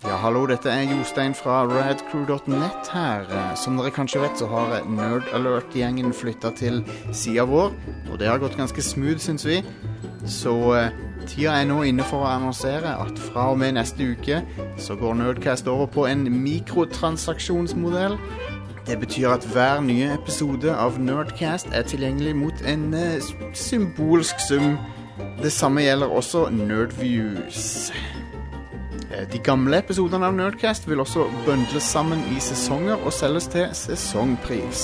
hallo, dette er Jostein fra radcrew.net her. Eh, Som dere kanskje vet, så har eh, Nerd Alert-gjengen flytta til sida vår. Og det har gått ganske smooth, syns vi. Så eh, tida er nå inne for å annonsere at fra og med neste uke så går Nerdcast over på en mikrotransaksjonsmodell. Det betyr at hver nye episode av Nerdcast er tilgjengelig mot en eh, s- symbolsk sum. Det samme gjelder også Nerdviews. Eh, De gamle episodene av Nerdcast vil også bundles sammen i sesonger og selges til sesongpris.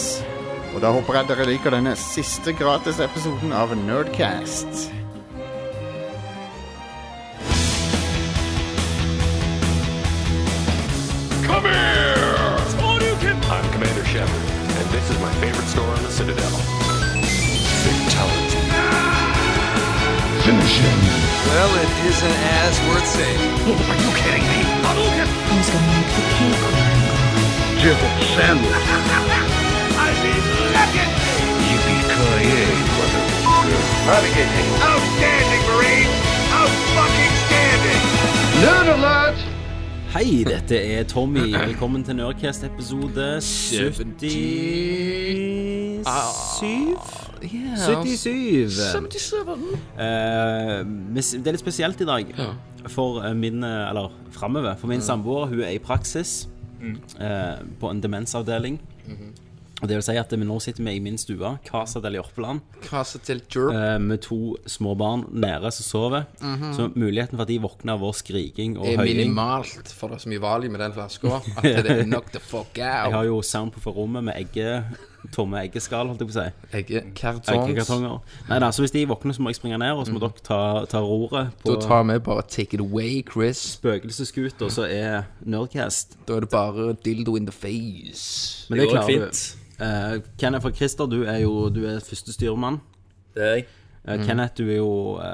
Og da håper jeg dere liker denne siste gratis episoden av Nerdcast. Come here! I'm Commander Shepard, and this is my favorite store on the Citadel. Fatality. Well, it isn't as worth saying. Oh, Who's gonna make the cake? Outstanding, Marine! Out fucking standing! Hei, dette er Tommy. Velkommen til Nerdcast episode 77 77. Eh, men s- det er litt spesielt i dag for eh, min eh, Eller framover. For min samboer hun er i praksis eh, på en demensavdeling. Og det vil si at vi nå sitter vi i min stue, Casa del Jørpeland, Kase til Jerp. eh, med to små barn nede som sover. Så muligheten for at de våkner av vår skriking og er høying minimalt, for det er så mye valium i den flaska at det er knock the fuck Jeg har out. jo soundproof av rommet med egge, tomme eggeskall, holdt jeg på å si. Eggekartongs. Eggekartonger. Nei da, så hvis de våkner, så må jeg springe ned, og så må dere ta, ta roret på Mm. Da tar vi bare take it away, Chris. spøkelsesskuta, så er Nerdcast. Da er det bare dildo in the face. Men det, klarer du. Eh, Kenneth og Christer, du er jo du er første styrmann. Det er jeg. Eh, Kenneth, du er jo uh, Mm.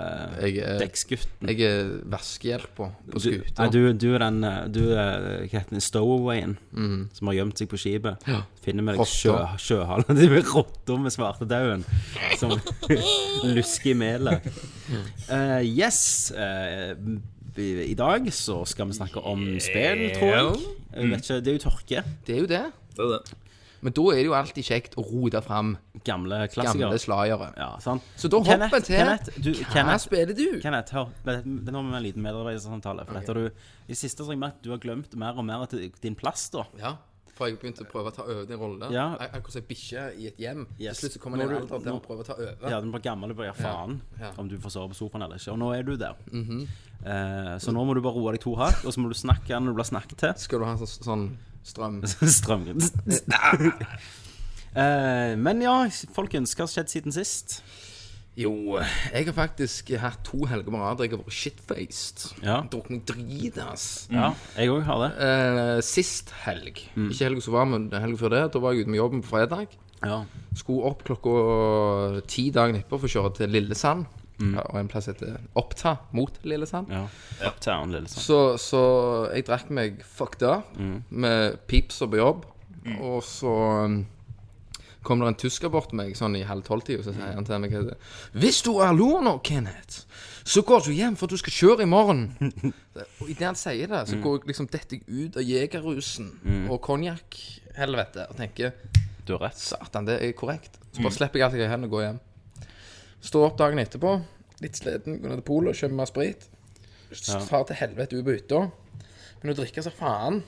Jeg er- dekksgutten. Jeg er vaskehjelpa på Du, nei, skuta. du, du er den eh, Du er hva heter den, stowawayen Mhm. som har gjemt seg på skipet. Finner med deg sjø, Rotter. sjøhalen De blir rotter med svartedauden som lusker i melet. Eh, yes. eh, vi- I dag så skal vi snakke om spill, tror jeg. jeg vet ikke, det er jo tørke. Det er jo det. Det er det. Men da er det jo alltid kjekt å rote fram Gamle klassikere. gamle slagere. Ja, sant? Så da Kenneth, hopper vi til Kenneth, du, Hva Kenneth, spiller du? Kenneth, hør. Det- det- Nå har vi en liten medarbeidersamtale. For dette har du, I det siste så har jeg merket at du har glemt mer og mer av din plass, da. Ja, for jeg begynte å prøve å ta over din rolle. Ja. Ak- Akkurat som ei bikkje i et hjem. Yes. Til slutt så kommer det en Nå er du- alder der nå- hun prøver å ta over. Ja, den blir gammel, du blir ja, faen Ja. Mhm. om du får sove på sofaen eller ikke. Og nå er du der. Eh, så nå må du bare roe deg to hakk, og så må du snakke når du blir snakket til. Skal du ha sånn, sånn strøm? Strøm. Eh, men ja, folkens, hva har skjedd siden sist? Jo, jeg har faktisk hatt to helger på rad der jeg har vært shitfaced. Ja. Drukket meg drit, ass. Ja, jeg òg har det. Eh, sist helg, Mm. ikke helga som var, men helga før det, da var jeg ute med jobben på fredag. Ja. Skulle opp klokka ti dagen etterpå for å kjøre til Lillesand. Mm. Ja, og en plass heter Oppta mot Lillesand. ja. Uptown, lille sånn. Så, så jeg drakk meg fucked up med pipser på jobb. Og så um, kom det en tysker bort til meg sånn i halv tolv-tida, så sier han til meg hva det er. Hvis du er lur nå, Kenneth, så går du hjem, for du skal kjøre i morgen. og idet han sier det, så går jeg liksom detter jeg ut av jegerrusen og konjakk-helvete og tenker Du har rett. Satan, det er korrekt. Så Mm. bare slipper jeg alt jeg har i hendene og går hjem. Står opp dagen etterpå, litt sliten, går ned til polet og kjøper mer sprit. Far til helvete ut på hytta. Men å drikke seg faen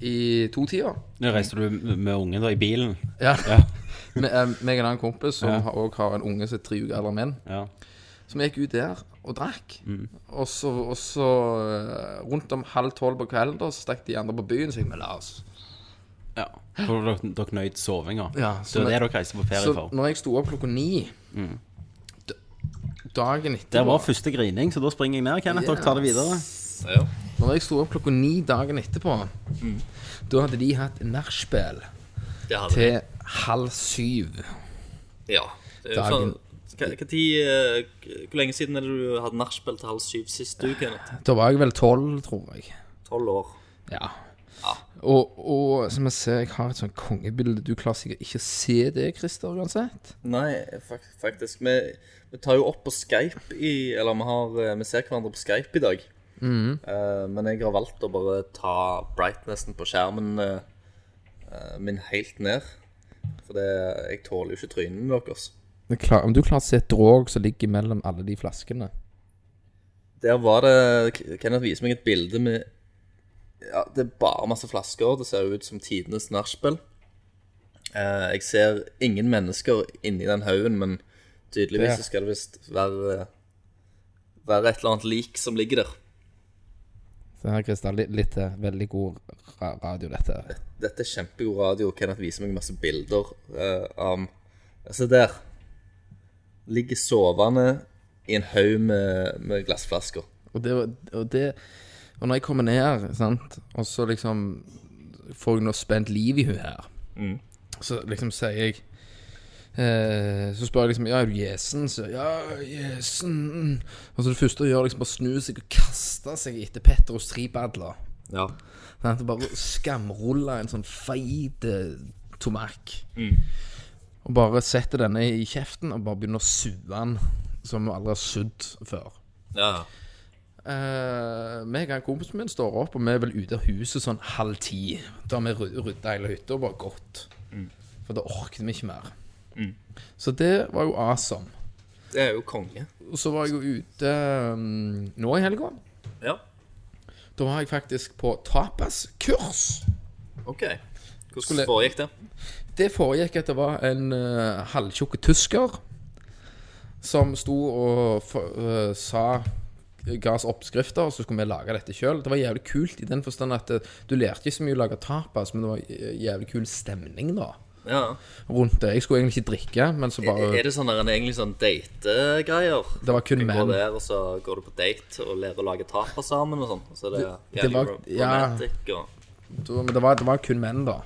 i to-tida Nå reiste du med med ungen da i bilen. ja. Med eh, meg og en annen kompis som har- også har en unge som er tre uker eldre enn min, Ja. som gikk ut der og drakk. Mm. Og så, og så eh, rundt om halv tolv på kvelden da, så stakk de andre på byen, så jeg men la oss ja. For dere, dere nøyd sovinga. Ja, så det er det dere reiser på ferie Så for. Mm. når jeg sto opp klokka ni d- Dagen etterpå Det var første grining, så da springer jeg ned. Kenneth, dere tar det videre. Ja. Når jeg sto opp klokka ni dagen etterpå, da hadde de hatt nachspiel Det hadde til halv syv. Ja. Det er jo sånn, Dagen- hva, hva tid, eh, k- hvor lenge siden er det du hadde nachspiel til halv syv sist uke? Kenneth? Da var jeg vel tolv, tror jeg. Tolv år. Ja. Og, og som jeg ser, jeg har et sånt kongebilde. Du klarer sikkert ikke å se det, Christer, uansett. Nei, fak- faktisk. Vi, vi tar jo opp på Skype i Eller vi, har, eh, vi ser hverandre på Skype i dag. Mhm. Eh, men jeg har valgt å bare ta brightnessen på skjermen eh, eh, min helt ned. For det, jeg tåler jo ikke trynene deres. Men klar, om du klarer å se et drog som ligger mellom alle de flaskene Der var det K- Kenneth viser meg et bilde med Ja, det er bare masse flasker. Det ser ut som tidenes nachspiel. Eh, jeg ser ingen mennesker inni den haugen, men tydeligvis Ja. så skal det visst være Være et eller annet lik som ligger der. Se her, Kristian. Litt, litt til. Veldig god ra- radio, dette. her. Dette er kjempegod radio. Kenneth viser meg masse bilder eh, av Se der. Ligger sovende i en haug med, med glassflasker. Og det, var- og det Og når jeg kommer ned, sant, og så liksom får jeg noe spent liv i hun her, så liksom sier jeg eh, så spør jeg liksom Ja, er du gjesen? Så ja, gjesen. Og så det første hun gjør, liksom bare snu seg og kaste seg etter Petter og Stribadler. Ja. Sant? Og Bare skamrulle en sånn feit eh, tomakk. Og bare setter denne i kjeften og bare begynner å sue den som vi aldri har sudd før. ja. Uh, meg og kompisen min står opp, og vi er vel ute av huset sånn halv ti. Da har vi ry- rydda hele hytta og bare gått. For da orket vi ikke mer. Så det var jo awesome. Det er jo konge. Og så var jeg jo ute um, nå i helga. Ja. Da var jeg faktisk på tapaskurs. Ok. Hvordan Skulle- foregikk det? Det foregikk at det var en uh, halvtjukk tysker som sto og f- eh, sa eh, Ga oss oppskrifter, og så skulle vi lage dette sjøl. Det var jævlig kult i den forstand at eh, du lærte ikke så mye å lage tapas, men det var eh, jævlig kul stemning da Ja. rundt det. Jeg skulle egentlig ikke drikke, men så Er bare er det sånn der, en egentlig sånn dategreier? Det var kun Du går menn. der, og så går du på date og lærer å lage tapas sammen og sånn. og Så er det, Det- jævlig det var- rom- ja. romantic og Men det var, det var kun menn, da.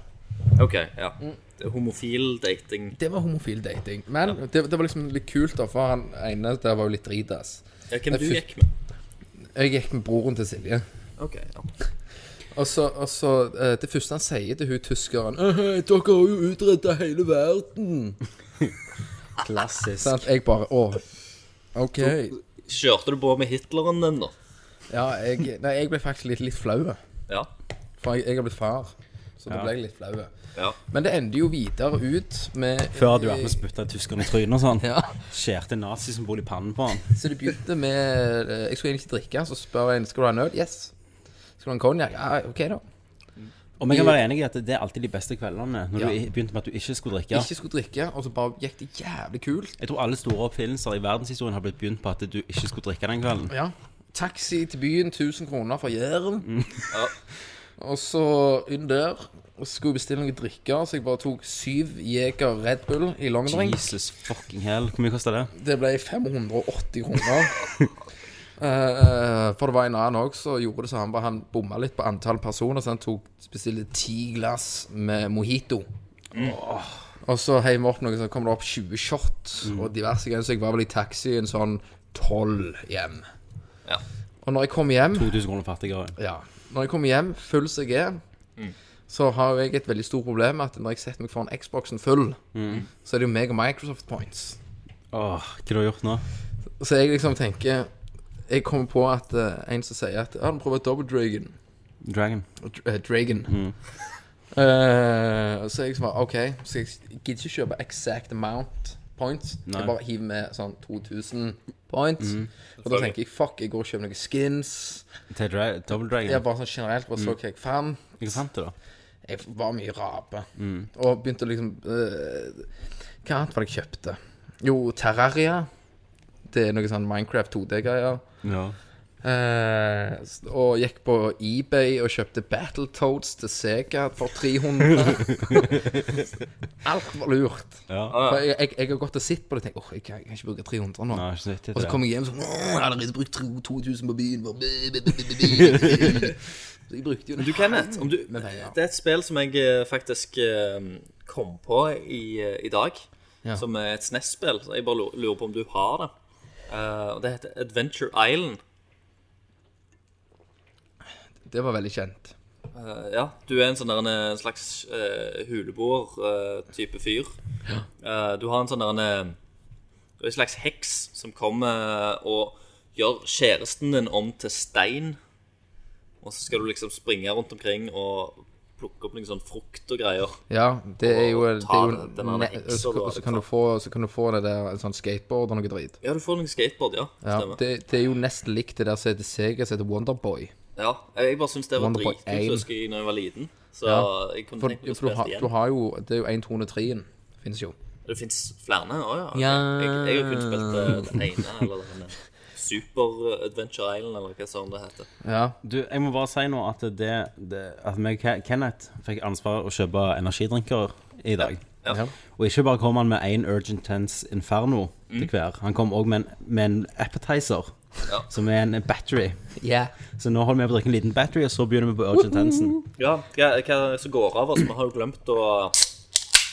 OK, ja. Mm. Det er homofil dating. Det var homofil dating. Men det, det var liksom litt kult, da, for han ene der var jo litt dritass. Ja, hvem Det er du fyr- gikk med? Jeg gikk med broren til Silje. OK. ja. Og så, og så eh, Det første han sier til hun tyskeren «Eh, hei, 'Dere har jo utrydda hele verden'. Klassisk. Sant? Jeg bare Å, OK. Kjørte du på med Hitleren din, da? Ja, jeg, nei, jeg ble faktisk litt, litt flau. Ja. For jeg, jeg har blitt far. Så da Ja. ble jeg litt flau. ja. Men det endte jo videre ut med Før hadde du vært med å spytte tyskerne i trynet og sånn. Ja. Skjærte en nazisymbol i pannen på han. Så det begynte med eh, Jeg skulle egentlig ikke drikke, så spør jeg en skal du ha en øl. Yes. Skal du ha en konjakk? Ja, OK, da. Og vi kan være enige i at det er alltid de beste kveldene, når Ja. du begynte med at du ikke skulle drikke. Ikke skulle drikke, og så bare gikk det jævlig kult. Jeg tror alle store oppfinnelser i verdenshistorien har blitt begynt på at du ikke skulle drikke den kvelden. Ja. Taxi til byen, 1000 kroner fra Jæren. Ja. Og så inn der. Og så skulle jeg bestille noe drikke, så jeg bare tok syv Jeger Red Bull i longdrink. Jesus fucking hell. Hvor mye kosta det? Det ble 580 kroner. Eh, for det var en annen òg som gjorde det samme. bare Han bomma litt på antall personer, så han tok bestilte ti glass med mojito. Og så heiv vi opp noe, så kom det opp 20 shot og diverse greier. Så jeg var vel i taxien sånn 12 hjem. Ja. Og når jeg kom hjem 2000 kroner fattigere. ja. Når jeg kommer hjem, full som jeg er, så har jo jeg et veldig stort problem med at når jeg setter meg foran Xboxen full, så er det jo meg og Microsoft Points. Åh, hva har du gjort nå? Så jeg liksom tenker Jeg kommer på at eh, en som sier at Ja, du prøver Double Dragon. Dragon. eh, Dragon. Eh, så jeg liksom bare OK, så jeg gidder ikke kjøpe exact amount points. Nei. Jeg bare hiver med sånn 2000 points. Og da tenker jeg fuck, jeg går og kjøper noen skins. Til dra Double Dragon. Jeg bare sånn generelt bare så hva jeg fant. Ikke sant det, da? Jeg var mye rape. Og begynte å liksom øh, Hva annet var det jeg kjøpte? Jo, Terraria. Det er noe sånn Minecraft 2D-greier. Ja. Eh, s- og gikk på eBay og kjøpte Battletoads til Sega for 300. Alt var lurt. ja. Ah. For jeg, jeg, jeg har gått og sett på det og tenkt åh, jeg, kan- jeg kan ikke bruke 300 nå. Nei, ikke så vittig Og så det. kom jeg hjem sånn «Åh, Jeg har allerede brukt 2000 på byen. Bare, bæ, bæ, bæ, bæ, bæ, bæ, bæ». Så jeg brukte jo Men du, Kenneth, om du, Men hei, ja. det er et spill som jeg eh, faktisk eh, kom på i, eh, i dag, Ja. som er et SNES-spill. så Jeg bare lu- lurer på om du har det. Eh, og det heter Adventure Island. Det var veldig kjent. Eh, ja, du er en sånn der, en eh, slags uh, huleboer-type fyr. Eh, du har en sånn der, en, eh, du er en slags heks som kommer og gjør kjæresten din om til stein. Og så skal du liksom springe rundt omkring og plukke opp noen sånn frukt og greier. Ja, det er jo, Og det ta er jo den- den andre ne- heksa så, da, så, kan du liksom. få, så kan du få det der en sånn skateboard og noe drit. Ja, du får noen skateboard, ja. Ja, Stemmer. det, det er jo nesten likt det der som heter Sega, som heter Wonderboy. Ja, jeg bare syns det var Wonderboy dritkult, aim. husker jeg, når jeg var liten. Så Ja, jeg kunne For, tenkt meg å for du, spille har, det du igjen. har jo Det er jo 103-en. Fins jo. Det fins flere? Å ja. ok. Ja. Jeg, jeg har kun spilt eh, den ene, eller den ene. Super Adventure Island, eller hva sånn det heter. Ja. Du, jeg må bare si nå at det, det At meg og Ke- Kenneth fikk ansvaret å kjøpe energidrinker i dag. Ja. Ja. Og ikke bare kom han med én Urgent Tense Inferno til hver. Han kom òg med, en- med en appetizer, Mm. Ja. som er en battery. Yeah. Så nå holder vi på å drikke en liten battery, og så begynner vi på Urgent Tensen. Ja, hva, hva er det som går av oss? Vi har jo glemt å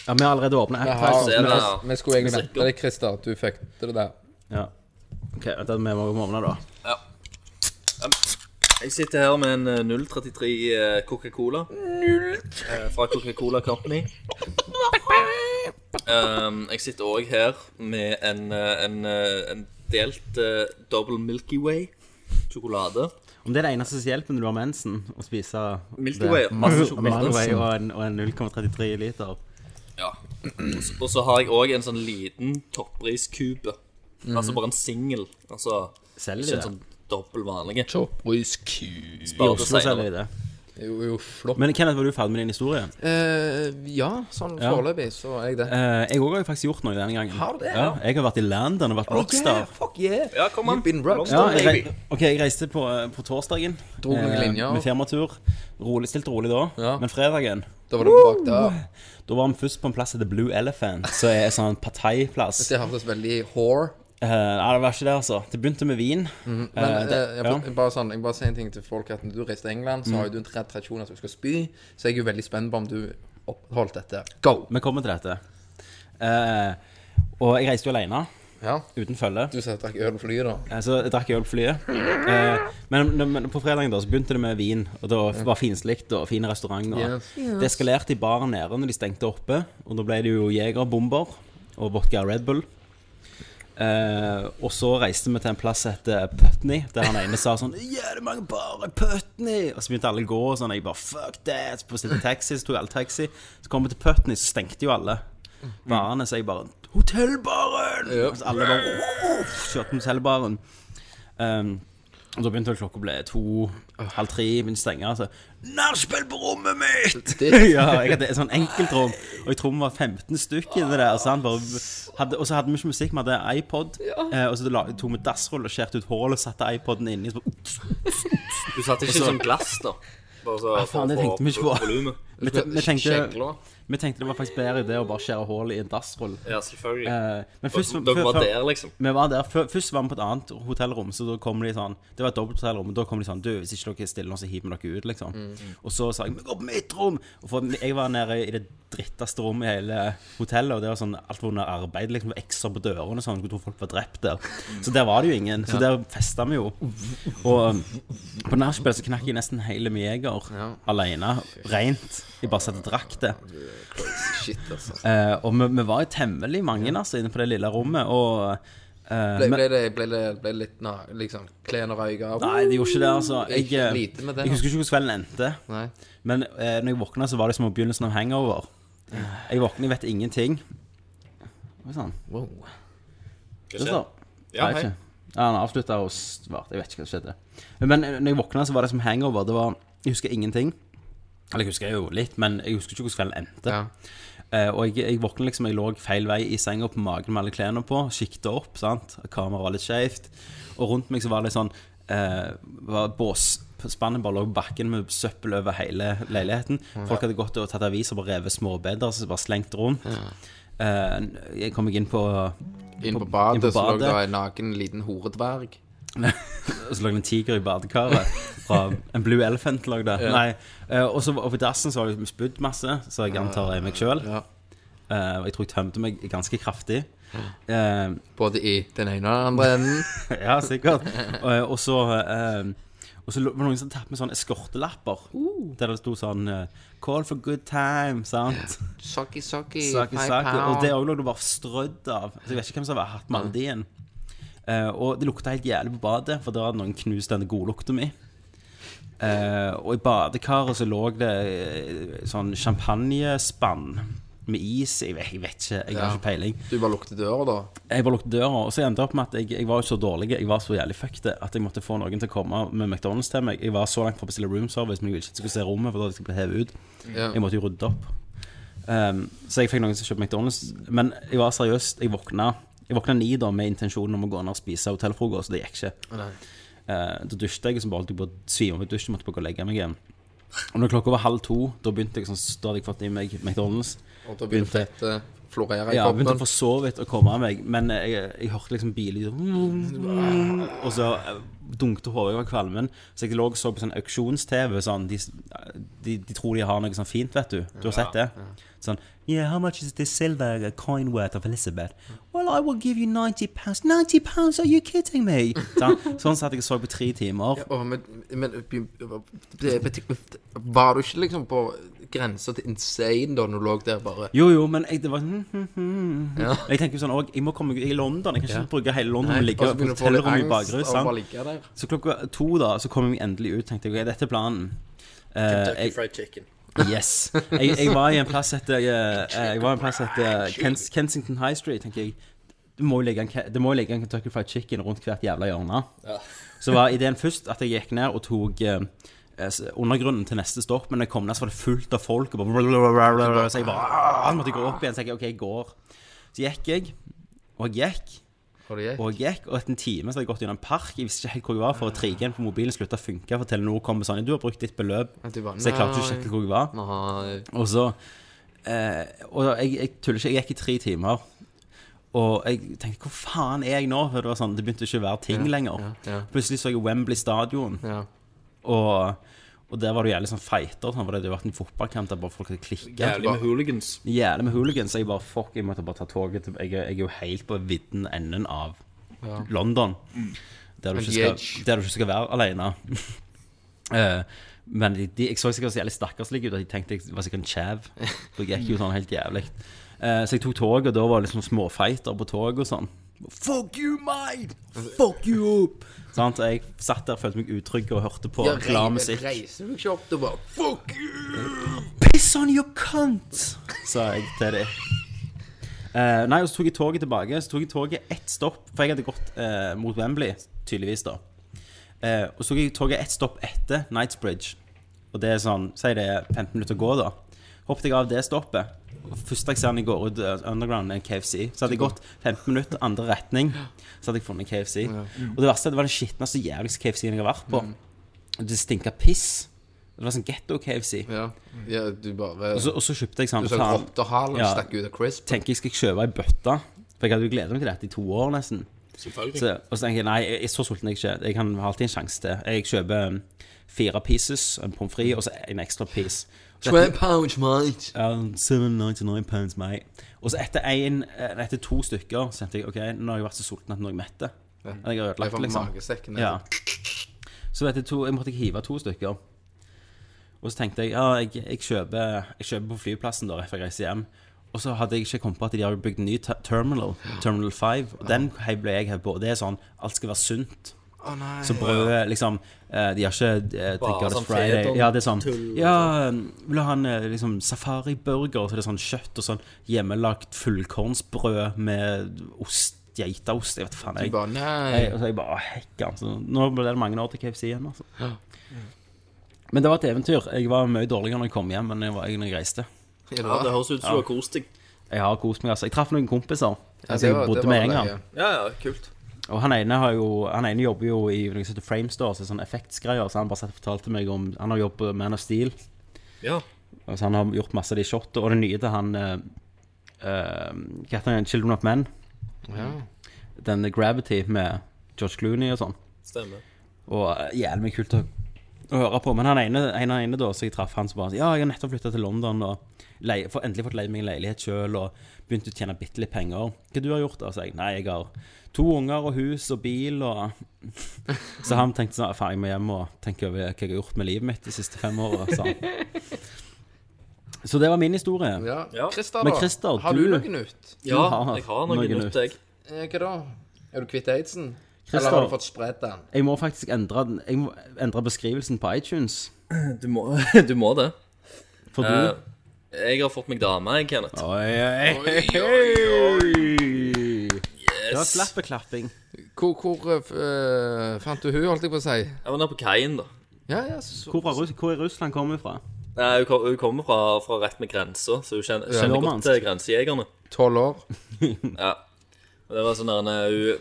Ja, vi har allerede åpna så er appetizeren. det- men- Ja. Vi skulle egentlig vente deg, Christer. Du fikk det der. Ja. OK, vent, vi må vi må åpne, da. Jeg sitter her med en eh, 033 eh, Coca-Cola. Eh, Fra Coca-Cola Company. Um, jeg sitter òg her med en, eh, en, eh, en delt eh, double Milky Way sjokolade. Om det er det eneste som hjelper når du har mensen, å spise Milky det. Way, masse sjokolade. Milky Way og en, og en 0,33 liter. Ja. Og så- Og så har jeg òg en sånn liten toppriskube. Altså bare en singel. Altså Selger ikke de en det? sånn dobbel vanlig. Toppriskue. I Spar det Oslo selger senere. de det. Jo, jo, flott. Men Kenneth, var du ferdig med din historie? Eh, ja, sånn Ja. foreløpig så er jeg det. Eh, jeg òg har jo faktisk gjort noe denne gangen. Har du det? Ja, jeg har vært i London og vært rockstar. fuck yeah. Ja, kom an. You've been rocked. Ja, jeg, rei- ok, jeg reiste på, eh, på torsdagen Dro noen eh, linjer. med firmatur. Rolig, stilt rolig da. Ja. Men fredagen Da var du fucked up. da var vi først på en plass som heter Blue Elephant, som er en sånn parteiplass. Det hørtes veldig whore. Eh, nei, det var ikke det, altså. Det begynte med vin. Men Eh, det- eh, jeg, ja. Mm. jeg, bare sånn, jeg bare sier en ting til folk at når du reiser til England, så har jo du en tra- tradisjon at du skal spy, så jeg er jo veldig spent på om du oppholdt dette. Go! Vi kommer til dette. Eh, og jeg reiste jo alene, Ja. uten følge. Du sa jeg drakk øl på flyet, da. Eh, Så jeg drakk jeg øl på flyet. Eh, men, men på fredagen da, så begynte det med vin, og det var- var finslikt og fine restauranter. Yes. Det eskalerte i baren nede når de stengte oppe, og da ble det jo jegerbomber og vodka Red Bull. Eh, og så reiste vi til en plass som heter Putney, der han ene sa sånn Jævlig mange barer i Putney! Og så begynte alle å gå, og sånn. Jeg bare fuck that! Så bestilte jeg taxi, så tok alle taxi. Så kom vi til Putney, så stengte jo alle barene, så jeg bare Hotellbaren! Og så alle bare kjørte mot hotellbaren. Ehm, og da begynte vel klokka å bli to, halv tre, begynte å stenge. Altså. Nachspiel på rommet mitt! Det- ja, jeg hadde et sånn enkeltrom, og jeg tror vi var 15 stykk inni der. Så han bare hadde, og så hadde vi ikke musikk, vi hadde iPod. eh, og så la- tok vi dassrull og skjærte ut hullet og satte iPoden inni. Så bare, Du satte ikke sånn glass, da. Bare så faen, det tenkte vi ikke på. volumet. vi, te- vi, tenkte, Kjegler. vi tenkte det var faktisk bedre idé å bare skjære hull i en dassrull. Ja, selvfølgelig. Eh, men først, Dere- Dere før- var før- der, liksom. Vi var der, Før- Først var vi på et annet hotellrom, så da kom de sånn Det var et dobbelthotellrom, og da kom de sånn Du, hvis ikke dere er stille nå, så hiver vi dere ut, liksom. Og så sa jeg Vi går på mitt rom! Og for, jeg var nede i det dritteste rommet i hele hotellet, og det var sånn alt var under arbeid, liksom. Det var X-er på dørene og sånn. Jeg tror folk var drept der. Så der var det jo ingen. Så der festa vi jo. Og um, på nachspiel så knakk jeg nesten hele min jeger alene, rent. Jeg bare satt og drakk det. Shit, altså. Eh, og vi, vi var jo temmelig mange, altså, inne på det lille rommet, og eh, Ble, men- ble, det, ble, det, ble det litt na, liksom klen og røyk av? Nei, det gjorde ikke det, altså. Jeg, Ikke lite med det, altså. jeg husker ikke hvordan kvelden endte. Nei. Men eh, når jeg våkna, så var det som begynnelsen av hangover. Jeg våkner, jeg vet ingenting. Hva er sånn? Wow. Hva Det skjer? står- Ja, Nei, hei. ikke. Ja, han avslutta og svarte. Jeg vet ikke hva som skjedde. Men eh, når jeg våkna, så var det som hangover. Det var, jeg husker ingenting. Eller jeg husker jo litt, men jeg husker ikke hvordan kvelden endte. Ja. Eh, og jeg, jeg våkna liksom, jeg lå feil vei i senga på magen med alle klærne på. Sikta opp, sant. Kameraet var litt skjevt. Og rundt meg så var det sånn eh, var bås Spannet bare lå på bakken med søppel over hele leiligheten. Folk hadde gått og tatt aviser og bare revet småbedder som bare slengt rundt. Eh, jeg kom ikke inn på Inn på inn på badet så lå det badet. en naken liten horedverg. Og så lå det en tiger i badekaret fra en Blue Elephant lå der. Nei, eh, og så og på dassen så var det spydd masse, så jeg antar det er meg sjøl. Ja. Og jeg tror jeg tømte meg ganske kraftig. Eh, Både i den ene og den andre enden. ja, sikkert. Og, og så eh, og så lå- var det noen som tappet med sånne eskortelapper. Der det sto sånn eh, 'Call for good time', sant? Saki, saki, Saki, five saki. Og pound. Mm. det òg lå det bare strødd av. Altså, jeg vet ikke hvem som har hatt med alle de igjen. Eh, og det lukta helt jævlig på badet, for der hadde noen knust denne godlukta mi. Eh, og i badekaret så lå det eh, sånn champagnespann med is. Jeg vet, jeg vet ikke, jeg har Ja. ikke peiling. Du bare lukter døra, da. Jeg bare lukket døra, og så endte det opp med at jeg, jeg var jo så dårlig, jeg var så jævlig fucked at jeg måtte få noen til å komme med McDonald's til meg. Jeg var så langt fra å bestille room service, men jeg ville ikke at jeg skulle se rommet, for da hadde jeg blitt hevet ut. Ja. Jeg måtte jo rydde opp. Um, så jeg fikk noen til å kjøpe McDonald's. Men jeg var seriøst, jeg våkna Jeg våkna ni da med intensjonen om å gå ned og spise hotellfrokost, og det gikk ikke. Nei. Eh, da dusjte jeg, og så bare holdt jeg på å svime av i dusjen, måtte bare gå og legge meg igjen. Og når klokka var halv to, da begynte jeg sånn, da hadde jeg fått i meg McDonald's. Og da begynner Begynte- fettet å florere i Ja, begynte kroppen. for så vidt å komme av meg, men jeg, jeg hørte liksom biler Og så eh, dunkte hodet over kvalmen. Så jeg lå og så på sånn auksjons-TV. Sånn, de, de, de tror de har noe sånn fint, vet du. Du har sett det? Sånn Yeah, how much is this silver coin worth of Elizabeth? Well, I will give you 90 pounds. 90 pounds, are you kidding me? Sånn, sånn satt jeg og så på tre timer. Åh, men, men det- det- Var du ikke liksom på grensa til insane da når du lå der bare Jo, jo, men jeg, det var sånn hmm, hmm, hmm. Jeg tenker jo sånn òg Jeg må komme meg i London. Jeg kan ikke bruke hele London og ligge Og så på begynner altså, du å få litt hotellrommet i angst av bakrus. å sant? bare ligge der. Så klokka to da, så kom jeg endelig ut, tenkte jeg, ok, dette er planen. Eh, Kentucky jeg, Fried Chicken. yes. Jeg, jeg var i en plass etter, jeg, jeg var i en plass Ah, etter Kens, Kensington High Street, tenker jeg. Det må jo ligge en, ke- det må jo ligge en Kentucky Fried Chicken rundt hvert jævla hjørne. Så var ideen først at jeg gikk ned og tok eh, eh, s- undergrunnen til neste stopp, men når jeg kom ned, så var det fullt av folk, og bare, så jeg bare, ah, måtte jeg gå opp igjen, så jeg, ok, jeg går. Så gikk jeg, og jeg gikk, Og det gikk. og jeg gikk, og etter en time så hadde jeg gått gjennom en park. Jeg visste ikke helt hvor jeg var, for 3G-en på mobilen slutta å funke. For Telenor kom med sånn Du har brukt ditt beløp. At du bare, Så jeg klarte ikke å «Nei». sjekke hvor jeg var. Nei. Og så eh, Og jeg, jeg tuller ikke, jeg gikk i tre timer. Og jeg tenkte hvor faen er jeg nå? For det var sånn, det begynte ikke å være ting lenger. ja, ja. Plutselig så jeg Wembley stadion, Ja. og, og der var det jo jævlig sånn fighter. Sånn, for det hadde jo vært en fotballkamp der bare folk hadde klikka. Jævlig med hooligans. Jævlig med hooligans. Så jeg bare fuck, jeg måtte bare ta toget til Jeg, er- jeg er jo helt på vidden enden av London. Mm. Der du, Men ikke de er skal, ikke- der du ikke skal være alene. Eh, men de, de, jeg så sikkert så jævlig stakkarslig ut at jeg tenkte jeg var sikkert en kjev. For jeg gikk jo sånn helt jævlig. Eh, så jeg tok toget, og da var det liksom småfighter på toget og sånn. Fuck you, mate! Fuck you up! Sant? Jeg satt der, følte meg utrygg og hørte på Jeg klar rei- musikk. reiser meg ikke opp, du bare Fuck you! Piss on your cunt! Sa jeg til dem. Eh, nei, og så tok jeg toget tilbake. Så tok jeg toget ett stopp, for jeg hadde gått eh, mot Wembley, tydeligvis, da. Eh, og så tok jeg toget ett stopp etter Knightsbridge. Og det er sånn Si det er 15 minutter å gå, da. Hoppet jeg av det stoppet. Og Første jeg ser når jeg går ut eh, underground, er KFC. Så hadde jeg gått 15 minutter andre retning, så hadde jeg funnet KFC. Og det verste er at det var den skitneste, jævligste KFC-en jeg har vært på. Mm. Det stinka piss. Det var sånn getto-KFC. Ja, ja du bare Og så, og så kjøpte jeg Du sånn så faen, rottehalen Ja. stakk ut av crisp. Tenker jeg skal kjøpe ei bøtte. For jeg hadde jo gleda meg til dette i to år, nesten. Selvfølgelig. Så, og så tenker jeg nei, jeg er så sulten jeg ikke. Jeg kan ha alltid en sjanse til. Jeg kjøper um, fire pieces, en pommes frites og så en ekstra piece. Og så etter- 12 pounds, mate. Um, 799 pounds, mate. Og så etter, en, eh, etter to stykker så tenkte jeg ok, nå har jeg vært så sulten at nå er jeg mett. Jeg har Jeg ødelagt, får liksom. magesekken. Ja. Så etter to, jeg måtte ikke hive to stykker. Og så tenkte jeg ja, jeg, jeg, kjøper, jeg kjøper på flyplassen da, før jeg reiser hjem. Og så hadde jeg ikke kommet på at de har bygd en ny te- terminal, Terminal 5. Og den hei- ble jeg hevet på. Og det er sånn alt skal være sunt. Å nei. Så brødet liksom eh, De har ikke Bare eh, Thank God sånn It's Friday. fedon, Ja, det er sånn tull og Ja, vil du ha en eh, liksom safariburger? Så det er sånn kjøtt og sånn hjemmelagt fullkornsbrød med ost, geitaost. Jeg vet faen. Du jeg bare nei. jeg, og så jeg bare «Å, hekkan. Så nå ble det mange år til KFC igjen, altså. Men det var et eventyr. Jeg var mye dårligere når jeg kom hjem enn jeg var når jeg reiste. Ja, Ja, det høres ut som du har kost deg. Jeg har kost meg, altså. Jeg traff noen kompiser. Altså, det jeg var- det bodde var med i det, England. ja. Ja, ja, kult. Og han ene, har jo, han ene jobber jo i noe som heter Framestore, så sånn effektsgreier. Så han bare satt og fortalte meg om Han har jobbet med Man of Steel. Ja. Altså, han har gjort masse av de shotene. Og det nye til han eh, eh, Hva heter han? Children of Men. Ja. Den Gravity med George Clooney og sånn. Stemmer. Og eh, jævlig mye kult å, å høre på. Men han ene, en av ene da, så jeg traff han, så bare Ja, jeg har nettopp flytta til London og leie, får endelig fått leid meg en leilighet sjøl og begynt å tjene bitte litt penger. Hva du har gjort da? Så jeg nei, jeg har to unger og hus og bil og Så han tenkte sånn Faen, jeg må hjem og tenke over hva jeg har gjort med livet mitt de siste fem åra. Så. så det var min historie. Ja. Ja. Christer, Men da? Christer, har du du- noe nytt? Ja, har jeg har noe noe nytt, jeg. Eh, Hva da? Er du kvitt aidsen? Eller har du Christer, fått spredd den? jeg må faktisk endre, den- jeg må endre beskrivelsen på iTunes. Du må, du må det. For du Eh, jeg har fått meg dame, jeg, Kenneth. Oi, oi, oi. Det var Yes. slappeklapping. Hvor, hvor eh, f- eh, fant du hun, holdt jeg på å si? Jeg var nede på kaien, da. Ja, ja, så Hvor, fra Russ hvor i Russland kommer vi fra? Nei, Hun kom- hun kommer fra, fra rett med grensa, så hun kjenner, kjenner godt Nordmansk. til grensejegerne. Tolv år. Ja. Og Det var sånn der nei, hun,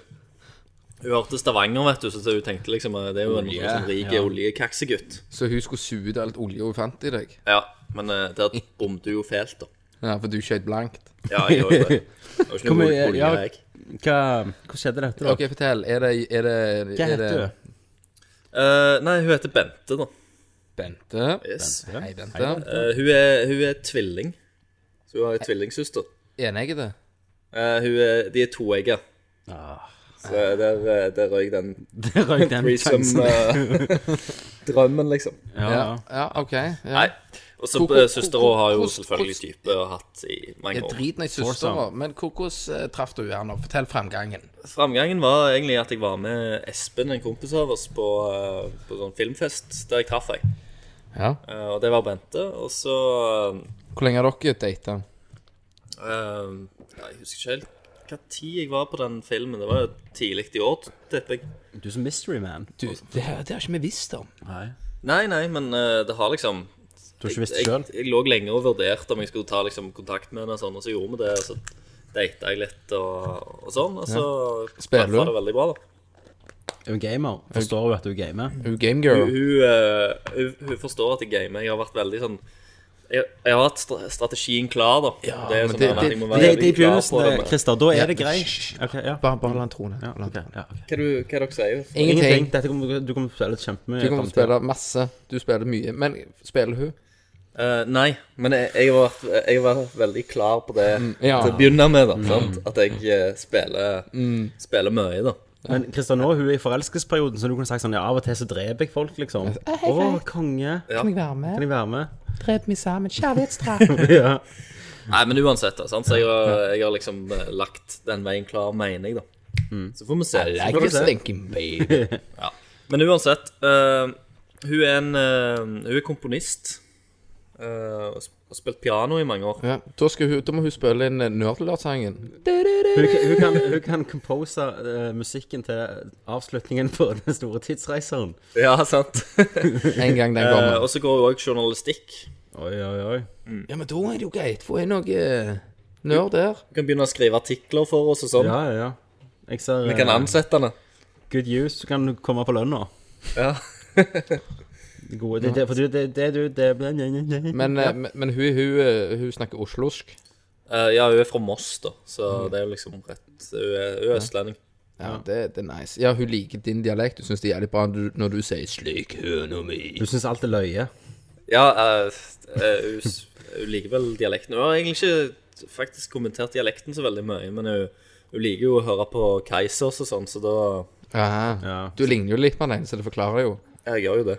hun hørte Stavanger, vet du, så hun tenkte liksom eh, Det er jo en Olje, sånn rik ja. oljekaksegutt. Så hun skulle suge ut alt olje hun fant i deg? Ja, men eh, der bomte hun jo fælt, da. Ja, for du skjøt blankt. Ja, jeg gjorde jo det. Det var ikke Hvor noe mye- olje, ja. jeg. Hva, hva skjedde dette, da? OK, fortell. Er det er det, Hva er det heter du? Eh, nei, hun heter Bente, da. Bente? Yes. Hei, Bente. Eh, hun, er, hun er tvilling. Så hun har en tvillingsøster. Eneggede? Eh, hun er, de er toegga. Så der, eh, der røyk den Der røyk Ah. den sjansen. uh, threesome-drømmen, liksom. Ja, Ja. ja. ja, OK. Ja. Nei. Og så Hvor- hvor- søstera har jo hvor- selvfølgelig type og hatt i mange Jeg år. driter i søstera, men hvor- hvordan eh, traff du henne? Fortell fremgangen. Framgangen var egentlig at jeg var med Espen, en kompis av oss, på, eh, på sånn filmfest der jeg traff henne. Ja. Eh, og det var Bente. Og så Hvor lenge har dere data? eh, ja, Jeg husker ikke helt hva tid jeg var på den filmen. Det var jo tidlig i år, tipper jeg. Du er som mystery man. Du, det, her- det har ikke vi visst om. Nei. Nei, nei, men eh, det har liksom Du har ikke visst det jeg, sjøl? jeg, jeg lå lenge og vurderte om jeg skulle ta liksom, kontakt med henne, og sånn, og så gjorde vi det. Og så data jeg litt og, og sånn, og så Spiller var du? det veldig bra, da. Er du gamer? Forstår du at du er gamer? Hun gamegirl. Hun, eh, hun, hun forstår at jeg gamer. Jeg har vært veldig sånn jeg, jeg har hatt stra- strategien klar, da. Ja, det er men sånn det- at jeg må Det, være det er i veldig klar på begynnelsen, eh, det. men- Christer. Da er det Ja, grei. hysj. Ok, ja. Bare, bare la han trone. Ja, La han ok, trone. ja, ok. Hva, du, hva dere sier Ingenting. Ingenting. Dette kommer, du kommer til å spille kjempemye. Du kommer til å spille masse. Du spiller mye. Men spiller hun? Eh, nei, men jeg, jeg, har vært, jeg har vært veldig klar på det ja. til å begynne med. da, sant? At jeg eh, spiller, spiller mye, da. Men Christer, nå hun er i forelskelsesperioden, så du kunne sagt sånn ja, Av og til så dreper jeg folk, liksom. Å, konge. Kan jeg være med? Kan jeg være med? Drep meg sammen. Kjærlighetsdrap. ja. Nei, men uansett, da, sant? så jeg har, jeg har liksom eh, lagt den veien klar, mener jeg, da. Så får vi se. Så får Ikke vi se. stinking baby. Men uansett, eh, hun er en eh, Hun er komponist. eh, og sp- har spilt piano i mange år. Ja, da, skal hun, da må hun spille inn eh, Nerdlørdagssangen. Hun, hun, kan, hun kan compose eh, musikken til avslutningen på Den store tidsreiseren. Ja, sant? En gang den Eh, og kommer. så går hun òg journalistikk. Oi, oi, oi. Ja, men da er det jo greit. Få inn noe eh, nerd der. Hun kan begynne å skrive artikler for oss og sånn. Ja, ja, ja. Jeg ser Vi kan eh, ansette henne. good use. Du kan komme på lønna. Ja. Gode, det, det, for du, det, det, du, det bla, bla, bla, bla. Men, eh, men- men hun, hun, eh, hun snakker oslosk. Eh, ja, hun er fra Moss, da, så det er jo liksom rett Hun er, hun er østlending. Ja, det, det er nice. Ja, hun liker din dialekt. Du syns det er jævlig bra du- når du sier 'slik høna mi'. Du syns alt er løye. Ja, eh, eh, hun, s- hun liker vel dialekten. Hun har egentlig ikke faktisk kommentert dialekten så veldig mye, men hun, hun liker jo å høre på Keisers og sånn, så da Aha. Ja. Du ligner jo litt på den, så det forklarer jo. Jeg gjør jo det.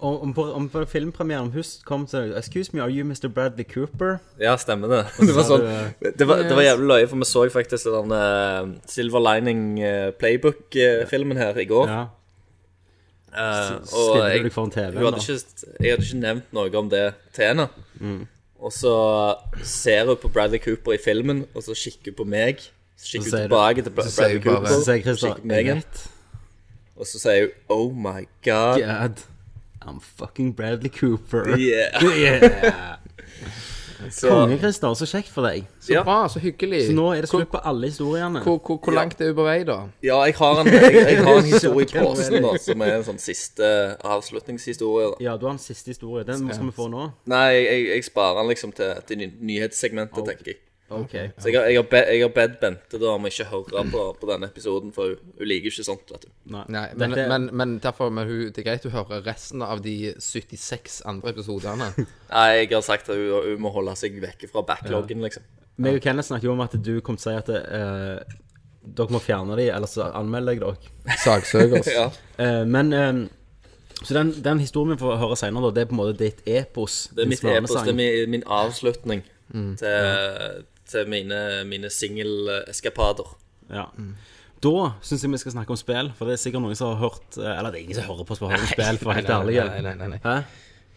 Og om, på, om på filmpremieren Hus kom til Excuse me, are you Mr. Bradley Cooper? eh, Ja, stemmer det. Det var, sånn, det var, det var jævlig løye, for vi så faktisk den eh, Silver Lining eh, Playbook-filmen her i går. Ja. Eh, og Stiller du jeg, deg foran hun TV-en, hadde da? Mm. ikke, jeg hadde ikke nevnt noe om det til henne. Og så ser hun på Bradley Cooper i filmen, og så kikker hun på meg. Så kikker Så hun sier tilbake til Bra- så sier Bradley hun bare- Cooper, Så sier så Christer kikker på meg igjen, "Rett og så sier hun Oh my God. God, I'm fucking Bradley Cooper. Yeah. Så, Konge, Christer. Så kjekt for deg. Så Ja. bra, så hyggelig. Så nå er det Hvor- slutt på alle historiene. Hvor, hvor, hvor langt er hun på vei, da? ja, jeg har en, jeg, jeg har en historie i posen, da, som er en sånn siste avslutningshistorie. da. Ja, du har en siste historie. Den skal vi få nå. Nei, jeg, jeg, jeg sparer den liksom til, til ny- nyhetssegmentet, tenker jeg. OK. Så jeg, har- jeg, har, be, jeg har bedt Bente da om ikke å høre på, på denne episoden, for hun, hun liker ikke sånt, vet du. Nei, men, Dette- men, men derfor men hun, det er greit hun hører resten av de 76 andre episodene. Nei, jeg har sagt at hun, hun må holde seg vekke fra backloggen, liksom. Meg og Kenneth snakket jo om at du kom til å si at eh, dere må fjerne dem, ellers så anmelder jeg dere. Saksøkers. Ja. Eh, men eh, Så den, den historien vi får høre senere, da, det er på en måte ditt epos? Det er din mitt epos, svanesang. det er min, min avslutning Mm. til, til mine, mine single-eskapader. Ja. Da syns jeg vi skal snakke om spill, for det er sikkert noen som har hørt eh, Eller det er ingen som hører på som har hørt om spill, for å være helt ærlig. Nei, nei, nei, nei. Hæ?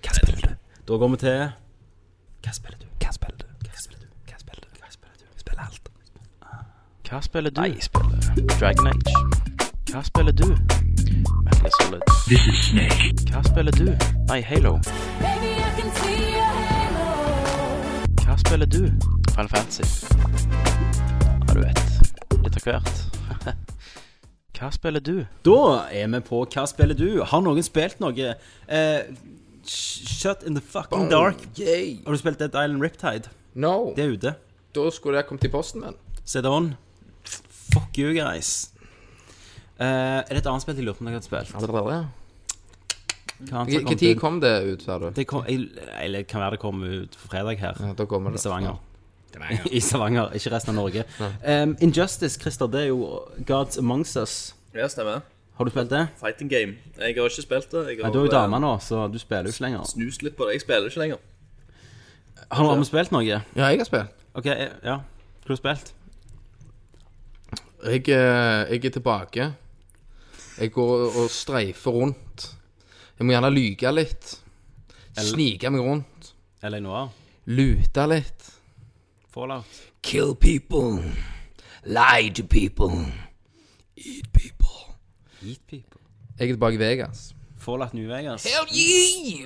Hva spiller du? Da går vi til Hva spiller du? Hva spiller du? Hva spiller du? Hva spiller du? Hva spiller du? Spiller alt. Hva spiller du? Jeg spiller Dragon Age. Hva spiller du? Metal Gear Solid. This is Snake. Hva spiller du? Nei, Halo. Baby, I can see your halo. Hva spiller du? Final Fantasy. Ja, du vet. Litt av hvert. Hva spiller du? Da er vi på Hva spiller du? Har noen spilt noe? Eh, sh- shut in the fucking dark. Yay. Har du spilt Dead Island Riptide? No. Det er ute. Da skulle det kommet i posten, men. Set on. Fuck you, guys. Eh, er det et annet spill jeg lurer på om jeg har spilt? Hva annet som kom Når til- kom det ut, sa du? Det kom, jeg- eller kan være det kom ut på fredag her. Ja, da kommer I det. Stavanger. I Stavanger, ikke resten av Norge. Um, Injustice, Christer, det er jo Gods Amongst Us. Ja, stemmer. Har du spilt det? Fighting game. Jeg har ikke spilt det. Jeg Nei, har du er jo eh, dame nå, så du spiller jo ikke lenger. snust litt på det. Jeg spiller ikke lenger. Har har vi spilt noe? Ja, jeg har spilt. OK, eh, ja. Hva har du spilt? Jeg, eh, jeg er tilbake. Jeg går og streifer rundt. Jeg må gjerne lyge litt. Snike meg rundt. LA Noir? Lute litt. Fallout? Kill people. Lie to people. Eat people. Eat People? Jeg er tilbake i Vegas. Fallout New Vegas?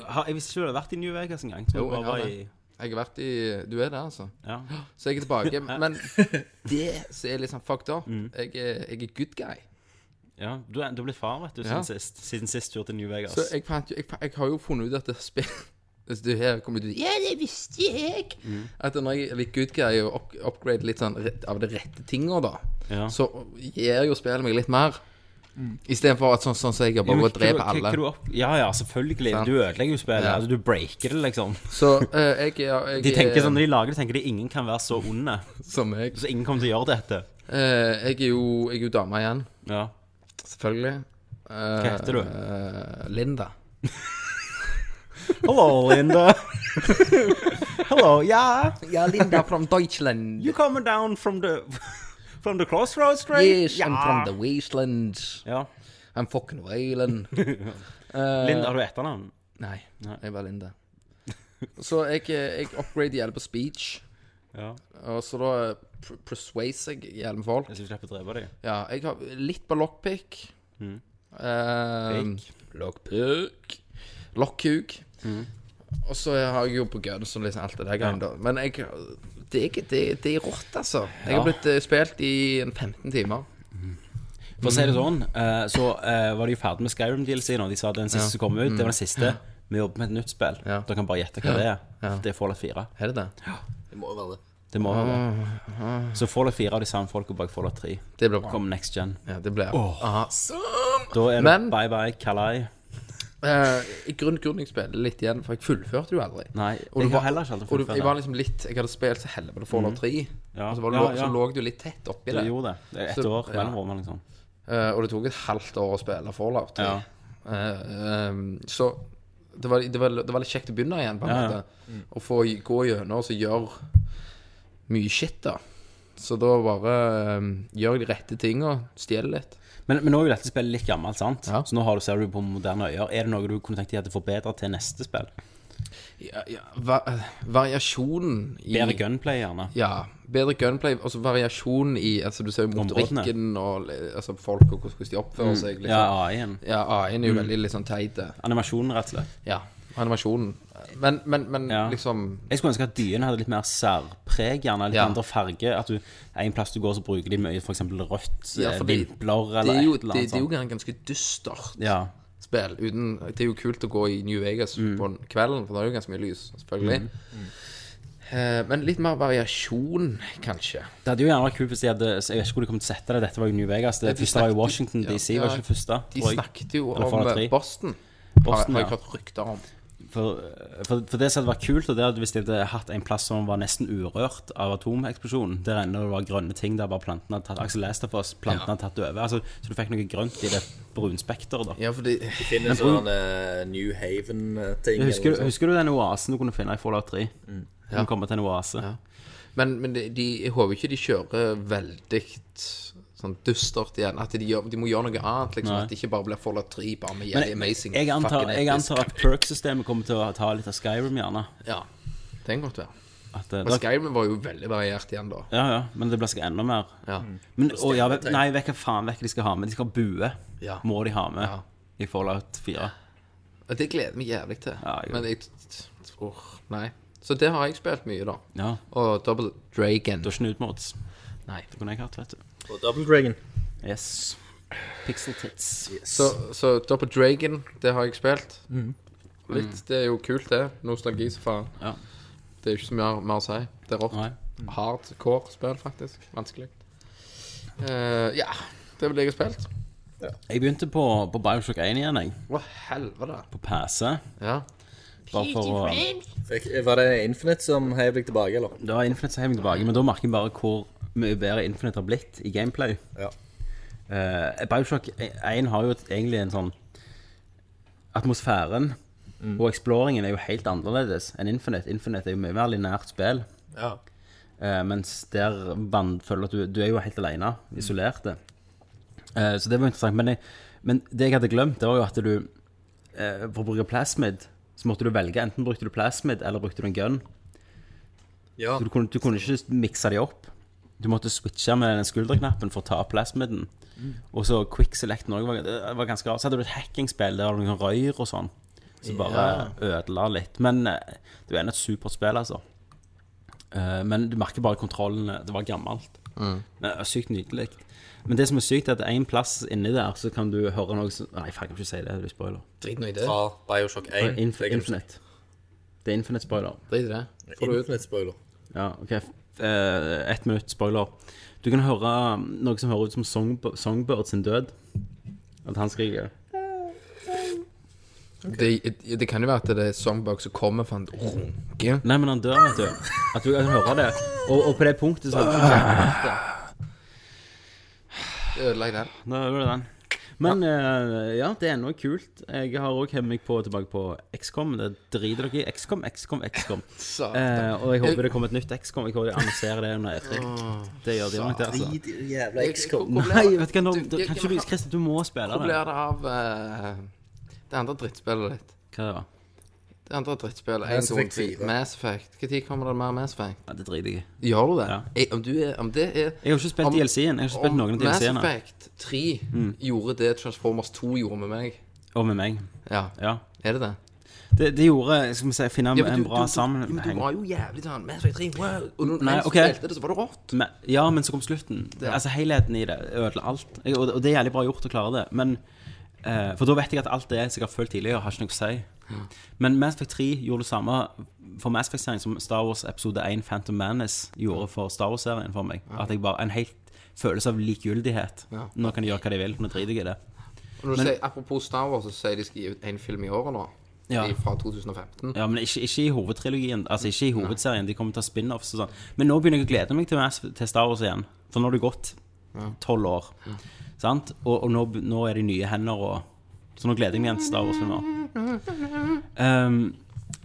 Har- Jeg visste ikke du hadde vært i New Vegas engang. Jo, Jo, jeg bare var har i, Jeg har vært i Du er der, altså. ja. Så jeg er tilbake. Men det som er litt sånn fucked up jeg, er, jeg er good guy. ja. Du er, du er blitt far, vet du, Ja. siden sist. Siden sist tur til New Vegas. Så jeg, fant, jo- jeg, fa- jeg har jo funnet ut at det spill Altså, det her kommer ut Ja, det visste jeg! At når jeg er litt good guy og opp, upgrade litt sånn rett, av de rette tinga, da, Ja. så gir jo spillet meg litt mer. Istedenfor at sånn som sånn, så jeg bare går og dreper alle. Ja, ja, selvfølgelig. Sant. Du ødelegger jo spillet. Ja. Altså, du breaker det, liksom. Så eh, jeg, er- jeg De tenker er- sånn, Når de lager det, tenker de ingen kan være så onde. Som jeg. Så ingen kommer til å gjøre dette. Eh, jeg er jo, jeg er jo dame igjen, Ja. selvfølgelig. Hva heter du? Linda. Hello, Linda. Hello, yeah. Ja, Linda from Deutschland. You coming down from the From the crossroads straight? Yes, I'm from the wasteland. Ja. I'm fucking wailing. Linda, har du etternavn? Nei, jeg var Linda. Så jeg, eh, jeg upgrader gjerne på speech. Ja. Og så da eh, pr persuaser jeg gjerne med folk. Hvis du slipper å drepe dem. Ja, jeg har litt på lockpick. Mm. Pick. Mm. lockpick. Lockkuk. Og så har jeg jo på guns og liksom alt det der greiene, da. Men jeg, det, er ikke, det, det er rått, altså. Jeg har blitt eh, spilt i en 15 timer. For å si det sånn, eh, så eh, var de jo ferdig med Skyrim DLC nå. De sa at den siste som kom ut, det var den siste. Vi jobber med et nytt spill. Mm. Ja. Dere kan bare gjette hva det er. Det er Fallout 4. Er det det? Det må jo være det. Det må være det. Ah, Så Fallout 4 av de samme folka bak Fallout 3. Det blir bra. Kom next gen. Ja, det blir Aha. Da er det Men- bye bye, Kalai. Eh, I grunn, grunnen jeg spiller litt igjen, for jeg fullførte jo aldri. Nei, Og du jeg har var- heller ikke alltid Og du, fullført jeg var det. Mm. liksom litt Jeg hadde spilt så helvete Fallout 3. Ja, Og så, var du, ja, så ja. lå du litt tett oppi Du det. gjorde det. Det er ett Så- år ja. mellom årene, liksom. Eh, og det tok et halvt år å spille Fallout 3. Ja. Eh, ehm, så det var, det, var, det var litt kjekt å begynne igjen, på en Ja, ja. måte. Å få i- gå gjennom og så gjøre mye shit, da. Så da bare ehm, gjør jeg de rette tinga, stjele litt. Men, men nå er jo dette spillet litt gammelt, sant? Ja. Så nå har du, ser du på moderne øyer. Er det noe du kunne tenkt deg at det forbedret til neste spill? Ja, ja, va variasjonen i Bedre gunplay, gjerne. Ja. Bedre gunplay, altså variasjon i altså Du ser jo Områdene. motorikken og li- altså, folk og hvordan de oppfører seg. Ja, Mm. Liksom. AI-en. Ja, AI-en er jo veldig litt sånn teit. det. Animasjonen, rett og slett. Ja. Animasjonen. Men, men, men Ja. liksom Jeg skulle ønske at dyene hadde litt mer særpreg, gjerne litt Ja. andre farger. At du, en plass du går, så bruker de mye for eksempel rødt, Ja, eh, for det- vimpler det eller er, jo, et det, eller annet det er jo sånt. gans- ganske dystert Ja. spill. Uten, det er jo kult å gå i New Vegas Mm. på en- kvelden, for da er det jo ganske mye lys, selvfølgelig. Eh, men litt mer variasjon, kanskje. Det hadde jo gjerne vært kult hvis de hadde så Jeg vet ikke hvor de kom til å sette det. Dette var jo New Vegas. Det de første var jo snakket- Washington ja, DC, ja, var ikke det første? De tror jeg. snakket jo Eller om Fallout 3. eh, Boston, Boston, har, har jeg ja. hørt rykter om. For, for, for det som hadde vært kult, og det er at hvis de hadde hatt en plass som var nesten urørt av atomeksplosjonen, der ennå det var grønne ting der bare plantene hadde tatt Axel leste for oss, plantene hadde tatt over. Altså, så du fikk noe grønt i det brunspekteret, da. Ja, for det Det finnes sånn eh, New eh, Haven-ting. Husker, du- husker du den oasen du kunne finne i Fallout 3? Mm. Du kommer til en oase. Men, men de, de, jeg håper ikke de kjører veldig sånn dystert igjen. At de, gjør, de må gjøre noe annet. liksom Nei. At det ikke bare blir Fallout 3 bare med Men jævlig amazing. jeg antar, fucking jeg episk. antar at perk-systemet kommer til å ta litt av Skyrim, gjerne. Ja, det kan godt være. At, eh, Men det- Skyrim var jo veldig variert igjen, da. ja, ja, men det blir sikkert enda mer. Ja. Men, å, ja, vet- nei, vet hva faen vet hva de skal ha med. De skal ha bue. Ja. Må de ha med Ja. i Fallout 4. Og det gleder jeg meg jævlig til. Ja, jeg- Men jeg tror Nei. Så det har jeg spilt mye, da. Ja. Og Double Dragon. Du har ikke Nudemods. Nei. Det kunne jeg hatt, vet du. Og Double Dragon. Yes. Pixel tits. Så, så Double Dragon, det har jeg spilt. Litt. Det er jo kult, det. Nostalgi som faen. Mhm. Ja. Det er jo ikke så mye mer å si. Det er rått. Mhm. Nei. Hardcore spill, faktisk. Vanskelig. Eh, ja. Det er vel det jeg har spilt. Jeg begynte på, på Bioshock 1 igjen, jeg. Å, helvete. På PC. Ja. Bare for å Fikk, var det Infinite som heiv deg tilbake, eller? Da er Infinite så hev meg tilbake, men da merker jeg bare hvor mye bedre Infinite har blitt i gameplay. Ja. Eh, Bioshock 1 har jo et, egentlig en sånn Atmosfæren og exploringen er jo helt annerledes enn Infinite. Infinite er jo mye mer lineært spill, Ja. eh, mens der van- føler at du, du er jo helt alene, isolert. Eh, så det var interessant. Men, jeg, men det jeg hadde glemt, det var jo at du eh, For å bruke plasmid, så måtte du velge. Enten brukte du plasmid, eller brukte du en gun. Ja. Så du kunne, du kunne ikke mikse de opp. Du måtte switche med den skulderknappen for å ta plasmiden. Og så quick select Norge var, det var ganske rart. Så hadde du et hackingspill der det var noen røyr og sånn. Så bare ødela litt. Men eh, det er jo ennå et supert spill, altså. Eh, Men du merker bare kontrollen. eh, Det var gammelt. Men det var sykt nydelig. Men det som er sykt, er at en plass inni der så kan du høre noe som Nei, faen, jeg kan ikke si det. Det er spoiler. Drit nå i det. Fra Bioshock 1. Inf Infinite. Det er Infinite spoiler. Drit i det. Får du ut. spoiler. Ja, ok. Uh, ett minutt, spoiler. Du kan høre um, noe som hører ut som Songb Songbird sin død. At han skriker. Det, det kan jo være at det er Songbug som kommer for en runke. Nei, men han dør, vet du. At du kan høre det. Og, og på det punktet så Ødelegg den. Da var det den. Men eh, ja, det er ennå kult. Jeg har òg hevet meg på tilbake på XCOM. Det driter dere i. XCOM, XCOM, XCOM. Eh, og jeg håper det kommer et nytt XCOM. Jeg håper de annonserer det under E3. Det gjør de nok, det, altså. Jævla XCOM. Nei, vet du hva, nå, da, kan ikke du Christer, du må spille Hvor det. blir det av eh, det andre drittspillet ditt? Hva det var? Det andre drittspillet. Mass en, Effect to, tre. 4. Mass Effect. Når kommer det mer Mass Effect? Ja, det driter jeg i. Gjør du det? Ja. Jeg, om, du er, om det er Jeg har ikke spilt Om- DLC-en. Jeg har ikke spilt noen av Mm. DLC-ene. Mass Effect 3 gjorde det Transformers 2 gjorde med meg. Og med meg. Ja. Ja. Er det det? Det, det gjorde Skal vi se, finne Ja, men en bra Du, men sammenheng. du var jo jævlig sånn Mass Effect 3, wow! Og når Nei, mens du ok. spilte det, så var det rått. Men, ja, men så kom slutten. Altså Helheten i det ødela alt. Jeg- Og, og det er jævlig bra gjort å klare det. Men eh, For da vet jeg at alt det som jeg har følt tidligere, har ikke noe å si. Men Mass Effect 3 gjorde det samme for Mass Effect-serien som Star Wars episode 1 Phantom Menace gjorde for Star Wars-serien for meg. At jeg bare En helt følelse av likegyldighet. Ja. Nå kan de gjøre hva de vil, nå driter jeg i det. Og når du sier, apropos Star Wars, så sier de skal gi ut én film i året nå. Ja. I- Fra 2015. Ja, men ikke, ikke i hovedtrilogien, altså ikke i hovedserien. De kommer til å ta spin-offs og sånn. Men nå begynner jeg å glede meg til, Mass- til Star Wars igjen. For nå har det gått tolv år. Sant? Og, og nå, nå er det nye hender og Så nå gleder jeg meg igjen til Star Wars-filmer. Ehm,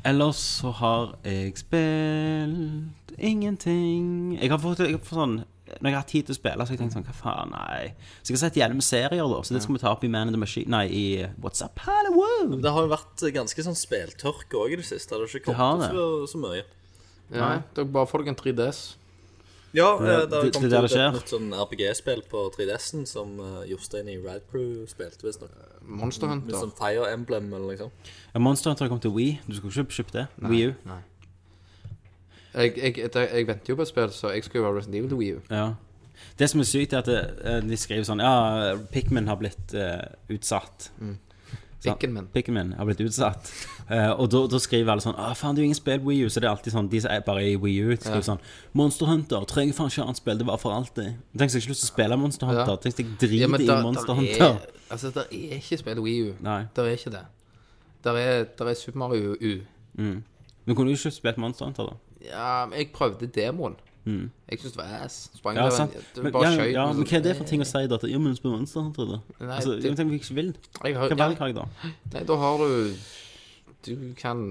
ellers så har jeg spilt ingenting. Jeg har fått, jeg har fått sånn Når jeg har hatt tid til å spille, så har jeg tenkt sånn Hva faen, nei. Så jeg har sett gjennom serier, da. Så det skal vi ta opp i Man in the Machine Nei, i What's Up Hollywood. Det har jo vært ganske sånn speltørke òg i det siste. Det har ikke Det har kommet det. så, så mye. Nei, dere bare får dere en 3DS. Ja, Det- eh, det har det- kommet det er der ut det et skjer. nytt sånn RPG-spill på 3DS-en som eh, Jostein i Rad Crew spilte, visstnok. Monster Med Hunter. sånn Fire Emblem eller liksom. Ja, Monster Hunter kom til Wii. Du skulle ikke kjøpt det. Wii U. Nei. Jeg, jeg, jeg, jeg venter jo på et spill, så jeg skal jo være Resident Evil Wii U. Ja. Det som er sykt, er at eh, de skriver sånn Ja, Pikmin har blitt eh, utsatt. Mm. Sant? Pikken min. Pikmin har blitt utsatt. Eh, og da da skriver alle sånn Å, faen, det er jo ingen spill Wii U. Så det er alltid sånn De som er bare i Wii U, de skriver sånn Monster Hunter trenger faen ikke annet spill. Det var for alltid. Tenk så jeg ikke har lyst til å spille Monster Hunter. Ja. Tenk så jeg driter i Monster er, Hunter. altså, der er ikke spill Wii U. Nei. Der er ikke det. Der er, der er Super Mario U. Men kunne du ikke spilt Monster Hunter, da? Ja, men jeg prøvde demoen. Jeg syntes det var ass. Sprang Ja, der, sant. det var Men, bare ja, skøyt. ja, men hva er det for ting å si, da? At, Ja, men spill Monster Hunter, da. Nei, altså, det- jeg tenker vi ikke vil. Jeg har, Hva ja, velger jeg, da? nei, da har du Du kan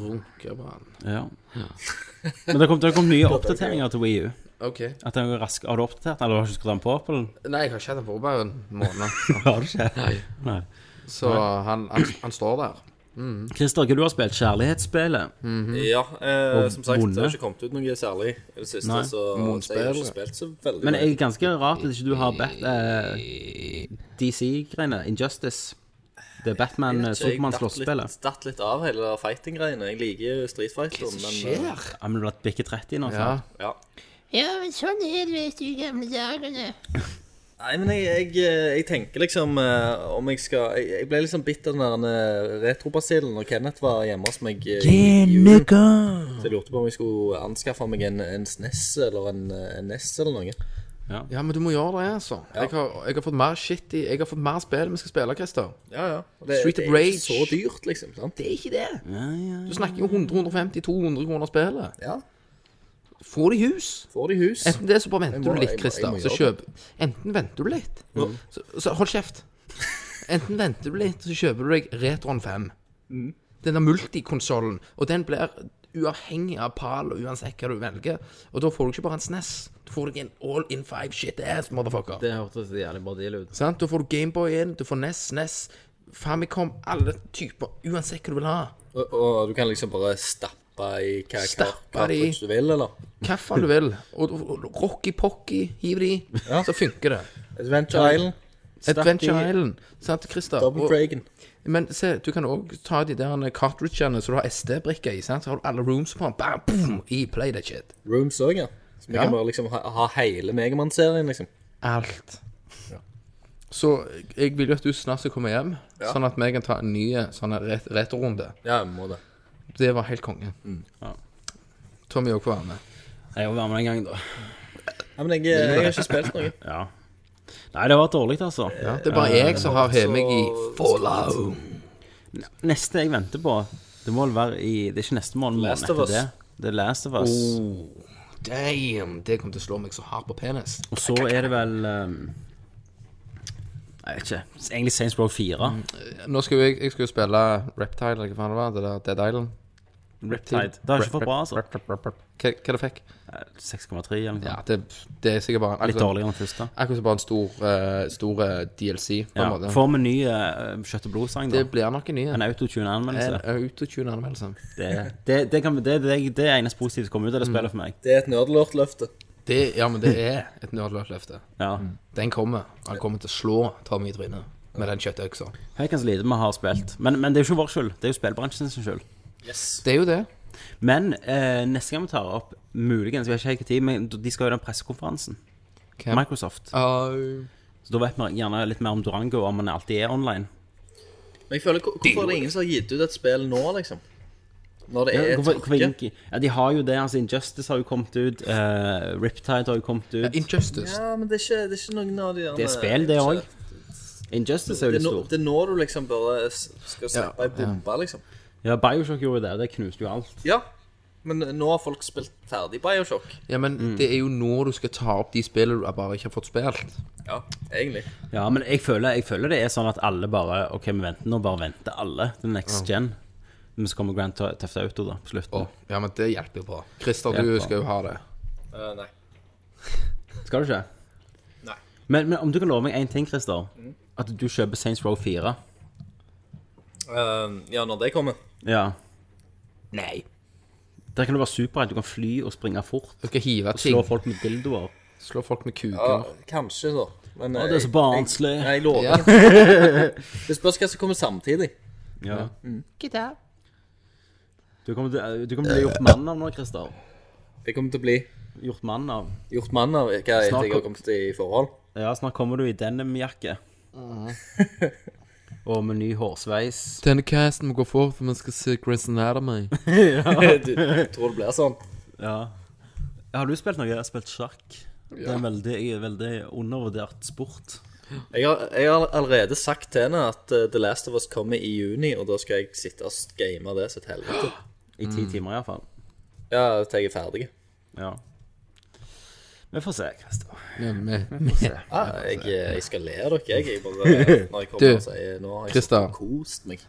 runke på den. Ja. Men det har kommet, det har kommet nye oppdateringer til Wii U. OK. At den går rask. Har du oppdatert den, eller har du ikke skrudd den på? Apple? Nei, jeg har ikke hatt den på bare en måned. Har du ikke? Nei. Nei. Så han, han, han står der. Christer, hva du har spilt? Kjærlighetsspillet? Ja, eh, Mhm. Og som sagt, det har vonde. ikke kommet ut noe særlig i det siste, Nei, så så jeg har ikke spilt så veldig Men det mye. er ganske rart at ikke du har bedt eh, DC-greiene. Injustice. Det er Jeg datt Batman-Supermann-slåsspillet. litt, datt litt av hele det fighting-greiene. Jeg liker Street Fighter, men eh, Ja, men du har bikket 30 nå, Ja. sant? ja. Sånn er det vet du, i gamle dagene. Nei, men jeg, jeg, eh, jeg tenker liksom eh, om jeg skal Jeg, jeg ble liksom bitt av den der eh, retrobasillen når Kenneth var hjemme hos meg. eh, i julen. Så jeg lurte på om jeg skulle anskaffe meg en, en SNES eller en, eh, en NES eller noe. ja, men du må gjøre det, altså. Jeg, har, jeg har fått mer shit i Jeg har fått mer spill vi skal spille, Christer. Ja, ja. Og Det, Street det of er ikke Rage. så dyrt, liksom. sant? Det er ikke det. Du snakker jo 100-150-200 kroner spillet. Ja. Få det i hus. Får det i hus. Enten det, så bare venter Jeg må- du litt, jeg må- jeg Christer. må Så gjøre kjøp Enten venter du litt, så, så hold kjeft. Enten venter du litt, så kjøper du deg Retron 5. Mm. Denne multikonsollen. Og den blir uavhengig av pal og uansett hva du velger. Og da får du ikke bare en SNES. Du får deg en all in five shit ass, motherfucker. Det hørtes jævlig bra deal ut. Sant? Da får du Gameboy inn, du får E NES, NES, Famicom, alle typer. Uansett hva du vil ha. Og, og du kan liksom bare stappe i hva Stappe hva- hva det i. cartridge du vil, eller? Hva faen du vil. Og, og, og Rocky Pocky, hiv de, så funker det. Adventure Island. Adventure Island. Sant, Christer? Double Og- Dragon. Men se, du kan òg ta de der cartridgene så du har SD-brikker i. sant? Så har du alle rooms på den. Bam, boom, i play that shit. Rooms òg, ja. Så vi Ja. kan bare liksom ha, ha hele Megamann-serien, liksom. Alt. Så jeg vil jo at du snart skal komme hjem, sånn at vi kan ta en ny sånn her ret retrorunde. Ja, vi må det. Det var helt konge. Tommy òg får være med. Jeg må være med en gang, da. Ja, men jeg, jeg har ikke spilt noe. Ja. Nei, det var dårlig, altså. Det er bare jeg som har hevet meg i Follow. Neste jeg venter på, det må vel være i Det er ikke neste måned, men Last of etter Us. det. Det er Last of Us. Oh. Damn! Det kommer til å slå meg så hardt på penis. Og så er det vel um, Jeg vet ikke. Egentlig Saints Row 4. Mm. Nå skal jo jeg, jeg skal jo spille Reptile, eller hva faen det var. Det der Dead Island. Reptile. Det har ikke fått bra, altså. Eh, Rep, rep, rep, rep. Hva, hva det fikk? 6,3 eller noe. Ja, altså, sånt. det, det er sikkert bare akkurat- Litt dårligere enn første. Akkurat som bare en stor, eh, stor eh, DLC, på en Ja. måte. Får vi ny uh, Kjøtt og blod-sang, da? Det blir nok en ny En en. En autotune-anmeldelse. autotune-anmeldelse. Det, det, det, kan- det, det, det er eneste positive som kommer ut av det Mm. spillet for meg. Det er et nerdelort-løfte. Det- Ja, men det er et nerdløftløfte. Ja. Den kommer. Han kommer til å slå Tommy i trynet med den kjøttøksa. Høykens lite vi har spilt. Men, men det er jo ikke vår skyld. Det er jo spillbransjen sin skyld. Det er jo det. Men eh, neste gang vi tar opp, muligens, vi har ikke helt tid, men de skal jo i den pressekonferansen. Hvem? Ah, Microsoft. Au. Så da vet vi gjerne litt mer om Durango, om han alltid er online. Men jeg føler, hvor- Hvorfor er det ingen som har gitt ut et spill nå, liksom? Når det er Hvorfor- hvorfor tørke. ikke? Ja, de har jo det. altså Injustice har jo kommet ut. eh, Riptide har jo kommet ut. Injustice. Ja, men det er, ikke, det er ikke noen av de der Det er spill, det òg. Injustice er jo Det litt er nå- stort. det er nå du liksom bare s- skal slippe ei bombe, liksom. Ja, Bioshock gjorde det. Det knuste jo alt. Ja, men nå har folk spilt ferdig Bioshock. Ja, men Mm. det er jo nå du skal ta opp de spillene du bare ikke har fått spilt. Ja, egentlig. Ja, men jeg føler, jeg føler det er sånn at alle bare OK, vi venter nå. Bare venter alle til next gen. Men så kommer Grand Theft Auto, da, på slutten. Å, ja, men det hjelper jo bra. Christer, Hjelper. du skal jo ha det. Eh, nei. Skal du ikke? Nei. Mm. Men, men om du kan love meg én ting, Christer. At du kjøper Saints Row 4. Eh, ja, når det kommer. Ja. Nei. Der kan du være superhelt. Du kan fly og springe fort. Du skal hive ting. Slå folk med dildoer. Slå folk med kuker. Ja, kanskje, da. Men eh, det er så barnslig. Jeg, jeg lover. Ja. Det spørs hva som kommer samtidig. Ja. Du kommer til, eh, du kommer til å bli gjort mann av nå, Christer. Jeg kommer til å bli Gjort mann av. gjort mann av hva jeg Snart har kom- kommet i forhold. Ja, snart kommer du i denimjakke. Og med ny hårsveis. Denne casten må gå fort, for vi skal se Chris Anatomy. du, tror det blir sånn. Ja. Har du spilt noe? Jeg har spilt sjakk. Det er en veldig, veldig undervurdert sport. Jeg har, jeg har allerede sagt til henne at eh, The Last of Us kommer i juni, og da skal jeg sitte og game det så til helvete. I ti timer, iallfall. Ja, til jeg er ferdig. Ja. Vi får se, Christer. Ja, jeg, eh, jeg skal le av dere, jeg. jeg bare, når jeg kommer Ah, Du, og sier nå har jeg Christa. sittet og kost meg.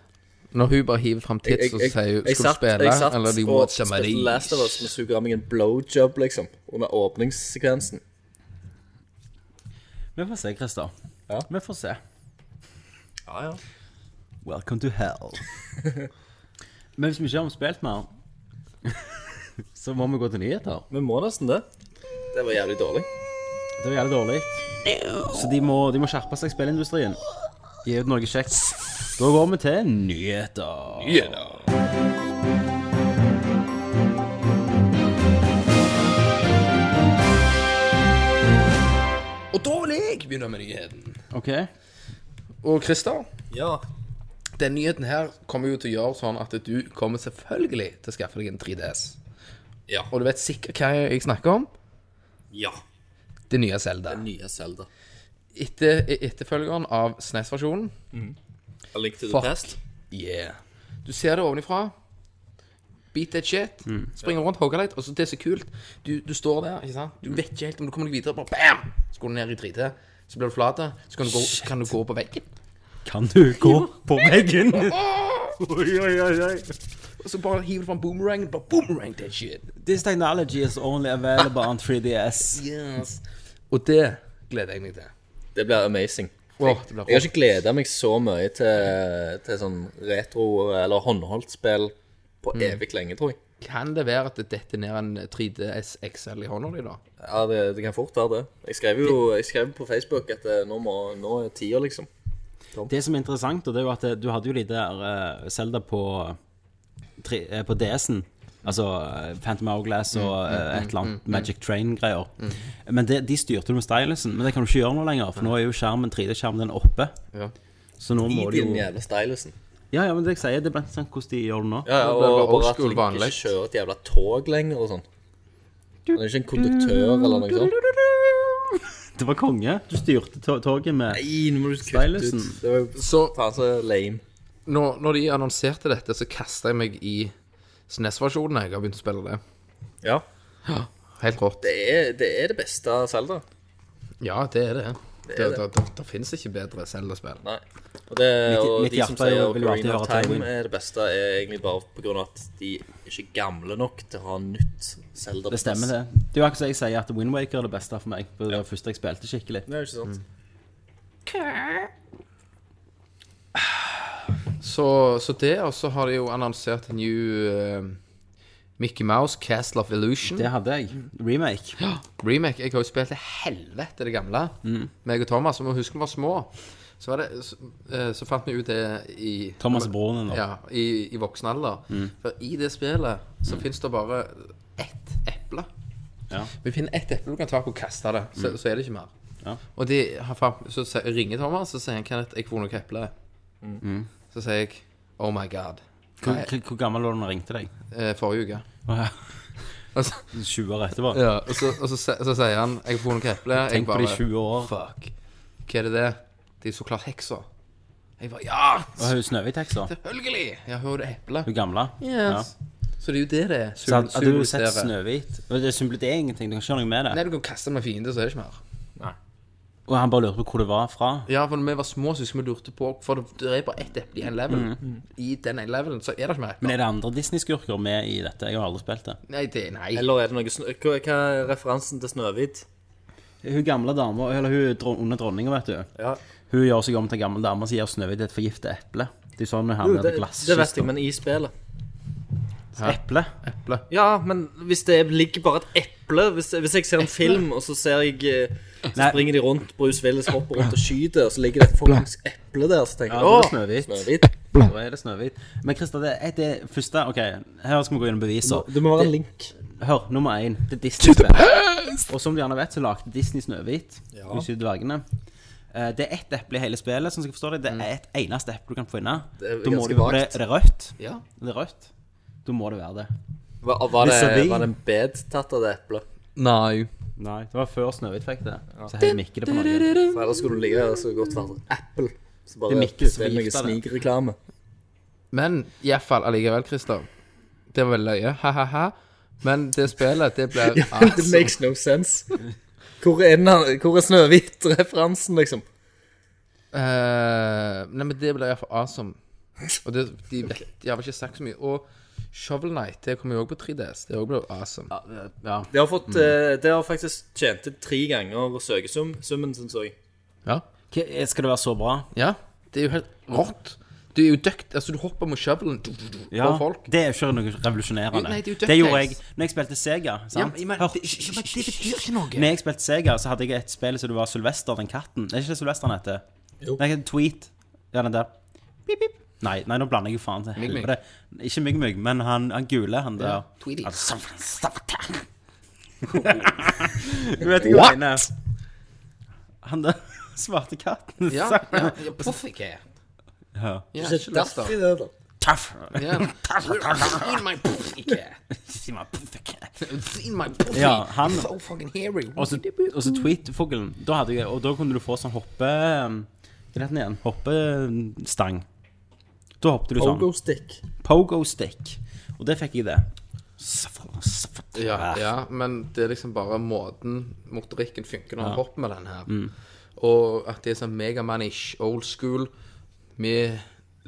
Når hun bare hiver fram Jeg- tits og jeg- sier hun jeg 'Skal du satt- spille?' Jeg satt Eller de og watcha spilte Last of Us med suger av meg en blowjob, liksom. Under åpningssekvensen. Vi får se, Christer. Ja. Vi får se. Ja, ja. Welcome to hell. Men hvis vi ikke har spilt mer, så må vi gå til nyheter. Vi må nesten det. Det var jævlig dårlig. Det var jævlig dårlig. Så de må, de må skjerpe seg, spillindustrien. Gi ut noe kjekt. Da går vi til nyheter. Og da vil jeg begynne med nyheten. OK? Og Christer, Ja. den nyheten her kommer jo til å gjøre sånn at du kommer selvfølgelig til å skaffe deg en 3DS. Ja. Og du vet sikkert hva jeg snakker om? Ja. Det nye Zelda. Nye Zelda. Etter, etterfølgeren av E SNES-versjonen. A Link to the Fuck. Past. Yeah. Du ser det ovenifra. Beat that shit. Springer rundt, hogger litt. Og så det som er kult. Du, du står der, ikke sant. Du vet ikke helt om du kommer deg videre. Bare bam! Så går du ned i 3D. Så blir du flat. Så kan du, gå, så kan du gå på veggen. Kan du gå på veggen? Og så bare hiver du fram boomerang. Bare boomerang that shit. This technology is only available on 3DS. Yes. Og det gleder jeg meg til. Det blir amazing. Åh, det blir Jeg har rått. ikke gleda meg så mye til, til sånn retro- eller håndholdt spill på evig lenge, tror jeg. Kan det være at det detter ned en 3DS XL i hånda di, da? Ja, det, det kan fort være det. Jeg skrev jo jeg skrev på Facebook at eh, nå, må, nå er tida, liksom. Det som er interessant, og det er jo at eh, du hadde jo de der eh, Zelda på, tre- eh, på DS-en. Altså eh, Phantom Hourglass og eh, et eller annet Magic Train-greier. Men det, de styrte du med stylusen, men det kan du ikke gjøre nå lenger, for nå er jo skjermen 3D-skjermen den oppe. Ja. Så nå I må du jo den jævla stylusen. Ja, ja, men det jeg sier, det blir interessant hvordan de gjør det nå. Ja, ja, Nå og, blir det og, bare old at school du ikke vanlig. kjører et jævla tog lenger og sånn. Han er ikke en konduktør eller noe sånt. Det var konge. Du styrte to- toget med Nei, nå må du kutte Stylusen. ut. Det var jo Så faen så lame. når, når de annonserte dette, så kasta jeg meg i SNES-versjonen. Jeg har begynt å spille det. Ja. Helt rått. Det er det, er det beste av Zelda. Ja, det er det. Det, er det, det, det, finnes ikke bedre Zelda-spill. Nei. Og, det, og mitt de som hjerte er sier jo- vil jo alltid Ocarina of høre til Time Win. er det beste, er egentlig bare på grunn av at de er ikke gamle nok til å ha nytt Zelda. på Det stemmer, plass. det. Det er jo akkurat som jeg sier at Windwaker er det beste for meg. for Det var det første jeg spilte skikkelig. Det er jo ikke sant. Mm. Så, så det, og så har de jo annonsert en new eh, Mickey Mouse Castle of Illusion. Det hadde jeg. Remake. Remake. Jeg har jo spilt til helvete det gamle. Meg og Thomas, og vi husker vi var små. Så, var det, så, eh, så fant vi ut det i Thomas er broren din, da. Ja, i, i voksen alder. Mm. For i det spillet så finnes det bare ett eple. Ja. Mm. Vi finner ett eple du kan ta på og kaste det, så, så er det ikke mer. Ja. Og de har fa- så sier- ringer Thomas og sier han, Kenneth, jeg får noe eple. Mm. Så sier jeg oh my god. Hvor, hvor- hvor gammel var du da han ringte deg? Eh, forrige uke. Åh, ja. Og så, 20 år etterpå? ja, og så, og så, se- så sier han jeg får noe eple. Jeg Tenk på de bare, 20 år. Fuck. Hva er det det? Det er så klart heksa. Jeg bare ja! Og hun Snøhvit-heksa. Selvfølgelig! Jeg hører eple. Hun gamle. Ja. Så det er jo det det er. Så hadde, hadde du sett Symbolisere. Snøhvit Men Det er symbol- det er ingenting. Du kan ikke gjøre noe med Nei, det. du kan kaste med fiende, så er det ikke mer. Og han bare lurte på hvor det var fra. Ja, for når vi var små, så husker vi lurte på For det det er bare ett eple i en level. I den ene levelen så er det ikke mer Mm. Men eple. er det andre Disney-skurker med i dette? Jeg har aldri spilt det. Nei, det nei. Eller er det noe snø... Hva hva er referansen til Snøhvit? Hun gamle dama, eller hun dron- under dronninga, vet du. Ja. Hun gjør seg om til gammel dame som gir Snøhvit et forgiftet eple. Det er sånn hun Jo, havner det, i det vet jeg, glasskista. men i spillet. Eple? Ja, men hvis det ligger bare et eple Hvis, hvis jeg ser en film, og så ser jeg eh, Så Nei. springer de rundt, Bruce Willis hopper rundt og skyter, og så ligger det et fuckings eple der, så tenker jeg Ja, det åh, er Snøhvit. Snøhvit. Da er det Snøhvit. Men Christer, det er det første OK, her skal vi gå gjennom beviser. Det må være en link. Hør, nummer én. Det er Disney-spill. Og som du gjerne vet, så lagde Disney Snøhvit. Ja. De syv dvergene. Eh, Det er ett eple i hele spillet, sånn som jeg forstår det. Det er et eneste eple du kan få inne. Mm. Det er Da må ganske du- og vagt. Det, er det rødt? Ja. Det er rødt. Da må det være det. Var, var, det, Vis-a-vis. var det en bed tatt av det eplet? Nei. Nei, det var før Snøhvit fikk det. Så her mikker det på noe. For ellers skulle du ligge her så godt være Apple. Så bare Det er Mikkel som putte inn noe gifter deg. snikreklame. Men iallfall allikevel, Christer. Det var veldig løye. Ha-ha-ha. Men det spillet, det blir Det makes no sense. Hvor er, den her- hvor er Snøhvit-referansen, liksom? Eh, Nei, men det blir iallfall awesome. Og det, de vet De har vel ikke sagt så mye. Og Shovel Night, det kommer jo også på 3DS. Det er også ble awesome. Ja. Det har, fått, eh, det har faktisk tjent inn tre ganger søkesum, summen, syns jeg. Ja. Hva- Skal det være så bra? ja. Det er jo helt rått. Du er jo døkt Altså, du hopper med shovelen du, du, du, Ja, på folk. Det er jo ikke noe revolusjonerende. Jo, nei, det er jo det gjorde jeg DuckTales. når jeg spilte Sega. Ja, Sant? men- men- Hør. det- ja, men det betyr ikke noe. Når jeg spilte Sega, så hadde jeg et spill som det var Sylvester, den katten. Er ikke det Sylvester han heter? Jo. Nei, Tweet. Ja, den der. Pip, pip. Nei, nei, nå blander jeg jo faen til Mygg. helvete. Ikke Mygg Mygg, men han, han gule, han der. Tweety. Altså, something, something. Du vet ikke hva jeg mener. Han der svarte katten. Ja, sa- ja, ja Pufficat. Ja. Ja, ikke lest det. Tough. Ja. Seen my Pussycat. Si meg, puff. Seen my pussy. Ja, han- So fucking hairy. Og så, og så tweet-fuglen. Da hadde jeg, og da kunne du få sånn hoppe... Hva heter den igjen? Hoppestang. Da hoppet du sånn. stick. Pogo-stick. Og det fikk jeg det. Saffron, saffron. Ja, ja, men det er liksom bare måten motorikken funker når han hopper med den her. Mm. Og at det er sånn megamanish, old school, med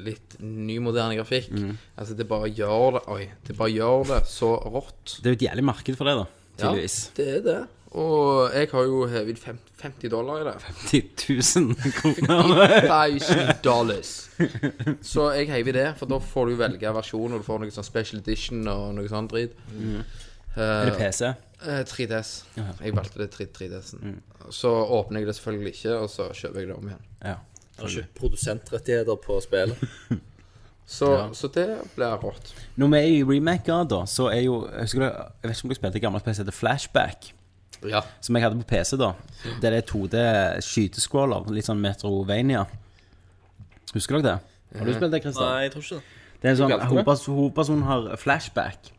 litt ny, moderne grafikk. Mm. Altså, det bare gjør det Oi. Det bare gjør det så rått. Det er jo et jævlig marked for det, da. Tydeligvis. det er det. Og jeg har jo hevet fem- 50 dollar i det. 10 000 kroner. 5000 dollars. Så jeg heiv i det, for da får du velge versjon, og du får noe sånn special edition og noe sånn drit. Mm. Er det PC? Eh, 3DS. Jeg valgte det 3 3DS-en. Mm. Så åpner jeg det selvfølgelig ikke, og så kjøper jeg det om igjen. Ja. Har ikke produsentrettigheter på spillet. Så, så det blir rått. Når vi er i remaker, da, så er jo husker du, Jeg vet ikke om dere spilte et gammelt PC, det heter Flashback. Ja. Som jeg hadde på PC, da. Der det er 2D skyteskåler. Litt sånn Metrovania. Husker dere det? Har du spilt det, Christian? Nei, jeg tror ikke det. Det er en sånn, kalte det? hovedpers- Hovedpersonen har flashback.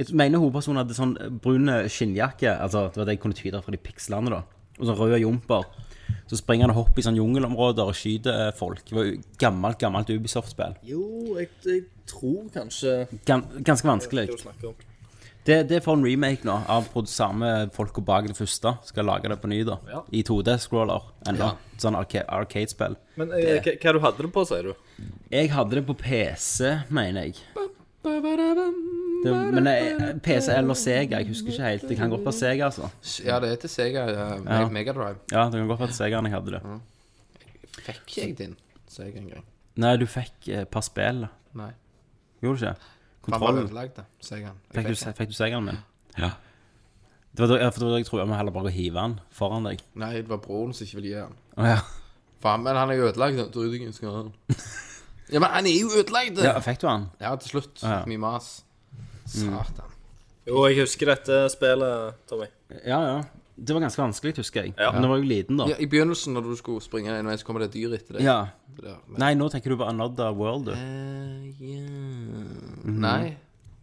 Jeg mener hovedpersonen hadde sånn brun skinnjakke, altså det var det jeg kunne tyde fra de pikslene, da. Og sånn røde jumper. Så springer han og hopper i sånn jungelområder og skyter eh, folk. Det var jo gammelt, gammelt Ubisoft-spill. Jo, jeg, jeg tror kanskje Gan, ganske vanskelig. Hva du snakker om. Det, det får en remake nå, av produ- samme folka bak det første. Skal lage det på ny, da. I 2D-scroller ennå. Sånn arca arcade-spill. Men eh, hva hva du hadde det på, sier du? Jeg hadde det på PC, mener jeg. Det, men jeg, PC eller Sega, jeg husker ikke helt. Det kan godt være Sega, altså. Ja, det er til Sega uh, Ja. Megadrive. Ja, det kan godt være Segaen jeg hadde det. Fikk ikke jeg din Sega en gang? Nei, du fikk eh, et par spill. Nei. Gjorde du ikke? Han var Kontrollen. ødelagt, da, Segaen. Jeg Fikk du, vet ikke. fikk du Segaen min? Ja. Det var da, ja, for det var da jeg tror jeg må heller bare hive den foran deg. Nei, det var broren som ikke ville gi han. Å ja. Faen, men han er jo ødelagt. da. Tror du ikke jeg skal ha han? Ja, men han er jo ødelagt! ja. Ja, Fikk du den? ja til slutt. Ja. Mm. Mye mas. Satan. Jo, jeg husker dette spillet, Tommy. Ja, ja. Det var ganske vanskelig, husker jeg. Ja. Men jeg var jo liten, da. Ja, I begynnelsen, når du skulle springe en vei, så kommer det et dyr etter deg. Ja. Det der, men- Nei, nå tenker du på Another World, du. Eh, ja. Mm-hmm. Mhm. Nei.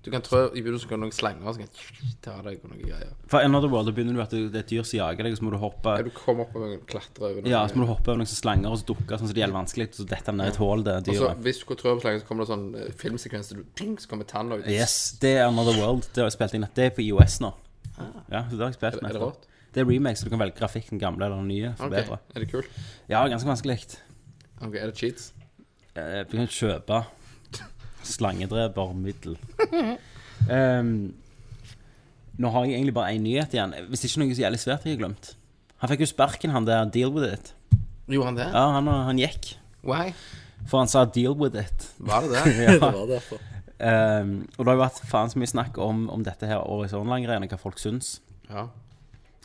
Du kan trø i begynnelsen kan du noen slanger og så kan du ta deg på noen greier. For Another World da begynner du at det det er et dyr som jager deg, og så må du hoppe Ja, du kommer opp og klatrer over noen Ja, så må greier. du hoppe over noen sånne slanger og så dukke sånn som det gjelder vanskelig, og så detter han ned i et hull, det Og så dyret. hvis du går trø på slangen, så kommer det sånn eh, filmsekvens der du ting, så kommer tanna ut. Yes, det er Another World. Det har jeg spilt inn at det er på IOS nå. Ja, så det har jeg spilt Er det- er det nettopp. rått? Det er remake, så du kan velge grafikken gamle eller den nye. Ok, Forbedre. Er det kult? Ja, ganske vanskelig. Ok, Er det cheats? Eh, Du kan kjøpe slangedrepermiddel. Ehm, nå har jeg egentlig bare én nyhet igjen. Hvis ikke noe så jævlig svært jeg har glemt. Han fikk jo sparken, han der. Deal with it. Gjorde han det? Ja, han, han gikk. Why? For han sa 'deal with it'. Var det det? Ja. Det var derfor. Ehm, og det har jo vært faen så mye snakk om, om dette her Horizon-langrennet, hva folk syns. ja.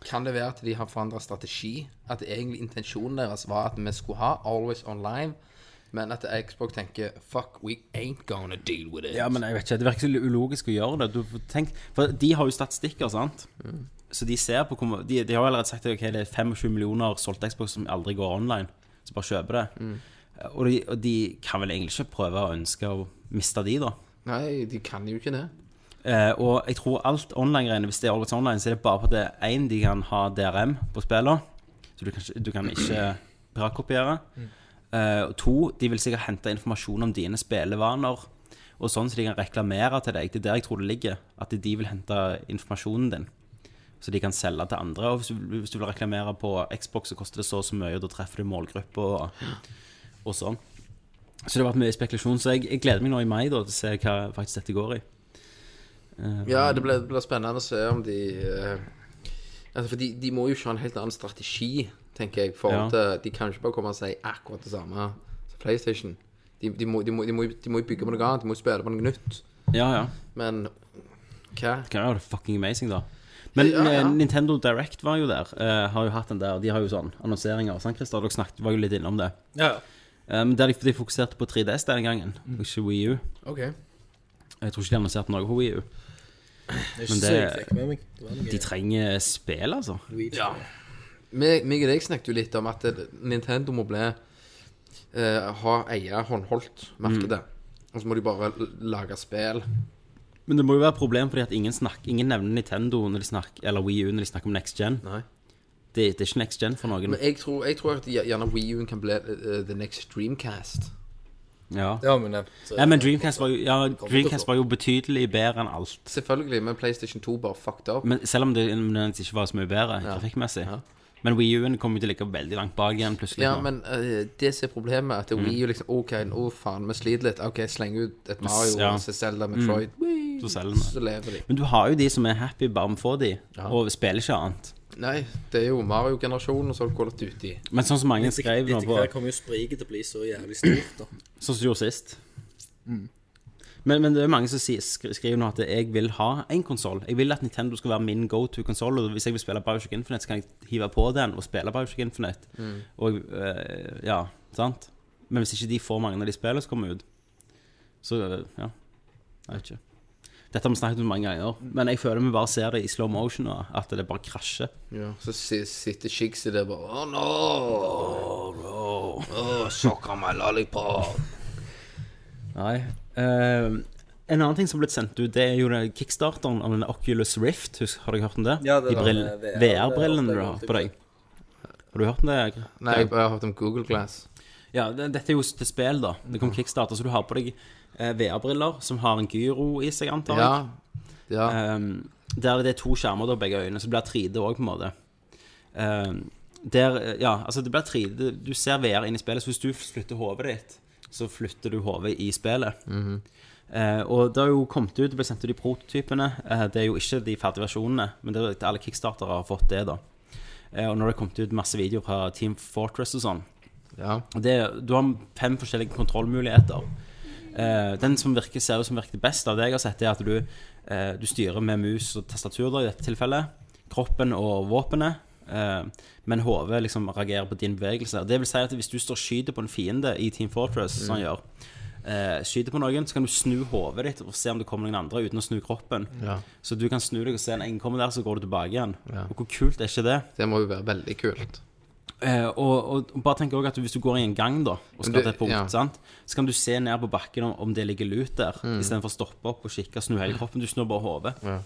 Kan det være at de har forandra strategi? At egentlig intensjonen deres var at vi skulle ha Always Online, men at Xbox tenker Fuck, we ain't gonna deal with it. Ja, men jeg vet ikke, Det virker så ulogisk å gjøre det. Du, får tenk, for De har jo statistikker, sant? Så de ser på hvor, de, de har jo allerede sagt at ok, det er 25 millioner solgte Xbox som aldri går online. Så bare kjøper det. Og, de, og de kan vel egentlig ikke prøve å ønske å miste de, da. Nei, de kan jo ikke det. Eh, og jeg tror alt online-greiene, hvis det er Always Online, så er det bare på det én de kan ha DRM på spillene, så du kan, ikke- du kan ikke piratkopiere. Eh, og to, de vil sikkert hente informasjon om dine spillevaner, og sånn så de kan reklamere til deg. Det er der jeg tror det ligger, at de vil hente informasjonen din. Så de kan selge til andre. Og hvis du, hvis du vil reklamere på Xbox, så koster det så og så mye, og da treffer du målgruppa og, og sånn. Så det har vært mye spekulasjon. Så jeg, jeg gleder meg nå i mai da, til å se hva faktisk dette går i. Ja, det blir, det blir spennende å se om de eh, Altså, for de, de må jo ikke ha en helt annen strategi, tenker jeg. For Ja. at de kan ikke bare komme og si akkurat det samme som PlayStation. De, de, må, de, må, de, må, de må jo bygge på noe annet, de må jo spille på noe nytt. Ja, ja. Men hva? Det kan jo være fucking amazing, da. Men Ja, ja. eh, Nintendo Direct var jo der. eh, har jo hatt den der De har jo sånn annonseringer. Sant, Christer? Dere snakket, var jo litt innom det. Ja. Eh, Men der de, de fokuserte på 3DS denne gangen, og ikke Wii U. Mm. OK. Jeg tror ikke de annonserte noe på Wii U. Det er Men ikke så det- jeg fikk med meg. Det var De noe trenger spill, altså. Luigi. meg, meg og deg snakket jo litt om at det- Nintendo må bli eh, ha eie håndholdt markedet. Og så må de bare l- lage spill. Men det må jo være et problem fordi at ingen, snakker, ingen nevner Nintendo når de snakker, eller Wii U når de snakker om next gen. Nei. Det, det er ikke next gen for noen. Men jeg tror, jeg tror at gjer- gjerne Wii U kan bli eh, the next Dreamcast. Ja. Det har vi nevnt. Nei, men Dreamcast var, jo, ja, Dreamcast var jo betydelig bedre enn alt. Selvfølgelig, men PlayStation 2 bare fucked up. Men selv om det nødvendigvis ikke var så mye bedre trafikkmessig. Ja. Men Wii U-en kommer jo til å ligge veldig langt bak igjen plutselig. Ja, nå. men eh, det som er problemet, at det er Wii U liksom OK, nå faen, vi sliter litt. OK, sleng ut et Mario, ja. og så Zelda, Metroid, Wii, Så selger vi. så lever de. men du har jo de som er happy bare med å få de, og spiller ikke annet. Nei, det er jo Mario-generasjonen, og så har du Call of Duty. Men sånn som mange skrev nå Etter på hvert kommer jo spriket til å bli så jævlig stort. da Sånn som du gjorde sist. Men, men det er mange som sier, skri- skriver nå at jeg vil ha en konsoll. Jeg vil at Nintendo skal være min go to konsoll. Og hvis jeg vil spille Bioshock Infinite, så kan jeg hive på den og spille Bioshock Infinite. Og, eh, ja, sant? Men hvis ikke de får mange av de spillene som kommer ut, så eh, ja. Jeg vet ikke. Dette har vi snakket om mange ganger, men jeg føler vi bare ser det i slow motion. nå, At det bare krasjer. Ja, så si- sitter Shigsy der bare Oh no! Oh, no. oh suck on my lollipop. Nei. Eh, en annen ting som er blitt sendt ut, det er jo den kickstarteren av den Oculus Rift. Husk, har dere hørt om det? Ja, det De der brill- med VR VR-brillene det du er har alltid på deg. Har du hørt om det? Egil? Nei, jeg bare har hørt om Google Glass. Ja, det, dette er jo til spill, da. Det kom kickstarter, så du har på deg eh, VR-briller som har en gyro i seg, antar jeg. Ja. ja. Ehm, der det er to skjermer da, begge øynene, så det blir 3D òg, på en måte. Ehm, der, eh, ja, altså det blir 3D Du ser VR inn i spillet, så hvis du flytter hodet ditt, så flytter du hodet i spillet. Eh, og det har jo kommet ut, det ble sendt ut de prototypene. Eh, det er jo ikke de ferdige versjonene, men det er, alle kickstartere har fått det, da. Eh, og nå har det kommet ut masse videoer fra Team Fortress og sånn. ja. Og Det, du har fem forskjellige kontrollmuligheter. Eh, den som virker, ser ut som virker best av det jeg har sett, er at du, eh, du styrer med mus og tastatur da, i dette tilfellet. Kroppen og våpenet. Eh, men hodet liksom reagerer på din bevegelse. Det vil si at hvis du står og skyter på en fiende i Team Fortress, som han gjør, eh, skyter på noen, så kan du snu hodet ditt og se om det kommer noen andre uten å snu kroppen. Ja. Så du kan snu deg og se en ingen kommer der, så går du tilbake igjen. Og hvor kult er ikke det? Det må jo være veldig kult. Eh, og, og bare tenk også at hvis du går i en gang da og skal Men du- til et punkt, ja. sant? så kan du se ned på bakken om, om det ligger lut der, Mm. istedenfor å stoppe opp og kikke og snu hele kroppen. Du snur bare hodet.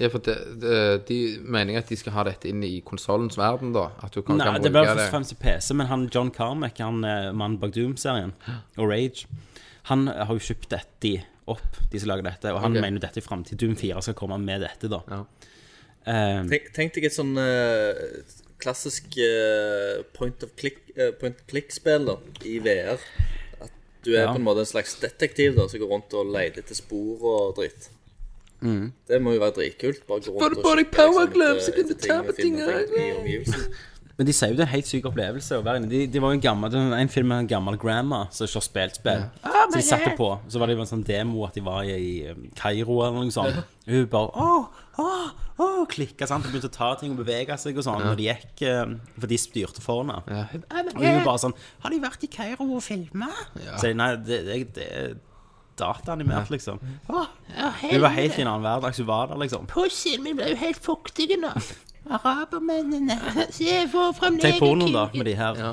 Ja, for det, det, De mener at de skal ha dette inn i konsollens verden, da. At du kan, Nei, kan det ble bruke først og det. fremst til PC, men han John Carmack, han eh, mannen bak Doom-serien, og Rage, han eh, har jo kjøpt dette de opp, de som lager dette, og han Ok. mener jo dette i framtiden. Doom 4 skal komme med dette, da. Ja. Eh, Tenk, tenk deg et sånn eh, klassisk eh, point of click, eh, point and click-spill da, i VR. At du er Ja. på en måte en slags detektiv da, som går rundt og leter etter spor og dritt. Mm. Det må jo være dritkult. Bare gå rundt og bare kikke, power etter- gloves, jeg kan etter ta ting vi på ting, finner rundt i omgivelsene. Men de sier jo det er en helt syk opplevelse å være inne. De, de var jo en gammel, det var en film med en gammel grandma som ikke har spilt spill. så de satte på, så var det jo en sånn demo at de var i um, Kairo eller noe sånt. Hun bare åh, åh, åh, klikka, sant. Og begynte å ta ting og bevege seg og sånn. Og de gikk, um, for de styrte foran henne. Ja. Og hun bare sånn Har de vært i Kairo og filma? Så jeg, nei, det, det, det er dataanimert, liksom. Å, Hun var helvete. helt i en annen hverdag, så hun var der, liksom. Pussien min ble jo helt fuktig nå. Arabermennene. Så jeg får fremdeles Tenk pornoen, da, kuken. med de her. Ja.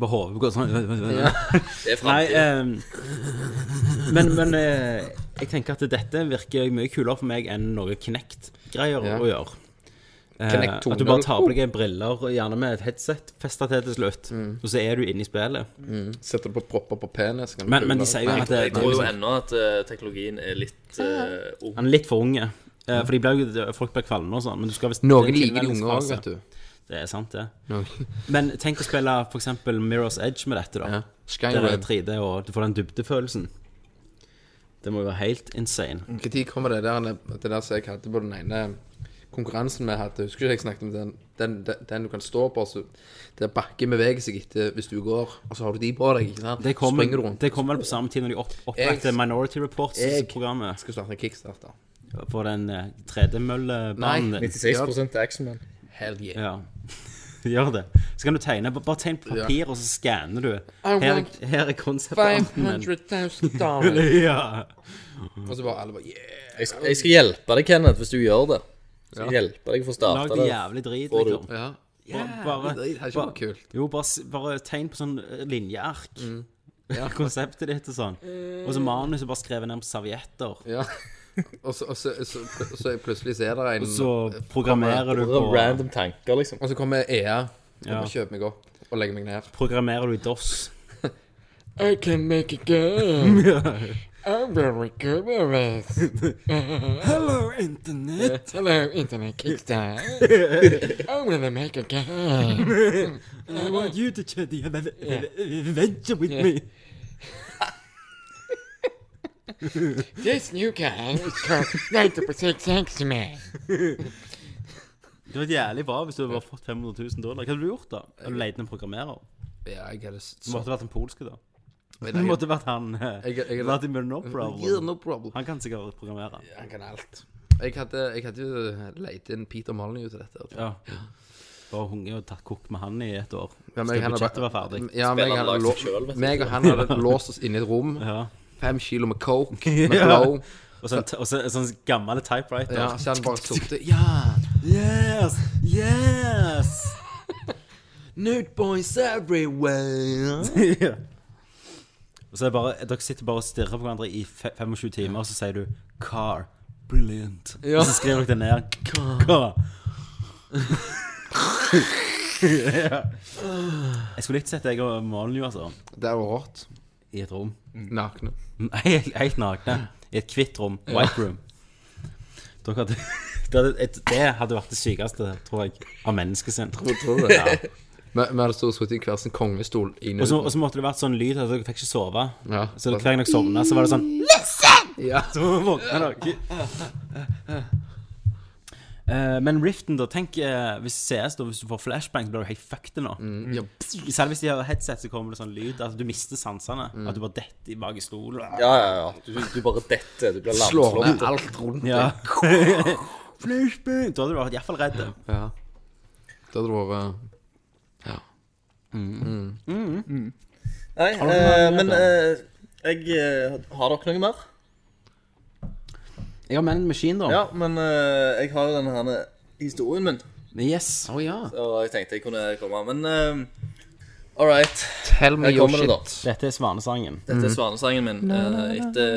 På hodet går sånn Det er Nei, fremtiden. ehm, men, men eh, jeg tenker at dette virker mye kulere for meg enn noe Knect-greier Ja. å gjøre. Eh, Kinect 2.0. at du bare tar på deg briller, og gjerne med et headset, festa til til slutt, Mm. og så er du inne i spillet. Setter du på propper på penis, så kan du Men, kule men de det. sier jo at det, Jeg det tror jo liksom- ennå at eh, teknologien er litt eh, ung. han er litt for unge. Eh, For de ble, jo- folk ble kvalme og sånn. Men du skal visst Mm. Noen det er liker en de unge òg, tilvenningsfase. vet du. Det er sant, det. No. Men tenk å spille f.eks. Mirror's Edge med dette, da. Ja. Der det er Skyrim. 3D, og du får den dybdefølelsen. Det må jo være helt insane. Når kommer det der Det der som jeg hadde på den ene konkurransen vi hadde Husker ikke jeg snakket om den, den, den, den du kan stå på så Der bakken beveger seg etter hvis du går Og så har du de på deg, ikke sant? Det så kommer springer du rundt det kom vel på samme tid når de opp, opprettet Jeg- Minority Reports-programmet Skal starte en kickstarter på den eh, 3D-møllebanen. din. 96 Action-Man. Hell yeah Ja. Gjør det. Så kan du tegne. Bare- Bare tegn på papir, og så skanner du. want Her, her er konseptet. men- 500.000 dollar Ja. Og så bare alle bare yeah Jeg, skal- jeg skal hjelpe deg, Kenneth, hvis du gjør det. Så jeg skal hjelpe deg for å starte Lag det det. jævlig drit, Får du. liksom. Ja Bare- bare- det er ikke bare- noe kult. Jo, bare, s- bare tegn på sånn eh, linjeark. Mm. Konseptet ditt og sånn. Eh. Og så manuset bare skrevet ned på servietter. Ja Og så, og så, så, så plutselig ser det en Så programmerer du Det er på Random tanker, liksom. Og så kommer E EA Og Ja. kjøper meg opp Og legger meg ned Programmerer du i DOS. I can make a game. I'm very good at this. Hello, Internett! Hello, Internet Kickstarter. I'm gonna make a game. I want you to try the adventure with me. This new game is called 90% Sex Man. Det var jævlig bra hvis du hadde bare fått 500 000 dollar. Hva hadde du gjort da? Hadde du leid en programmerer? Ja, jeg hadde s- Du måtte vært en polske, da. Men Du jeg- måtte vært han eh, jeg- jeg- Vladimir Yeah, Noprov. no problem. Han kan sikkert programmere. Han kan alt. Jeg hadde, jeg hadde jo leit inn Peter Molyneux til dette. Ja. Bare hunget og tatt kokk med han i et år. Ja, men Skal jeg hadde budsjettet bare- være ferdig. Ja, men jeg hadde lag seg lå- selv, vet du. meg og han hadde låst oss inne i et rom. Ja. Fem kilo med coke, med Ja. blow. Og så en, t- og så en sånn gammel typewriter. Ja, så han bare sukte. Ja! Yes! Yes! Nude boys everywhere. Ja. Og så er det bare, Dere sitter bare og stirrer på hverandre i fe- 25 timer, og så sier du 'car'. Brilliant. Ja. Og så skriver dere det ned. Car. ja. Jeg skulle likt sett deg og Malen jo, altså. Det var rått. I et rom. Nakne. Helt, helt nakne. I et hvitt rom. White room. Dere hadde, det, hadde, et, det hadde vært det sykeste, tror jeg, av menneskesinn. Tror du det? Ja. Vi vi hadde stått og sittet i hver sin kongestol i Og så nøden. og så måtte det vært sånn lyd at dere fikk ikke sove. Ja. Så hver gang dere sovna, så var det sånn Ja. Så våkner dere. Eh, Men Riften, da. Tenk eh, hvis CS, da, hvis du får flashbang, så blir du helt fucked nå. Mm, ja. Selv hvis de har headset, så kommer det sånn lyd. At du mister sansene. Mm. At du bare detter i bak i stolen. Ja, ja, ja. Du, du bare detter. Du blir Slår lamslått. ned alt rundt Ja. deg. flashbang! Da hadde du vært iallfall redd. Ja. Da hadde det vært eh, Ja. Nei, eh, men eh, jeg eh, Har dere noe mer? Jeg har Man in the Machine, da. Ja, men eh, jeg har jo denne her historien min. Yes. Å ja. Ah. Og jeg tenkte jeg kunne komme, men eh, All right. Tell me Her your kommer shit. det, da. Dette er Svanesangen. Dette er svanesangen min. eh, etter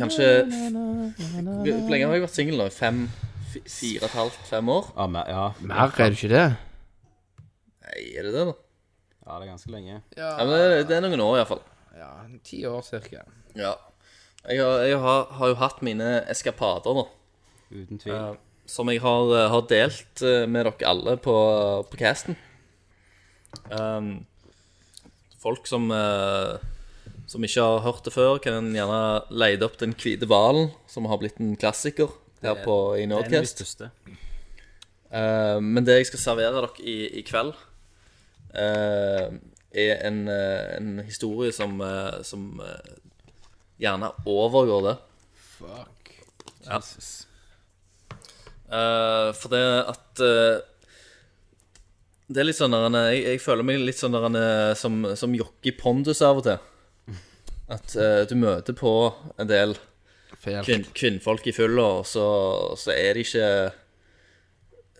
Kanskje Hvor lenge har jeg vært singel nå? Fem? fi- Fire og et halvt? Fem år? Ja, men- ja. Mer er det ikke det? Nei, er det det, da? ja, det er ganske lenge. Ja, men det, det er noen år, iallfall. Ja, ti år cirka. Ja. Jeg, har, jeg har, har jo hatt mine eskapader, da. Uten tvil. som jeg har, har delt eh, med dere alle på, på casten. Um, folk som, eh, som ikke har hørt det før, kan gjerne leide opp Den hvite hvalen, som har blitt en klassiker her på, i Det er en av de Nordcast. største. Eh, men det jeg skal servere dere i, i kveld, eh, er en, eh, en historie som, eh, som eh, gjerne overgår det. Fuck. Ja. Eh, for det at eh, Det er litt sånn der, eh, jeg, jeg føler meg litt sånn der, eh, som, som Jockey Pondus av og til. At eh, du møter på en del Feil. kvinn, kvinnfolk i fylla, og så, så er de ikke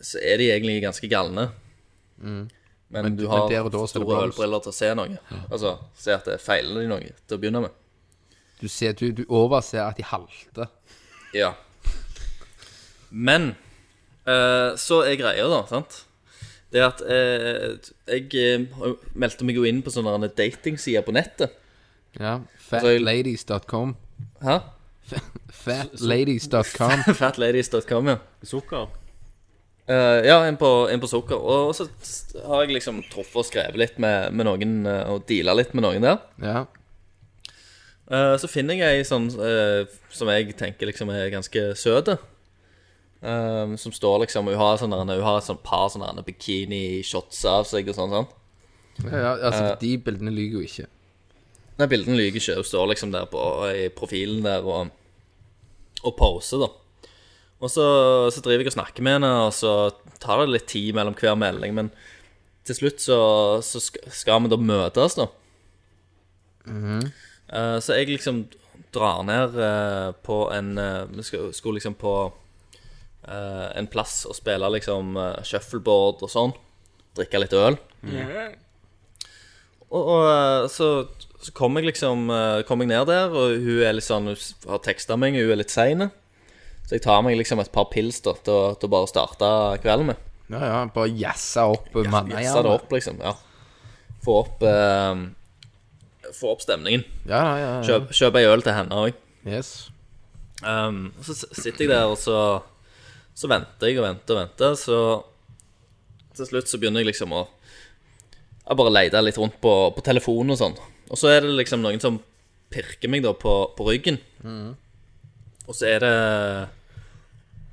Så er de egentlig ganske galne. Men, du har Mm. men der og da så er det store blomst. ølbriller til å se noe. Altså se at det feiler de noe til å begynne med. Du, ser, du, du overser at de halter. Ja. Men eh, så er greia, da, sant Det er at eh, jeg eh, har jo- meldte meg jo inn på sånne der datingsider på nettet. Ja. Altså, Fatladies.com. Hæ? Fatladies.com. Fatladies.com, ja. Sukker. Eh, ja, en på, en på sukker. Og så har jeg liksom truffet og skrevet litt med, med noen, eh, og deala litt med noen der. Ja. Eh, så finner jeg ei sånn eh, som jeg tenker liksom er ganske søt. Eh, som står liksom Hun har sånn der- hun har et sånt par sånne der bikini-shots av seg og sånn. sånn. ja, ja altså, de bildene lyver jo ikke. Nei, bildene lyver ikke. Hun står liksom der på, i profilen der og, og poser, da. Og så, så driver jeg og snakker med henne, og så tar det litt tid mellom hver melding. Men til slutt så, så sk- skal vi da møtes, da. Eh, så jeg liksom drar ned eh, på en eh, Vi skal- skulle liksom på eh, en plass og spille liksom eh, shuffleboard og sånn. Drikke litt øl. Og, og eh, så, så kom jeg liksom eh, Kom jeg ned der, og hun er litt sånn Hun s- har teksta meg, hun er litt sein. Så jeg tar meg liksom et par pils da til å- til å bare starte kvelden med. Ja, ja, bare jassa opp Jazze det mannajernet. opp, liksom. Ja. Få opp eh, Få opp stemningen. Ja, ja, ja, ja. Kjøp, kjøp ei øl til henne òg. Yes. Um, og så s- sitter jeg der, og så, så venter jeg og venter og venter. Så til slutt så begynner jeg liksom å jeg bare lete litt rundt på, på telefonen og sånn. Og så er det liksom noen som pirker meg da på, på ryggen. Og så er det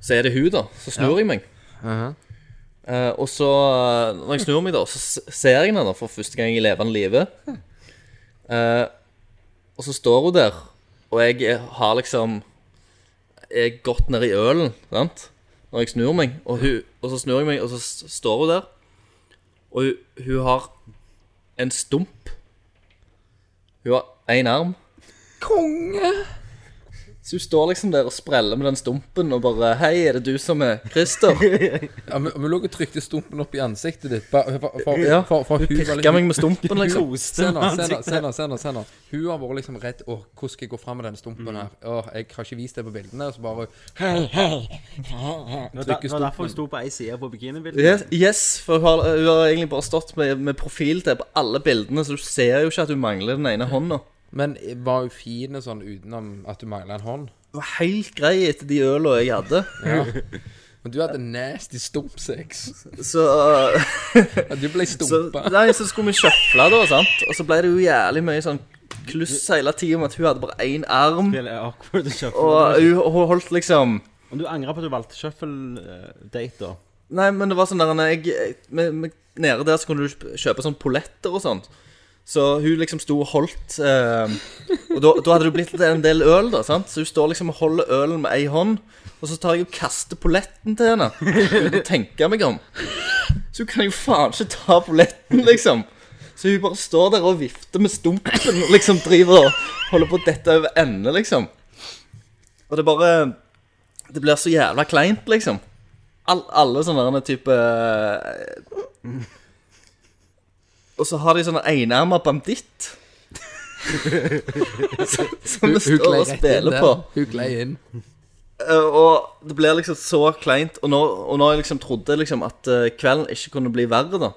Så er det hun, da. Så snur jeg meg. Eh, og så, eh, når jeg snur meg, da, så s- ser jeg henne da for første gang i levende live. Eh, og så står hun der, og jeg er- har liksom jeg er godt ned i ølen, sant? Når jeg snur meg, og, hun, og så snur jeg meg, og så s- står hun der. Og hun, hun har en stump. Hun har én arm. Konge! Så hun står liksom der og spreller med den stumpen og bare Hei, er det du som er Christer? Ja, men, men lå og trykte stumpen opp i ansiktet ditt. Bare, for, for, for, Ja, for, for hun hun var pirka meg med stumpen, liksom. Se nå, se nå, se nå, se nå, se nå. Hun har vært liksom redd Åh, hvordan skal jeg gå fram med denne Mm. stumpen her? Åh, jeg har ikke vist det på bildene. Og så bare Hei, hei! Det var der- Trykker det var derfor jeg stumpen. sto på ei side på bikinibildet. Yes, yes, for hun har, hun har egentlig bare stått med, med profil til på alle bildene, så du ser jo ikke at hun mangler den ene hånda. Men var hun fin og sånn utenom at du mangla en hånd? Hun var helt grei etter de øla jeg hadde. Men du hadde nasty stumpsex. Så Du ble så, stumpa. nei, så skulle vi sjøfle da, sant? Og så ble det jo jævlig mye sånn kluss hele tiden med at hun hadde bare én arm. Det er awkward å kjøpe. Og hun, hun holdt liksom Om du angrer på at du valgte shuffle-date, da? Nei, men det var sånn der når jeg, jeg, med, med, Nede der så kunne du kjøpe sånn polletter og sånt. Så hun liksom sto og holdt eh, Og da da hadde det blitt en del øl, da. sant? Så hun står liksom og holder ølen med ei hånd. Og så tar jeg og kaster polletten til henne uten å tenke meg om. Så hun kan jo faen ikke ta polletten, liksom. Så hun bare står der og vifter med stumpen og liksom driver og holder på å dette over ende, liksom. Og det bare Det blir så jævla kleint, liksom. All, alle sånne derne type eh, Og så har de sånne enarma banditt. som det står og spiller på. Hun glei inn. Eh, Og det blir liksom så kleint. Og når, og når jeg liksom trodde liksom at eh, kvelden ikke kunne bli verre, da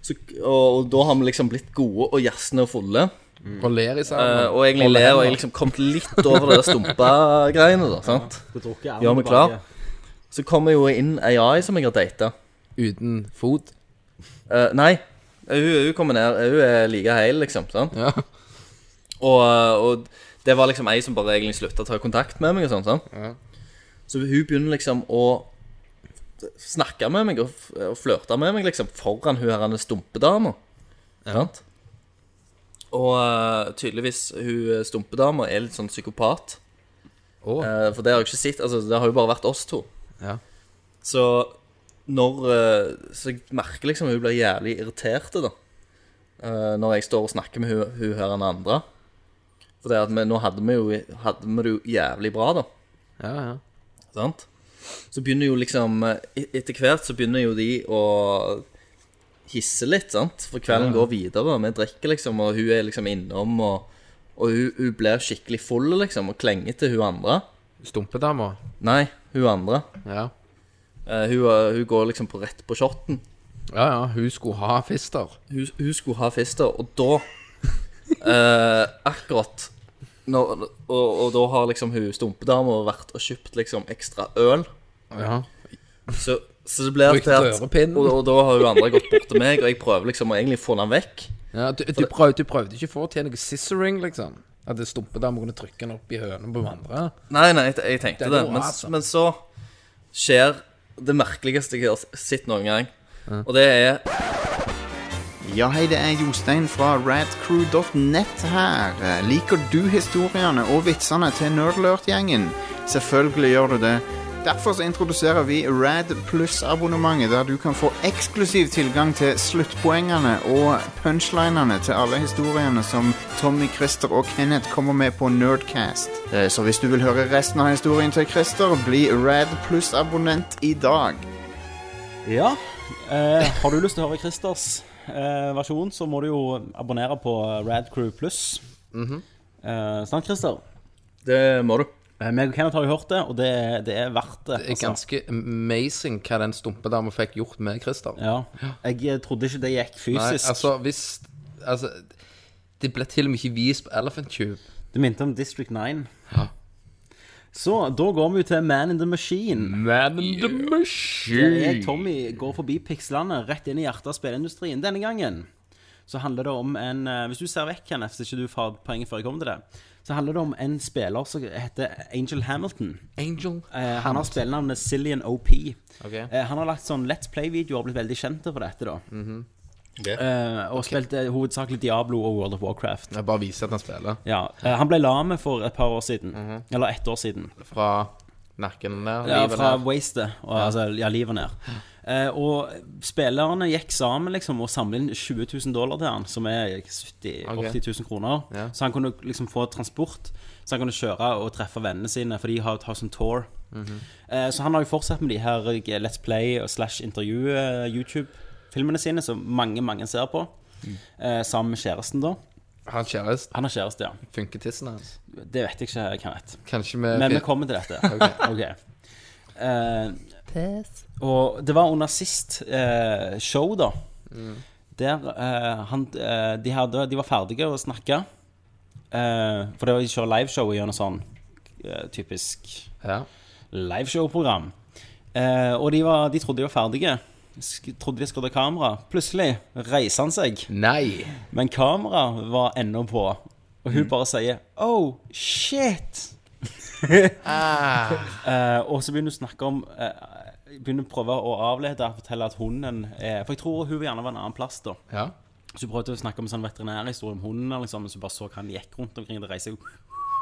så, og, og da har vi liksom blitt gode og jazzende og fulle. Og ler i eh, sammen. og egentlig ler, og jeg liksom kommet litt over det der stumpa-greiene, da. sant? Du drukker armen Gjør meg tilbake. klar. Så kommer jo inn AI som jeg har data. Uten fot. Eh, nei, hun, hun kommer ned. Hun er like heil, liksom. sant? Ja. Og, og det var liksom ei som bare egentlig slutta å ta kontakt med meg. og sånn, sant? Så hun begynner liksom å snakke med meg og, f- og flørte med meg liksom foran hun her denne stumpedama. Sant? Og eh, tydeligvis hun eh, stumpedama er litt sånn psykopat. Åh. Eh, for det har jeg ikke sett. Altså, det har jo bare vært oss to. Ja. Så når eh, Så jeg merker liksom hun blir jævlig irritert, da. Eh, når jeg står og snakker med hun, hun her enn andre. For det at vi, nå hadde vi, jo, hadde vi det jo jævlig bra, da. Ja, ja. Sant? Så begynner jo liksom eh, Etter hvert så begynner jo de å hisse litt, sant? For kvelden går videre, og vi drikker liksom, og hun er liksom innom, og, og hun, hun blir skikkelig full, liksom, og klenger til hun andre. Stumpedama. Nei, hun andre. Ja. Eh, hun, eh, hun går liksom på rett på shotten. ja, ja. Hun skulle ha fister. Hun, hun skulle ha fister, og da eh, Akkurat når, og, og da har liksom hun stumpedama vært og kjøpt liksom ekstra øl. Ja. Så, så det blir Brukt til at rørepinn. og, og da har jo andre gått bort til meg, og jeg prøver liksom å egentlig få den vekk. Ja, du, du, prøvde, du prøvde ikke å få til noe scissoring, liksom? At det stumpedame kunne trykke den opp i høna på hverandre? Nei, nei, jeg, jeg tenkte Det det, går bra, men, altså. men så skjer det merkeligste jeg har sett noen gang. Og det er Ja, hei, det er Jostein fra radcrew.net her. Eh, Liker du historiene og vitsene til Nerdlurt-gjengen? Selvfølgelig gjør du det. Derfor så introduserer vi Rad Pluss-abonnementet, der du kan få eksklusiv tilgang til sluttpoengene og punchlinene til alle historiene som Tommy, Christer og Kenneth kommer med på Nerdcast. Eh, Så hvis du vil høre resten av historien til Christer, bli Rad Pluss-abonnent i dag. Ja. Eh, har du lyst til å høre Christers eh, versjon, så må du jo abonnere på Radcrew Pluss. eh, sant, Christer? Det må du. Eh, meg og Kenneth har jo hørt det, og det, det er verdt det. altså. Det er ganske amazing hva den stumpedama fikk gjort med Christer. Ja. Jeg eh, trodde ikke det gikk Nei, fysisk. altså, hvis Altså, det ble til og med ikke vist på Elephant Tube. Det minte om District 9. Så da går vi jo til Man in the Machine. Man in the Der machine. jeg, Tommy, går forbi pikslene rett inn i hjertet av spillindustrien. Denne gangen så handler det om en eh, Hvis du ser vekk, Kenneth, så ikke du får poenget før jeg kommer til det, så handler det om en spiller som heter Angel Hamilton. Angel. Eh, han har spillenavnet Cillian OP. Eh, han har lagt sånn Let's Play-videoer og blitt veldig kjent for dette, da. eh, og spilt eh, hovedsakelig Diablo og World of Warcraft. Jeg bare viser at han spiller. Ja, eh, Han ble lame for et par år siden. Eller ett år siden. Fra nakken der. Ja, livet fra der. Wasted. Og, Altså, ja, livet ned. Eh, og spillerne gikk sammen liksom, og samlet inn 20 000 dollar til han, som er 70 Ok. 80 000 kroner. Ja. Så han kunne liksom få transport, så han kunne kjøre og treffe vennene sine, for de har jo House on Tour. Mhm. eh, så han har jo fortsatt med de her eh, Let's Play og slash intervju eh, YouTube-filmene sine, som mange, mange ser på. Mm. Eh, sammen med kjæresten, da. Han kjæreste. Han har kjæreste, ja. Funker tissen hans. Det vet jeg ikke, Kenneth. Kanskje vi Men vi kommer til dette. Ok. Eh, og det var under sist eh, show, da. Der eh, han eh, de, hadde, de var ferdige å snakke. Eh, for det var ikke liveshow gjennom sånn eh, typisk Ja. liveshow-program. Eh, og de, var, de trodde de var ferdige. Sk trodde de skrudde kamera. Plutselig reiser han seg, Nei. men kameraet var ennå på. Og hun bare sier 'oh, shit'. Eh, og så begynner hun å snakke om eh, Begynner å prøve å avlede og fortelle at hunden er For jeg tror hun gjerne var en annen plass, da. Ja. Så hun prøvde å snakke om en sånn veterinærhistorie om hunden. Liksom, så hun bare så hva han gikk rundt omkring. Det reiser jo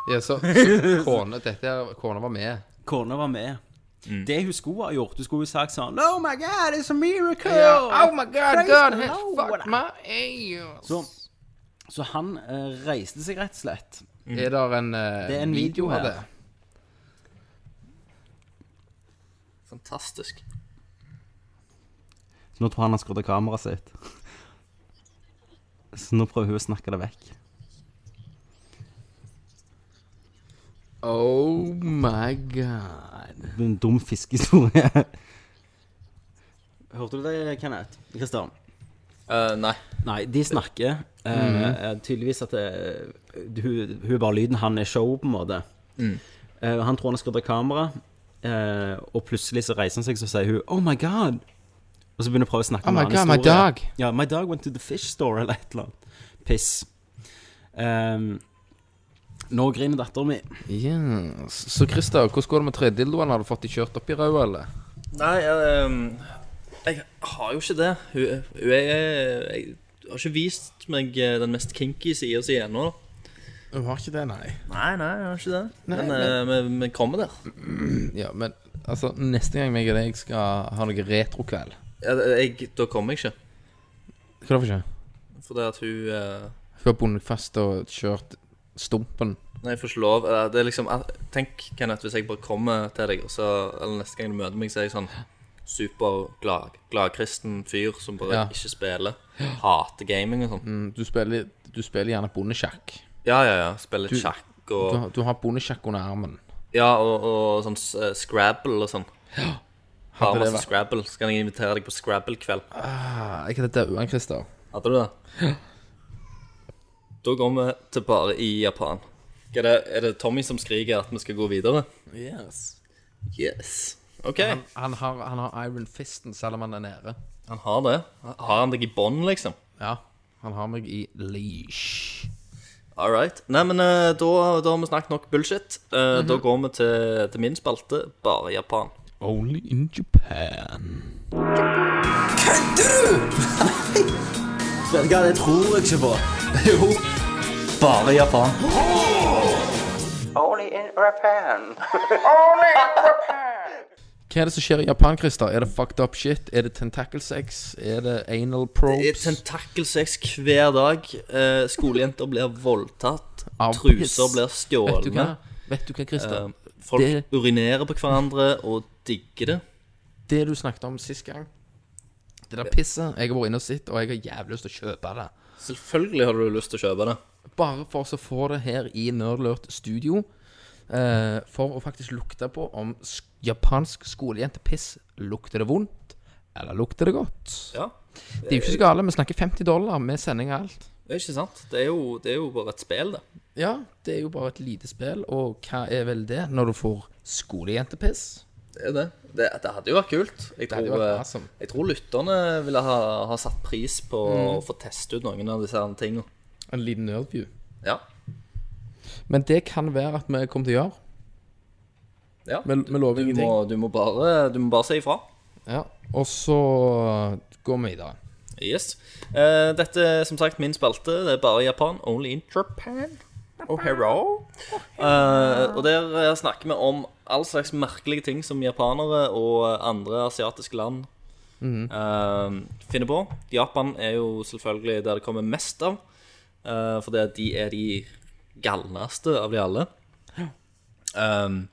ja så så kone, dette her, kona var med. Kona var med. Det hun skulle ha gjort Hun skulle jo sagt sånn Oh my god, it's a miracle! Oh my god, God has Lord. fucked my ass. Så, så han eh, reiste seg rett og slett. Er det en, eh, Mm. Det er en video av her. det? Fantastisk. Så nå tror han han skrudde kameraet sitt. Så nå prøver hun å snakke det vekk. Oh my god. Det blir en dum fiskehistorie. Hørte du det, Kenneth? Kristian? Eh, nei. Nei, de snakker. eh, eh, tydeligvis at det, hun, hun er bare lyden. Han er show, på en måte. Mm. Eh, han tror han har skrudd av kamera, eh, og plutselig så reiser han seg Så sier hun 'Oh my God'. Og så begynner hun å prøve å snakke Oh om my en annen God, my historie. dog. Ja, 'My dog went to the fish store', eller et eller annet. Piss. Ehm, nå griner datteren min. Yes. Så Christer, hvordan går det med tredildoene? Har du fått de kjørt opp i røda, eller? Nei, jeg, ehm, jeg har jo ikke det. Hun, hun er Jeg har ikke vist meg eh, den mest kinky sida si ennå. Hun har ikke det, nei. Nei, nei, jeg har ikke det. Nei, men eh, vi- vi kommer der. Ja, men altså, neste gang meg og deg skal ha noe retrokveld Jeg, jeg, da kommer jeg ikke. Hva da for skje? Fordi at hun eh, Hun har bundet fast og kjørt stumpen. Nei, jeg får ikke lov. Eh, Det er liksom eh, Tenk, Kenneth, hvis jeg bare kommer til deg, og så Eller neste gang du møter meg, så er jeg sånn superglad gladkristen fyr som bare Ja. ikke spiller. Hater gaming og sånn. Mm, Du spiller, du spiller gjerne bondesjakk. Ja, ja, ja. Spiller litt sjakk Du, og har- du har bondesjakk under armen. Ja, og, og sånn s- eh, Scrabble og sånn. Bare Hadde det masse vært Scrabble. Så kan jeg invitere deg på Scrabble-kveld. ah, Jeg hadde daua, Christer. Hadde du det? Da går vi til bare i Japan. Hva Er det, er det Tommy som skriker at vi skal gå videre? Yes. Yes. OK. Han, han, har, han har Iron Fisten selv om han er nede. Han har det. Har han deg i bånd, liksom? Ja, han har meg i leash. All right. Nei, men eh, da, da har vi snakket nok bullshit. Eh, Da Mhm. går vi til, til min spalte, bare Japan. Only in Japan. Vet du hva, det tror jeg ikke på. Jo, bare Japan. Only in Japan. Hva er det som skjer i Japan, Christer? Er det fucked up shit? Er det tentacle sex? Er det anal Det er probes? tentakelsex hver dag. Eh, skolejenter blir voldtatt. Av Truser piss. blir Vet du hva, stjålne. Vet du hva Christer? Eh, Folk Det- urinerer på hverandre og digger det. det du snakket om sist gang Det der pisset jeg har vært inne og sett, og jeg har jævlig lyst til å kjøpe det. Selvfølgelig har du lyst til å kjøpe det. Bare for så å få det her i Nerdlurt studio. eh, for å faktisk lukte på om sk japansk skolejentepiss lukter det vondt, eller lukter det godt. Ja, Det er jo ikke så gale. Vi snakker 50 dollar med sending og alt. det er ikke sant. Det er jo, det er jo bare et spill, det. Ja, det er jo bare et lite spill, og hva er vel det når du får skolejentepiss? Det er det. Det, det hadde jo vært kult. Jeg hadde tror, vært eh, awesome. jeg tror lytterne ville ha, ha satt pris på å få teste ut noen av disse her tingene. En liten nerdview. Ja. Men det kan være at vi kommer til å gjøre. ja. Vi, vi lover Du ingenting. må, du, må bare, du må bare si ifra. Ja. Og så går vi videre. Yes. Eh, dette er som sagt min spalte. Det er bare Japan. Only in Japan. Oh, hello. Eh, og der eh, snakker vi om all slags merkelige ting som japanere og andre asiatiske land Mm-hmm. eh, finner på. Japan er jo selvfølgelig der det kommer mest av, eh, fordi at de er de galneste av de alle. Um,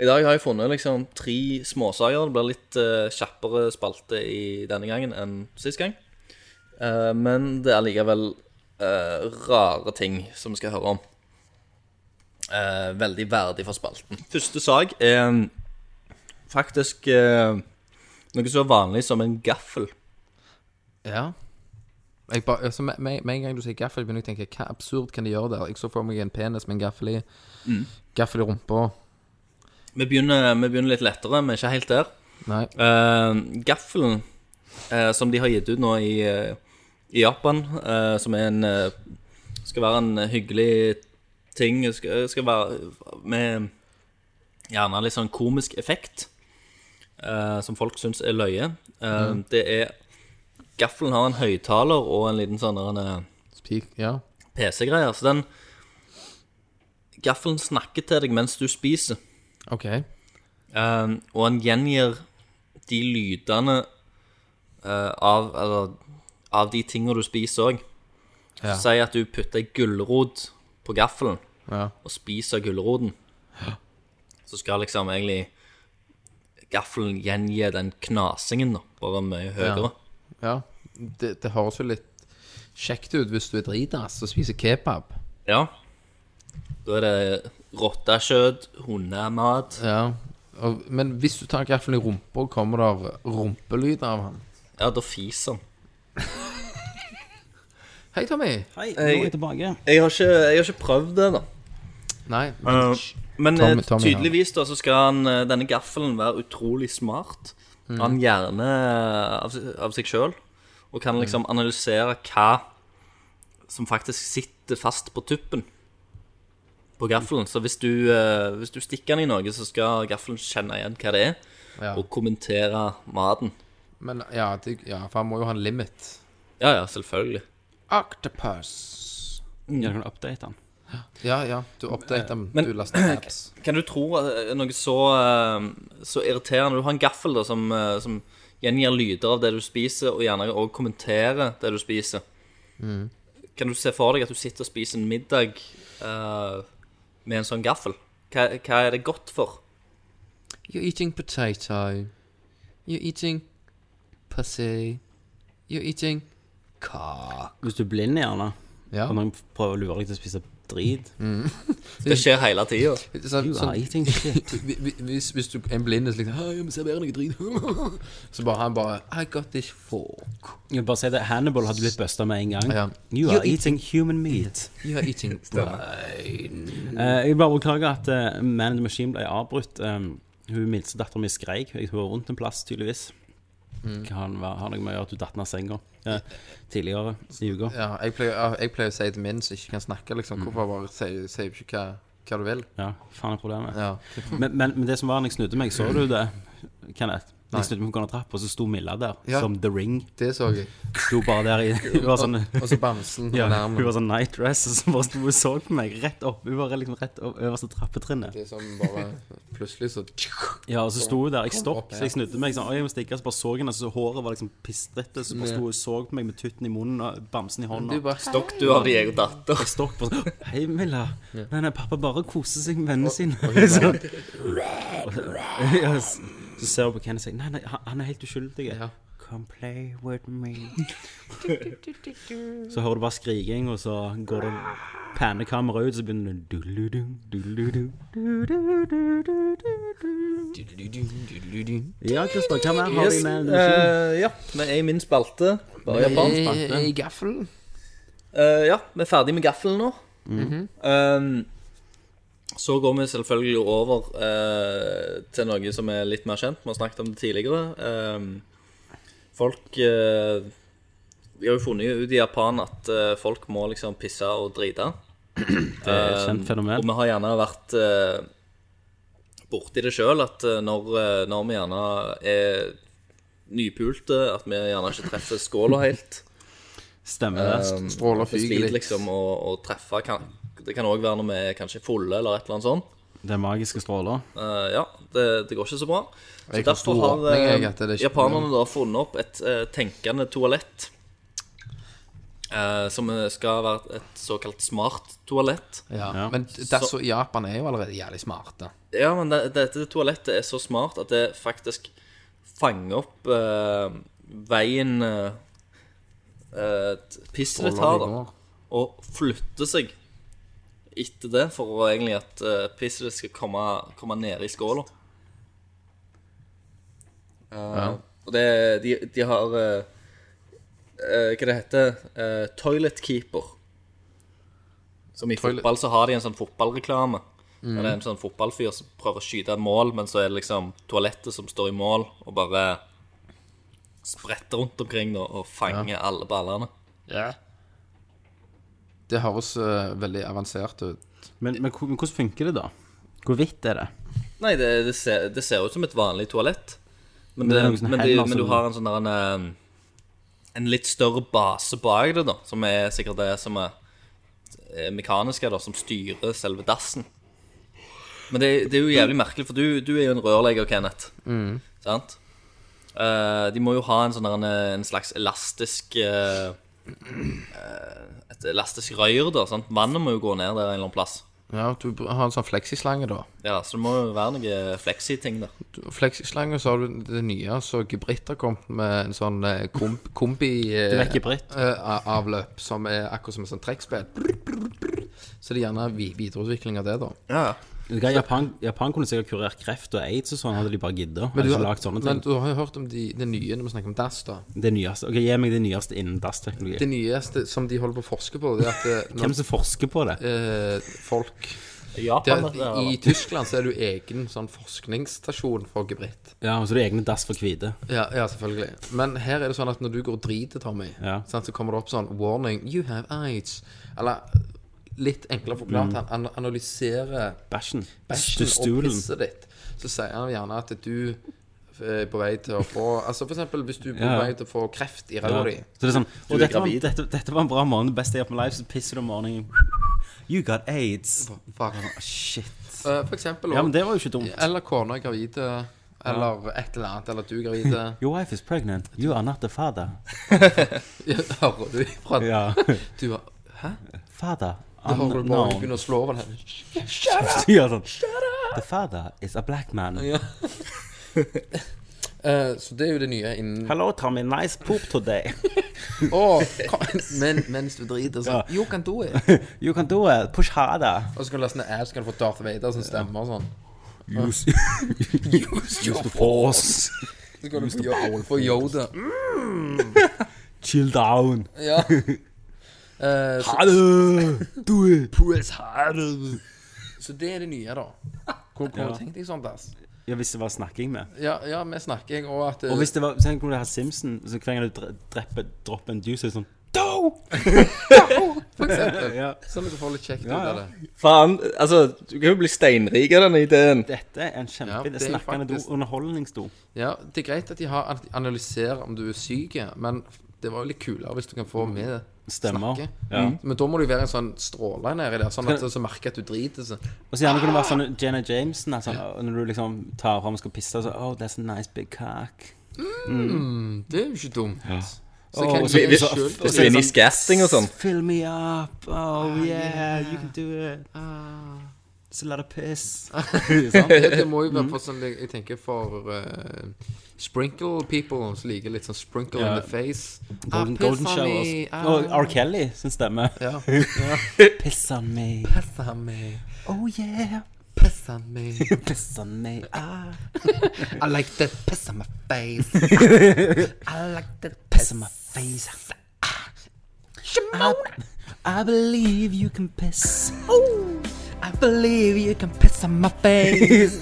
I dag har jeg funnet liksom tre småsaker. Det blir litt eh, kjappere spalte i denne gangen enn sist gang. Eh, men det er likevel eh, rare ting som vi skal høre om. Eh, veldig verdig for spalten. Første sak er mm, faktisk eh, noe så vanlig som en gaffel. Ja. Jeg bare, altså, med, med med en gang du sier gaffel, begynner jeg å tenke hva absurd kan de gjøre der? Jeg så for meg en penis med en gaffel i. Gaffel i rumpa. Vi begynner, vi begynner litt lettere, men ikke helt der. Nei. Eh, gaffelen eh, som de har gitt ut nå i, eh, i Japan, eh, som er en eh, Skal være en hyggelig ting Skal, skal være eh, med gjerne litt sånn komisk effekt, eh, som folk syns er løye. Eh, Det er Gaffelen har en høyttaler og en liten sånn der, eh, Spik, ja. PC-greie. Så den Gaffelen snakker til deg mens du spiser. OK. Um, og han gjengir de lydene eh, av, eller, av de tingene du spiser òg. Ja. Si at du putter ei gulrot på gaffelen Ja. og spiser gulroten. Så skal liksom egentlig gaffelen gjengi den knasingen, da, bare mye høyere. ja. Det, det høres jo litt kjekt ut hvis du er dritass og spiser kebab. Ja. Da er det rottekjøtt, hundemat Ja. Og, men hvis du tar gaffelen i rumpa, kommer der rumpelyd av han. Ja, da fiser han. Hei, Tommy. Hei, nå er jeg tilbake. Jeg har ikke, jeg har ikke prøvd det, da. Nei. Eh, Men Tommy- eh, Tommy, ja. tydeligvis da så skal han, eh, denne gaffelen være utrolig smart. Mm. Han gjerne eh, av, si- av seg sjøl. Og kan Mm. liksom analysere hva som faktisk sitter fast på tuppen på gaffelen. Så hvis du, eh, hvis du stikker den i noe, så skal gaffelen kjenne igjen hva det er, Ja. og kommentere maten. Men ja, det, ja, for han må jo ha en limit. Ja, ja, selvfølgelig. Octopus. Mm. Ja, du kan update den. Ja, ja. Du oppdater dem. Men- Du laster ned apps. Kan du tro eh, noe så, eh, så irriterende? Du har en gaffel da, som, eh, som gjengir lyder av det du spiser, og gjerne også kommenterer det du spiser. Kan du se for deg at du sitter og spiser en middag eh, med en sånn gaffel? Hva, hva er det godt for? You're eating potato. You're eating pussy. You're eating cock. Hvis du er blind, gjerne, Ja. Mm. og noen prøver å lure deg til å spise drit Det skjer hele tida. Sånn, You are sånn, eating shit. hvi- hvi- hvis, hvis du en blind er slik Hei, jeg må servere noe drit. så bare han bare I got this fork. Jeg vil bare si det, Hannibal hadde blitt busta med en gang. Ja. You are eating human meat. You're eating brain. Mm. Eh, jeg vil bare beklage at eh, Man in the Machine ble avbrutt. eh, Hun minste dattera mi skreik. Jeg tror hun var rundt en plass, tydeligvis. Mm. Kan være- ha noe med å gjøre at hun datt ned av senga eh, tidligere i uka. Ja, jeg pleier, ja, jeg pleier å si til min som ikke kan snakke, liksom. Mm. Hvorfor bare sier sier du ikke hva, hva du vil? Ja, faen er problemet. Ja. men, men, men det som var når jeg snudde meg, så du det, Kenneth? Nei. Jeg snudde meg på grunn av trappa, og så sto Milla der, Ja. som The Ring. Det så jeg. Sto bare der i Hun var sånn Og- og så bamsen på ja, nærmen. Hun var sånn night dress, og så bare sto hun og så på meg rett opp. Hun var liksom rett opp øverste trappetrinnet. Det er som bare plutselig så Ja, og så sto hun der. Jeg Kom opp, stoppet, så jeg snudde meg. Sånn, Oi, jeg må stikke, så bare så henne, så håret var liksom pistrete. Så bare sto hun og så på meg med tutten i munnen og bamsen i hånda. Du bare- Stokk du av din egen datter. Jeg stokk bare sånn Hei, Milla. Ja. Nei, nei, pappa bare koser seg med vennene sine. og hun bare- Sånn. Ja, s- Så ser hun på Ken og sier Nei, nei, han han er helt uskyldig. Come play with me. Så hører du bare skriking, og så går det pannekamera ut, så begynner det duludum, duludum. Ja, Christer, hva mer har vi Yes, med eh, ja, vi er i min spalte. Bare Men japansk i- spalte. I gaffelen. Eh, ja, vi er ferdig med gaffelen nå. Mhm. Ehm, så går vi selvfølgelig over eh, til noe som er litt mer kjent. Vi har snakket om det tidligere. Ehm, folk eh, Vi har jo funnet ut i Japan at eh, folk må liksom pisse og drite. Det er et kjent fenomen. Og vi har gjerne vært eh, borti det sjøl at eh, når, eh, når vi gjerne er nypulte, at vi gjerne ikke treffer skåla helt. Stemmer det. Um, Stråler at det fyker sliter litt. liksom å, å treffe. Kan, det kan òg være når vi er kanskje fulle eller et eller annet sånt. Det er magiske stråler. Eh, ja, det, det går ikke så bra. Så Jeg forstår derfor har åpningen, eh, jeg, at det er ikke- japanerne da funnet opp et eh, tenkende toalett. eh, som skal være et såkalt smart toalett. Ja. Men Så- der så Japan er jo allerede jævlig smarte. Ja, men det, dette toalettet er så smart at det faktisk fanger opp eh, veien uh, pisset ditt har, da, og flytter seg etter det for å egentlig at eh, pisset ditt skal komme, komme ned i skåla. Eh, Ja. Og det, de, de har eh, eh, Hva det heter eh, Toilet Keeper. Som i Toilet- fotball så har de en sånn fotballreklame. Mhm. Der det er en sånn fotballfyr som prøver å skyte et mål, men så er det liksom toalettet som står i mål og bare spretter rundt omkring da, og fanger alle ballene. Det høres eh, veldig avansert ut. Men, men hvor- men hvordan funker det, da? Hvor vidt er det? Nei, det, det, ser, det ser ut som et vanlig toalett. Men, Men det det, er noen sånne men, det, hender men du som- har en sånn der en, eh, en litt større base bak det, da, som er sikkert det som er eh, mekaniske, da, som styrer selve dassen. Men det, det er jo jævlig merkelig, for du, du er jo en rørlegger, Kenneth. Mm. Mhm. Sant? Eh, de må jo ha en, sånn der, en, en slags elastisk eh, eh, Et elastisk røyr, da. Sant? Vannet må jo gå ned der en eller annen plass. Ja, du br- har en sånn fleksislange, da. Ja, Så det må jo være noe fleksi-ting der. Du- Fleksislange, så har du det nye, så Gebritt har kommet med en sånn eh, kom, kombi eh, Du vet Gebritt? eh, a- avløp som er akkurat som et sånt trekkspill. Så det er gjerne vi- videreutvikling av det, da. Vet du hva, Japan, Japan kunne sikkert kurert kreft og aids og sånn, hadde de bare giddet. Men Hadde du, ikke har- lagt sånne men ting. du har jo hørt om de, det nye når vi snakker om dass, da. Det nyeste. Ok, Gi meg det nyeste innen dassteknologi. Det nyeste som de holder på å forske på, det er at eh, når- Hvem som forsker på det? eh, folk Japan, Det- dette her, da. I Tyskland så er det jo egen sånn forskningsstasjon for gebritt. Ja, og så er det egne dass for hvite. Ja, ja, selvfølgelig. Men her er det sånn at når du går og driter, Tommy, sant, så kommer det opp sånn Warning, you have AIDS. Eller litt enklere forklart, Mm. han an analyserer bæsjen, og Stustulen. pisset ditt. Så sier han gjerne at du er på vei til å få Altså for eksempel hvis du er på Ja. vei til å få kreft i Ja. ræva di. Så det er sånn Du Og er dette var, gravid. dette, dette var en bra morgen, the best day of my life, så pisser du om morgenen. You got aids. Åh, Shit. Eh, For eksempel Ja, men det var jo ikke dumt. Eller kona er gravid, eller et eller annet, eller du er gravid. Your wife is pregnant. You are not the father. Hører du ifra Ja. Du har Hæ? Father. Da har du bare unknown. begynner å slå over den. Ja, sånn. The father is a black man. Eh, så det er jo det nye innen Hello, Tommy. Nice poop today. Åh, kom- men, mens du driter, så Ja. You can do it. You can do it. Push harder. Og så kan du laste ned app, så kan du få Darth Vader som stemmer og sånn. Use- Use your force. Så kan du Use få the Yo- power få Yoda. Chill down. Ja. Eh, så- Harder. Do it. Så det er det nye, da. Hvor, hvor Ja. tenk deg sånt, ass. Ja, Hvis det var snakking med. Ja, ja vi snakker, jeg, og at eh, Og hvis det var Tenk om det hadde Simpson, så hver gang du dre- dreper, dropper en juice, så er det sånn Do! Do! For eksempel. Ja. Sånn at du får litt kjekt Ja, ut ja. av det. Faen, altså, du kan jo bli steinrik av denne ideen. Dette er en Ja, kjempeidé. det er Snakkende do. faktisk- Underholdningsdo. Ja, det er greit at de har at de analyserer om du er syk, men det var jo litt kulere hvis du kan få med Stemmer. snakke. Ja. Mm. Men da må du være en sånn stråle nedi der, sånn at så merker jeg at du driter seg. Og så gjerne kunne det Ah. være sånn Jenna Jameson. Altså, Når du liksom tar fram og skal pisse, så Oh, that's a nice big cock. Mm, det er jo ikke dumt. Så Åh, kan og du så- gjøre det så- selv. og Hvis du er inne i skatting og sånn. Fill me up. Ah, Oh yeah, you can do it. It's a lot of piss. Sånn. Sant? Det det må jo være for sånn Jeg tenker for eh, sprinkle people som liker litt sånn sprinkle Ja. in the face. Golden, Ah, piss golden on showers. me, ah. Og R. Kelly sin stemme. Ja. Piss on me. Piss on me, Oh yeah. piss on me. Piss on me. Ah. I like the piss on my face. I like the piss on my face. Shimona. I, I believe you can piss. Oh, I believe you can piss on my face.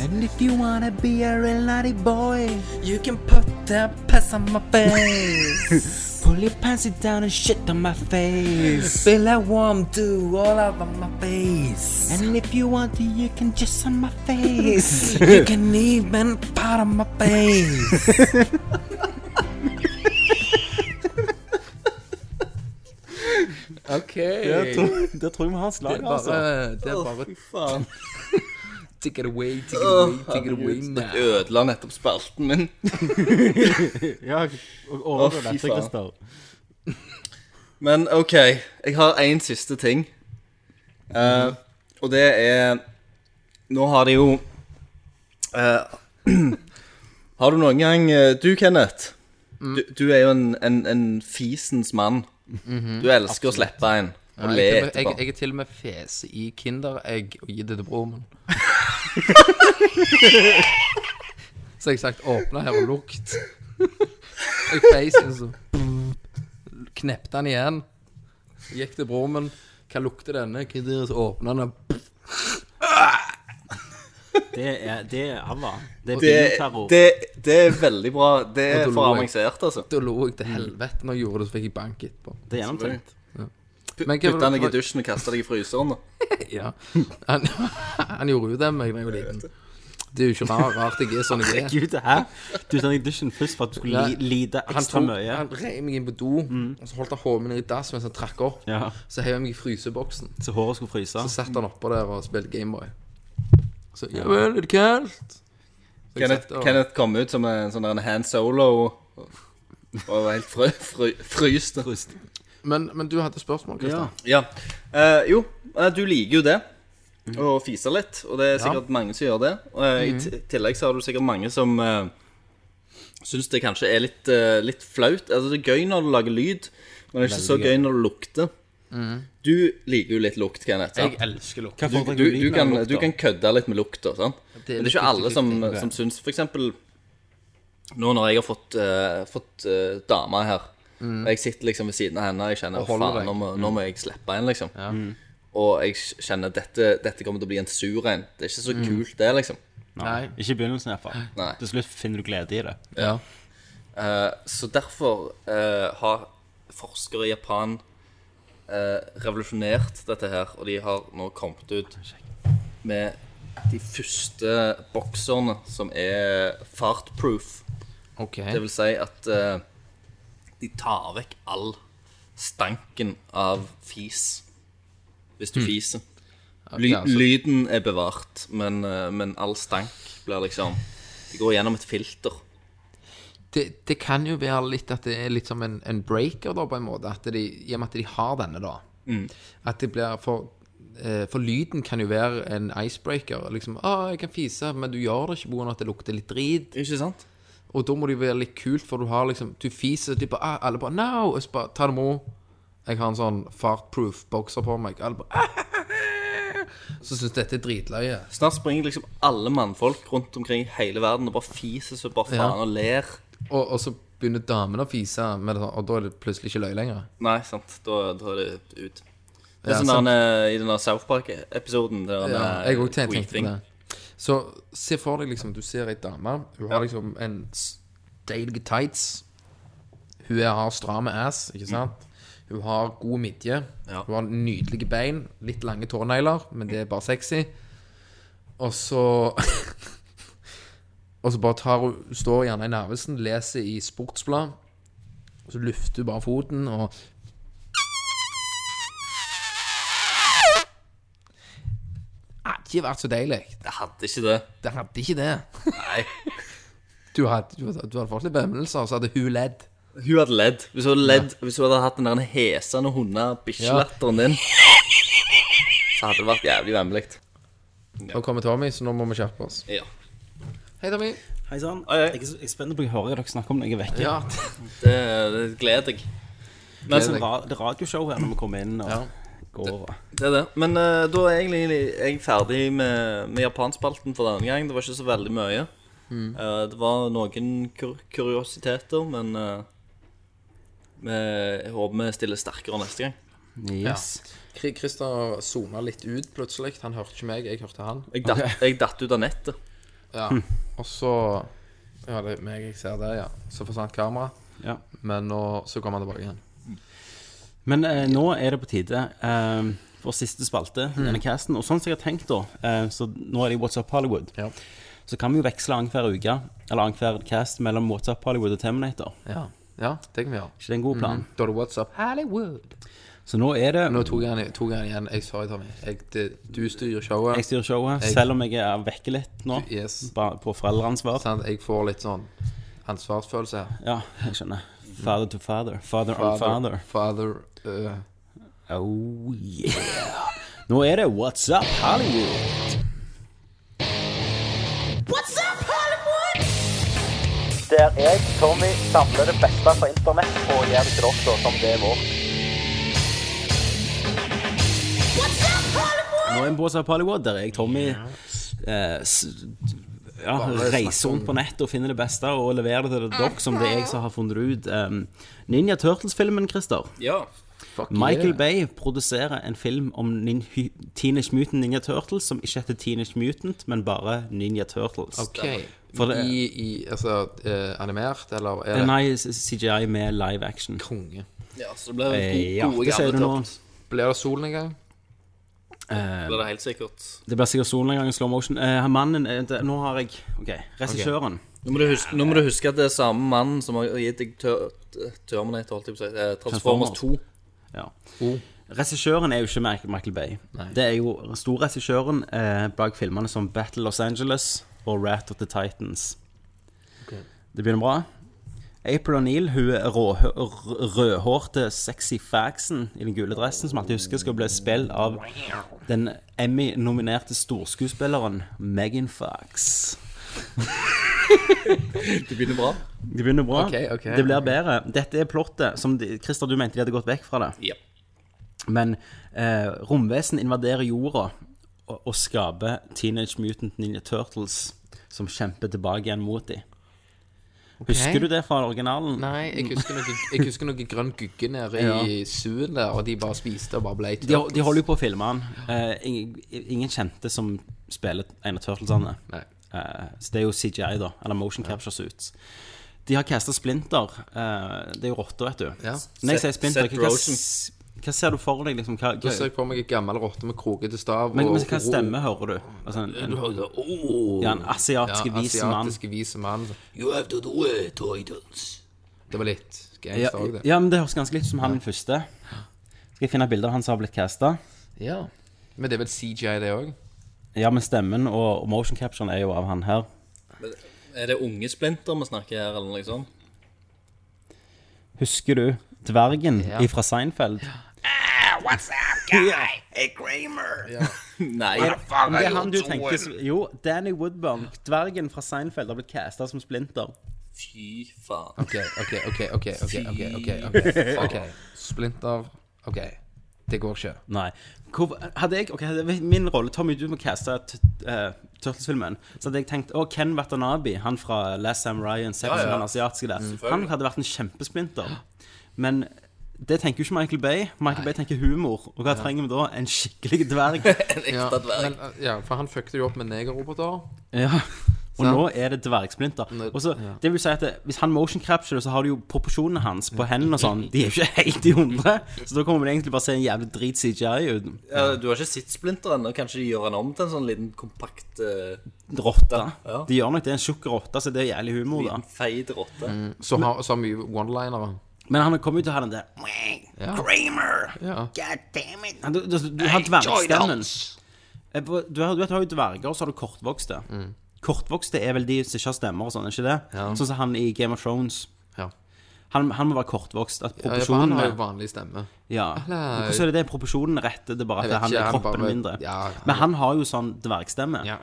and if you wanna be a real naughty boy, you can put that piss on my face. Pull your pants down and shit on my face. Feel that warm dew all over my face. And if you want to, you can just on my face. you can even part on my face. OK. Der tror jeg vi har Det slag, er altså. bare, det er bare Faen. Take it away, take it away, take it away Herregud, now. det ødela nettopp spalten min. Ja, Å, og overgå fy dette, faen. Christer. Men OK, jeg har én siste ting. Eh, og det er Nå har de jo eh, Har du noen gang eh, Du, Kenneth, du, du er jo en, en, en fisens mann. Du elsker å slippe en og Ja, le jeg, til og med- etterpå. jeg, jeg er til og med fese i kinderegg og gitt det til broren min. så har jeg sagt 'åpne her og lukt'. jeg feis inn så Knepte han igjen. Gikk til broren min. Hva lukter denne? Hva er det? Så åpna han og Det er, det er ABBA. Det er Det, bioterror. det, det er veldig bra. Det Og er da for lo jeg. avansert, altså. Da lo jeg til helvete når jeg gjorde det, så fikk jeg bank etterpå. Det er gjennomtenkt. Men hva- Putte deg i dusjen og kaste deg i fryseren. da. Ja. Han, han gjorde jo det med meg da jeg var liten. Det er jo ikke rar- rart jeg er sånn jeg er. Gud, hæ? Du tok i dusjen først for at du skulle li, lide Han, ekstra tok, mye. Mm. han reiv meg inn på do, og så holdt han hodet mitt i dass mens han trakk opp. Ja. Ah. Så heiv han meg i fryseboksen. Så håret skulle fryse. Så satt han oppå der og spilte Gameboy. Så ja vel, er det kaldt? Så jeg satt Kenneth, der og- Kenneth kom ut som en sånn der en hand solo og, og var helt frø, frø, fryst. Fryst. Men, men du hadde spørsmål, Ja. Kristian? Ja. Eh, jo, eh, du liker jo det. Mhm. Å fise litt. Og det er sikkert mange som gjør det. Og eh, I t- tillegg så har du sikkert mange som uh, syns det kanskje er litt, eh, litt flaut. Altså, det er gøy når du lager lyd, men det er ikke så gøy når du lukter. Du liker jo litt lukt, Kenneth. sant? Mhm. Jeg elsker lukt. Hva Du, foretrekker du, du, lyden kan, eller lukta? du kan kødde litt med lukta. sant? Det Men det litt er ikke alle som, fifty-fifty. som syns For eksempel nå når jeg har fått, uh, fått eh, dama her Og jeg sitter liksom ved siden av henne og jeg kjenner Og holder faen, nå, deg. må, nå må jeg slippe en, liksom. Og jeg kjenner dette, dette kommer til å bli en sur en. Det er ikke så kult, det, liksom. Nei. Ikke i begynnelsen, iallfall. Nei. Til slutt finner du glede i det. Ja. Eh, så derfor eh, har forskere i Japan eh, revolusjonert dette her, og de har nå kommet ut med de første bokserne som er fartproof. OK. Det vil si at eh, de tar vekk all stanken av fis hvis du fiser. Ly Mm. Ja, altså. Lyden er bevart, men, eh, men all stank blir liksom Det går gjennom et filter. det, det kan jo være litt at det er litt som en, en breaker, da, på en måte. At de, I og med at de har denne, da. Mm. At det blir for eh, For lyden kan jo være en icebreaker. Liksom 'Å, jeg kan fise', men du gjør det ikke pga. at det lukter litt drit. Ikke sant? Og da må det jo være litt kult, for du har liksom Du fiser, de bare, ah, alle bare 'No!' Og så bare 'Ta det med ro'. Jeg har en sånn fartproof bokser på meg. Alle bare ah, Så syns dette er dritløye. Snart springer liksom alle mannfolk rundt omkring i hele verden og bare fiser så bare faen Ja. og ler. Og, og så begynner damene å fise, med det, sånn, og da er det plutselig ikke løye lenger. Nei, sant. Da, da er det ut. Det Ja, er sånn sant. der, eh, i den der South Park-episoden der Ja, eh, jeg òg tenkte Weeping. tenkte det. Så se for deg liksom, du ser ei dame. Hun har liksom en s- deilige tights. Hun er- har stramme ass, ikke sant? Hun har god midje. Hun har nydelige bein. Litt lange tånegler, men det er bare sexy. Og så Og så bare tar hun hun står gjerne i Narvesen, leser i Sportsblad. Og så lufter hun bare foten og Det hadde ikke vært så deilig. Det hadde ikke det. Det hadde ikke det. Nei. Du hadde, du hadde, du hadde fått litt bemmelser, og så hadde hun ledd. Hun hadde ledd. Hvis hun hadde, ledd, hvis hun hadde hatt den der hesende hunde-bikkjelatteren din, så hadde det vært jævlig vemmelig. Nå kommer Tommy, så nå må vi skjerpe oss. Ja. Hei, Tommy. Hei sann. Jeg er så- jeg er spent på å høre dere snakke om når jeg er vekke. Ja. Det, det gleder jeg. Det Men, er sånn ra- det er radioshow her når vi kommer inn og går over. Det er det. Men eh, da er egentlig jeg ferdig med, med japanspalten for denne gang. Det var ikke så veldig mye. Mm. Eh, det var noen kur kuriositeter, men eh, vi, jeg håper vi stiller sterkere neste gang. Ja. Kri- Christer zona litt ut plutselig. Han hørte ikke meg, jeg hørte han. Jeg datt, jeg datt ut av nettet. Ja. Og så Ja, det er meg jeg ser det, ja. Så forsvant kameraet. Ja. Men nå, så kom han tilbake igjen. Men eh, nå er det på tide eh, for siste spalte i denne casten. Og sånn som jeg har tenkt, da eh, Så nå er det jo What's Up Hollywood. Så kan vi jo veksle annenhver uke eller annenhver cast mellom What's Up Hollywood og Terminator. Ja. ja, det kan vi gjøre. Ikke det en god plan? Da er det WhatsApp. Hollywood. Så Mm. nå er det Nå tok jeg han, tok jeg han igjen. Jeg sorry, Tommy. Jeg, det, du styrer showet. Jeg styrer showet, Jeg- selv om jeg er vekke litt nå. Bare på foreldreansvar. Sant, jeg får litt sånn ansvarsfølelse her. Ja, jeg skjønner. Father to father. Father, on Father- father. Father øh. Oh yeah. Nå er det What's Up Hollywood. What's up, Hollywood? Der jeg, Tommy, samler det beste fra internett og gjør det til dere som det er vårt. Nå er vi på What's Up Hollywood, der jeg, Tommy, eh, s- ja, Bare reiser snakke om- rundt på nettet og finner det beste og leverer det til Mm, dere som det er jeg som har funnet ut. Um, Ninja Turtles-filmen, Christer. Ja. Michael yeah. Bay produserer en film om nin hy- Teenage Mutant Ninja Turtles som ikke heter Teenage Mutant, men bare Ninja Turtles. OK. For det, Eh, I, i altså, eh, animert, eller er det Nei, CGI med live action. Konge. Ja, så det ble det Eh, ja, go gode det sier gamle du nå. tørt. Blir det solen en gang? Eh, Ble det helt sikkert. det blir sikkert solen en gang i slow motion. Eh, mannen eh, det, Nå har jeg OK, regissøren. Nå må, du huske, nå må du huske at det er samme mannen som har gitt deg tør, Terminator, holdt jeg på å si. eh, Transformers 2. Ja. Regissøren er jo ikke Michael Michael Bay. Det er jo storregissøren eh, bak filmene som Battle Los Angeles og Rat of the Titans. Det begynner bra. April O'Neill, hun er råhø- r- rødhårte sexy faxen i den gule dressen, som alltid husker skal bli spilt av den Emmy-nominerte storskuespilleren Megan Fox. Det begynner bra. Det begynner bra. Ok, ok. det blir bedre. Dette er plottet som de, Christer, du mente de hadde gått vekk fra det. Men eh, romvesen invaderer jorda og, og skaper Teenage Mutant Ninja Turtles, som kjemper tilbake igjen mot dem. Husker du det fra originalen? Nei, jeg husker noe, jeg husker noe grønn gugge nede i Mm. Ja. suen der, og de bare spiste og bare ble De, de holder jo på å filme den. Eh, ingen, ingen kjente som spiller en av Turtlesene. Eh, så det er jo CGI, da. Eller Motion Capture Suits. De har casta Splinter. Eh, det er jo rotter, vet du. Ja. Når jeg sier Seth- Splinter, Seth hva, hva, Rogen. s- hva ser du for deg? Liksom, hva, Da ser jeg for meg en gammel rotte med krokete stav men, og men hva stemme hører du? Altså, en, en, Du hører det, Oh, «Åh!» ja, en asiatisk Ja, vis mann. asiatiske vise mann. You have to do it, Titans. Det var litt Ja, gangster òg, det. ja, men det høres ganske litt ut som han den første. Skal jeg finne et bilde av han som har blitt casta? Ja. Men det er vel CGI, det òg? Ja, men stemmen og, og motion capturen er jo av han her. Men Er det unge Splinter vi snakker her, eller noe liksom? sånt? Husker du dvergen Ja. fra Seinfeld? What's up, guy? Hey, Kramer. Nei. Er, faen om det er er han jo du toen? tenker som- Jo, Danny Woodburn, dvergen fra Seinfeld, har blitt casta som Splinter. Fy faen. OK, OK, OK. ok, ok, ok, ok, Fy ok, faen. ok Splinter OK. Det går ikke. Nei. Hvor, hadde jeg, ok, hadde Min rolle Tommy, du må caste t- eh, Turtles-filmen. Så hadde jeg tenkt å, Ken Watanabe, han fra Last Sam Ryan, Ja, ja. han asiatiske der, Selvfølgelig. han hadde vært en kjempesplinter. Men Det tenker jo ikke Michael Bay. Michael Bay tenker humor. Og hva Ja. trenger vi da? En skikkelig dverg. Ja, men, eh, ja, for han fucket jo opp med negerroboter. Ja. Og Sant. nå er det dvergsplinter. Og så, det vil si at det, Hvis han motion capture, så har du jo proporsjonene hans på hendene og sånn. De er jo ikke helt i hundre. Så da kommer det egentlig bare se en jævlig drit CGI ut. Ja, du har ikke sett Splinter ennå. Kanskje de gjør han om til en sånn liten kompakt eh, Rotte. Ja. De gjør nok det. En tjukk rotte, så det er jævlig humor, da. Liten feit rotte. Så har så har mye one-linere. Men han kommer jo til å ha den der Ja. Kramer! Ja. God damn it! Du, du, du har dvergstemmen. Eh, på- Du, har- du vet, du har jo dverger, og så har du kortvokste. Mm. Kortvokste er vel de som ikke har stemmer og sånn, er ikke det? Sånn som han i Game of Thrones. Han, han må være kortvokst. At Ja, for han proporsjonene har jo vanlig stemme. Ja. Eller- Men Hvordan er det det proporsjonene rette? Det er bare Jeg at vet han ikke, er han kroppen bare- mindre. Ja, ja. Men han har jo sånn dvergstemme. Ja.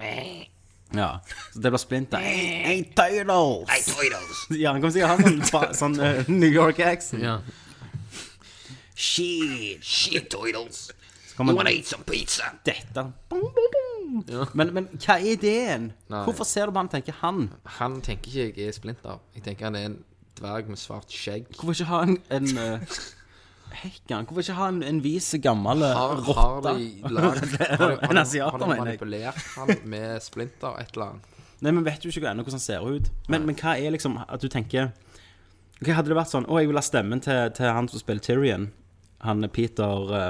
Ja. Så det blir splinter. Hey, Toydos! Ja, han kommer sikkert ha sånn, ba- sånn eh, New York-accent. Ja. Shit, shit, Toydos. You wanna eat some pizza? Dette. Bong, bong, bong. Men, men hva er ideen? Nei. Hvorfor ser du på han og tenker han? Han tenker ikke jeg er Splinter. Jeg tenker han er en dverg med svart skjegg. Hvorfor ikke ha en, en eh, Hekkan, hvorfor ikke ha en, en vis gammel eh, Har, rotte? har de lagd har de- En har asiater, de mener jeg. manipulert han med Splinter et eller annet? Nei, men vet jo ikke ennå hvordan han ser ut. Men, men hva er liksom at du tenker Ok, Hadde det vært sånn Å, jeg vil ha stemmen til, til han som spiller Tyrion. Han er Peter eh,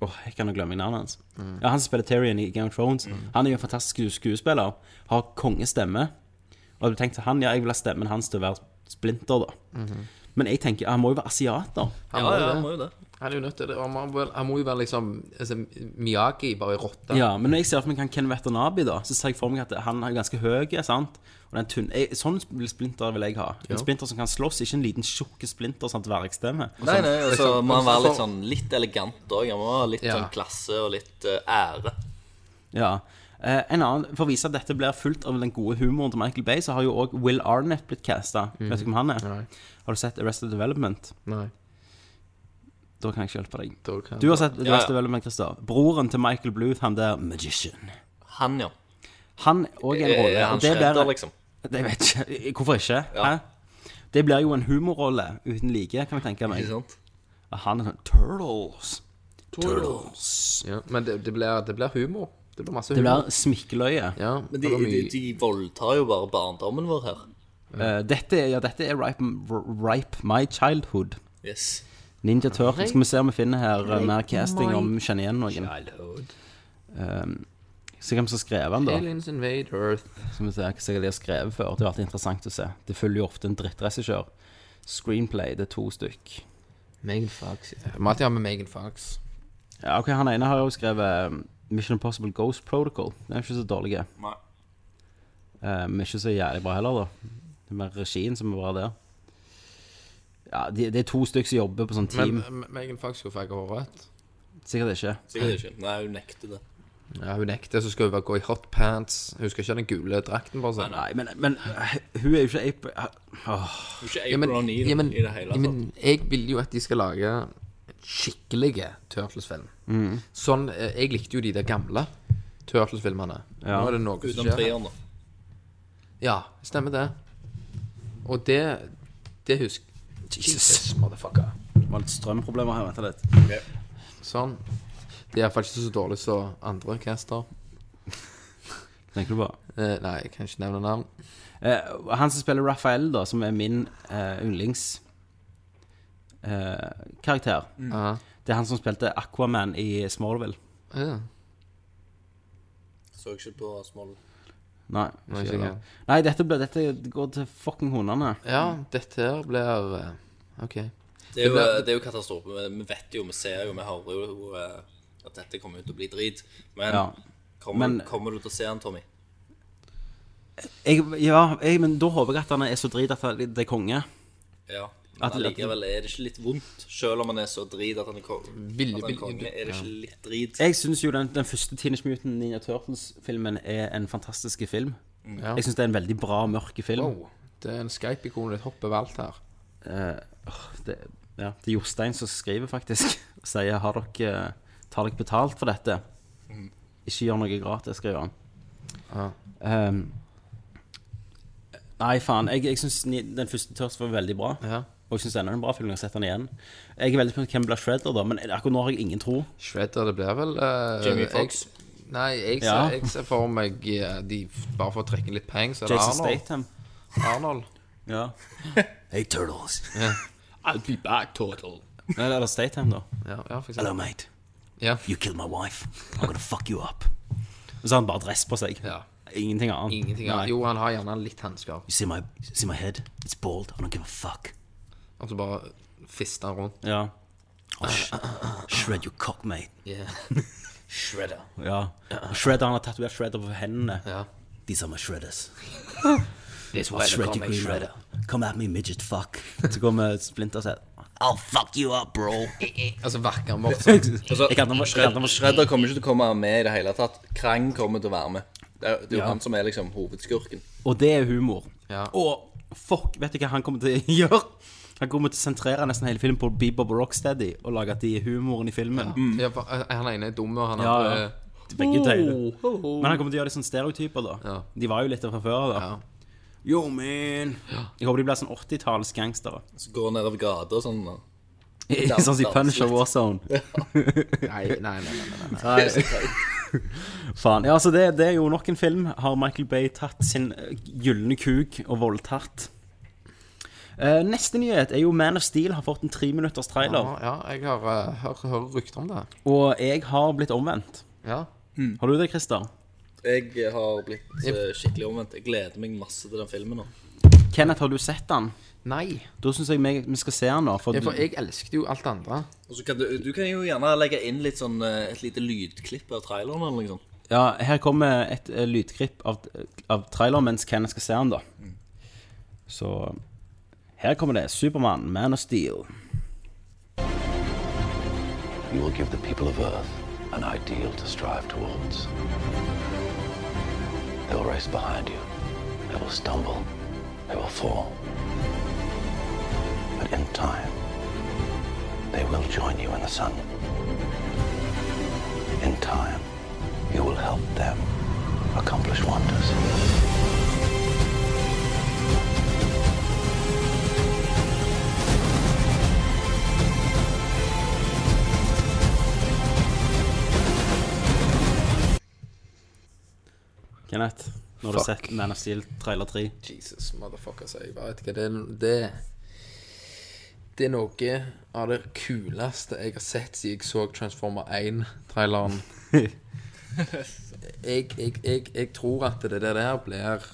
Åh, jeg kan jo glemme navnet hans. Ja, Han som spiller Tyrion i Game of Thrones. Han er jo en fantastisk sku- skuespiller. Har kongestemme. Og hadde du tenkt til han, ja, jeg vil ha stemmen hans til å være Splinter, da. Mhm. Men jeg tenker, han må jo være asiater. Han må jo det. Han er jo nødt til det. Han må, vel- han må jo være liksom altså, Miyagi, bare i rotte. Ja, men når jeg ser for meg han Ken Watanabe, da, så ser jeg for meg at han er ganske høy. Sant? Og den tunne jeg, Sånn splinter vil jeg ha. En Ja. splinter som kan slåss, ikke en liten tjukk splinter som dvergstemme. Nei, nei, og så må han være litt sånn litt elegant òg. Han må ha litt Ja. sånn klasse og litt eh, ære. Ja. Eh, en annen, For å vise at dette blir fulgt av den gode humoren til Michael Bay, så har jo òg Will Arnett blitt casta. Mhm. Vet du hvem han er? Har du sett Arrested Development? Nei. Da kan jeg ikke hjelpe deg. kan- Du har sett Ja, ja. Arrested Development, Christer. Broren til Michael Bluth, han der magician. Han, ja. Han òg er en Eh, Er- er rolle. han og det shredder, blir- liksom? Det vet jeg ikke. Hvorfor ikke? Hæ? Det blir jo en humorrolle uten like, kan jeg tenke meg. Ikke sant? Han er sånn Turtles. Turtles. Ja, men det, det, blir, det blir humor. Det blir masse Det humor. blir smikkeløye. Ja, Men de, de, de voldtar jo bare barndommen vår her. Eh, dette, er- ja, dette er ripe, ripe My Childhood. Yes. Ninja Turtles. Skal vi se om vi finner her eh, mer casting, My om vi kjenner igjen noen. Um, se hvem som har skrevet den, da. Aliens invade Earth. Skal vi se hva som de har skrevet før. Det har vært interessant å se. Det følger jo ofte en drittregissør. Screenplay, det er to stykk. Megan Fox. Vi må alltid ha med Megan Fox. Ja, ok, Han ene har jo skrevet um, Mission Impossible Ghost Protocol. Den er ikke så dårlig. Nei. Eh, men ikke så jævlig bra heller, da. Det er mer regien som er bra der. Ja, de, Det er to stykker som jobber på sånn team. Men M- Megan Fox skulle få hårrett. Sikkert ikke. Sikkert ikke. Nei, hun nekter det. Ja, hun nekter, så skal hun bare gå i hotpants. Hun skal ikke ha den gule drakten, bare sånn. Nei, men, eh, hun er jo ikke ape... Hun er ikke April O'Neil i det hele altså. ja, men jeg vil jo at de skal lage skikkelige Turtles-film. Mhm. Sånn, eh, Jeg likte jo de der gamle Turtles-filmene. Ja. Nå er det noe som Utenom skjer. treeren, da. Ja, stemmer det. Og det Det husk Jesus, motherfucker. Det var litt strømproblemer her, vent litt. Sånn. Det er iallfall ikke så dårlig som andre caster. Eh, Tenker du på? nei, jeg kan ikke nevne navn. Eh, han som spiller Raphael, da, som er min uh, yndlingskarakter Mm. Ja. eh, Det er han som spilte Aquaman i Smallville. Ja. Så ikke på Smallwood. Nei, Nei, ikke ikke det. Nei dette, ble, dette går til fucking hundene. Ja, dette her blir eh, OK. Det er, jo, blir- det er jo katastrofe. Vi- Vi vet jo, vi ser jo, vi hører jo eh, at dette kommer jo til å bli drit. Men, Ja. Kommer, Men- kommer du til å se den, Tommy? Jeg, ja, jeg, men da håper jeg at han er så drit at han- det er konge. Ja. At- Men allikevel er det ikke litt vondt, selv om han er så drit at han er kong- Vil- at han vil- er konge. Er det ikke ja. litt drit? Jeg syns jo den, den første Teenage Mutant Ninja Turtles-filmen er en fantastisk film. Mm. Ja. Jeg syns det er en veldig bra, mørk film. Wow. Det er en Skype-ikon litt hopper over alt her. Eh, åh, det, ja, det er Jostein som skriver, faktisk. Og sier har dere, eh, tar dere betalt for dette. Mhm. Ikke gjør noe gratis, skriver han. Ja. Ehm, nei, faen. Jeg, jeg syns den første Turtles var veldig bra. Og jeg syns ennå det er en bra film. Jeg har sett den igjen. Jeg er veldig spent på hvem blir Shredder, da, men akkurat nå har jeg ingen tro. Shredder, det blir vel eh, Jamie jeg- Foxx. Nei, jeg ser, Ja. jeg ser for meg eh, de f- bare for å trekke litt penger, så er det Jason Arnold. Statham. Arnold. Ja. Hey, turtles. I'll be back, turtle. Eller er Statham, da. Ja, ja, for eksempel. Hello, mate. Yeah. You killed my wife. I'm gonna fuck you up. Og så har han bare dress på seg. Ingenting annet. Ingenting annet. Jo, han har gjerne litt hansker. You see my, you see my head? It's bald. I don't give a fuck. Altså bare fister han rundt. Ja. Oh, sh shred your cock, mate. Yeah. Shredder. Ja. Og Shredder, han har tatovert Shredder på hendene. These are my shredders. This I'll way to shred call you me green, Shredder. Come at me, midget fuck. Så kommer Splinter og sier I'll fuck you up, bro. altså, verker han bort Altså, Jeg kan- jeg Shred- kan- Shredder kommer ikke til å komme med i det hele tatt. Krang kommer til å være med. Det er det er jo Ja. han som er liksom hovedskurken. Og det er humor. Ja. Og fuck, vet du hva han kommer til å gjøre? Han kommer til å sentrere nesten hele filmen på Bebop og Rocksteady og lage at de er humoren i filmen. Ja, for, eh, han ene er dum, og han Ja, andre ja. er- De Begge tøyler. Ho, ho, ho. Men han kommer til å gjøre litt sånn stereotyper, da. De var jo litt der fra før da. Yo, man. Jeg håper de blir sånn 80-talls gangstere. Så går han nedover gata og sånn. og- Sånn som i Dans- Punisher litt. Warzone. Ja. Nei, nei, nei, nei, nei. Det er så teit. Faen. Ja, altså det, det er jo nok en film. Har Michael Bay tatt sin eh, gylne kuk og voldtatt? Eh, neste nyhet er jo Man of Steel har fått en treminutters trailer. Ja, ja, jeg har eh, hør- hører rykter om det. Og jeg har blitt omvendt. Ja. Har du det, Christer? Jeg har blitt eh, skikkelig omvendt. Jeg gleder meg masse til den filmen nå. Kenneth, har du sett den? Nei. Da syns jeg meg- vi skal se den, da. For, Ja, for jeg elsket jo alt det andre. Og så kan du, du kan jo gjerne legge inn litt sånn eh, et lite lydklipp av traileren eller noe sånt. ja, her kommer et eh, lydklipp av, av traileren mens Kenneth skal se den, da. Så her kommer det. Supermann, Man of Steel. You will give the people of Earth an ideal to strive towards. They will race behind you. They will stumble. They will fall. But in time, they will join you in the sun. In time, you will help them accomplish wonders. Kenneth, nå har du Fuck. sett Man of Steel trailer 3. Jesus motherfucker, sier jeg bare. Vet ikke hva, det er det, det er noe av det kuleste jeg har sett siden jeg så Transformer 1-traileren. jeg, jeg, jeg, jeg tror at det der der blir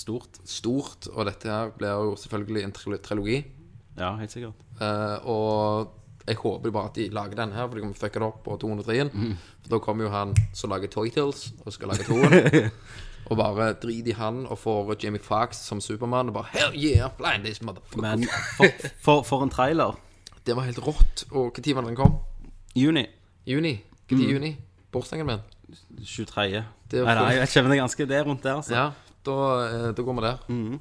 stort. stort, og dette her blir jo selvfølgelig en trilo- trilogi. Ja, helt sikkert. Eh, og jeg håper bare at de lager den her, for de kommer fucke det opp på 203-en. For da kommer jo han som lager Toy Tales, og skal lage toen. og bare driter i han og får Jamie Foxx som Supermann og bare Hell yeah, blind this motherfucker. Men for, for, for en trailer. Det var helt rått. Og når var det den kom? Juni. Juni? Når Mm. juni? Bursdagen min? 23. Det er- Nei, nei, jeg kjenner det ganske det er rundt der, altså. Ja, da, eh, da går vi der. Men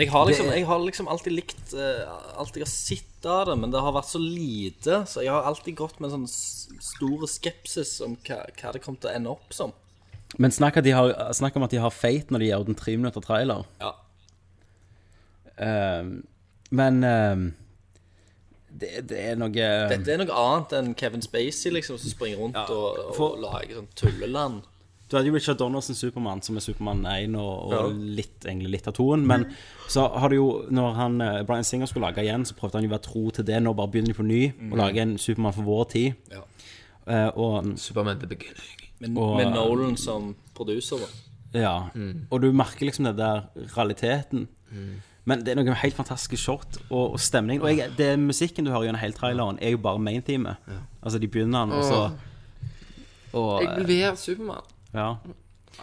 jeg har liksom, Det- jeg har liksom alltid likt eh, alt jeg har sett av det, men det har vært så lite, så jeg har alltid gått med en sånn s- store skepsis om hva, hva det kom til å ende opp som. Men snakk, at de har, snakk om at de har feit når de gjør den tre minutter trailer. Ja. Ehm, men ehm, det, det er noe ehm Dette er noe annet enn Kevin Spacey liksom, som springer rundt og, og for- lager sånn tulleland. Du hadde jo Richard Donaldson Supermann, som er Supermann 1 og, og Ja. Mm. litt, egentlig litt av toen. Men så har du jo, når han, eh, Bryan Singer skulle lage igjen, så prøvde han jo å være tro til det. Nå bare begynner de på ny og Mhm. lager en Supermann for vår tid. Ja. Eh, og, Superman The Beginning. Med, Og- med Nolan som producer, da. Ja. Og du merker liksom den der realiteten. Mm. Men det er noe helt fantastisk short og, og stemning. Og jeg, det musikken du hører gjennom hele traileren, er jo bare main-teamet. Altså, de begynner den, og så og, Jeg vil være Supermann. Ja.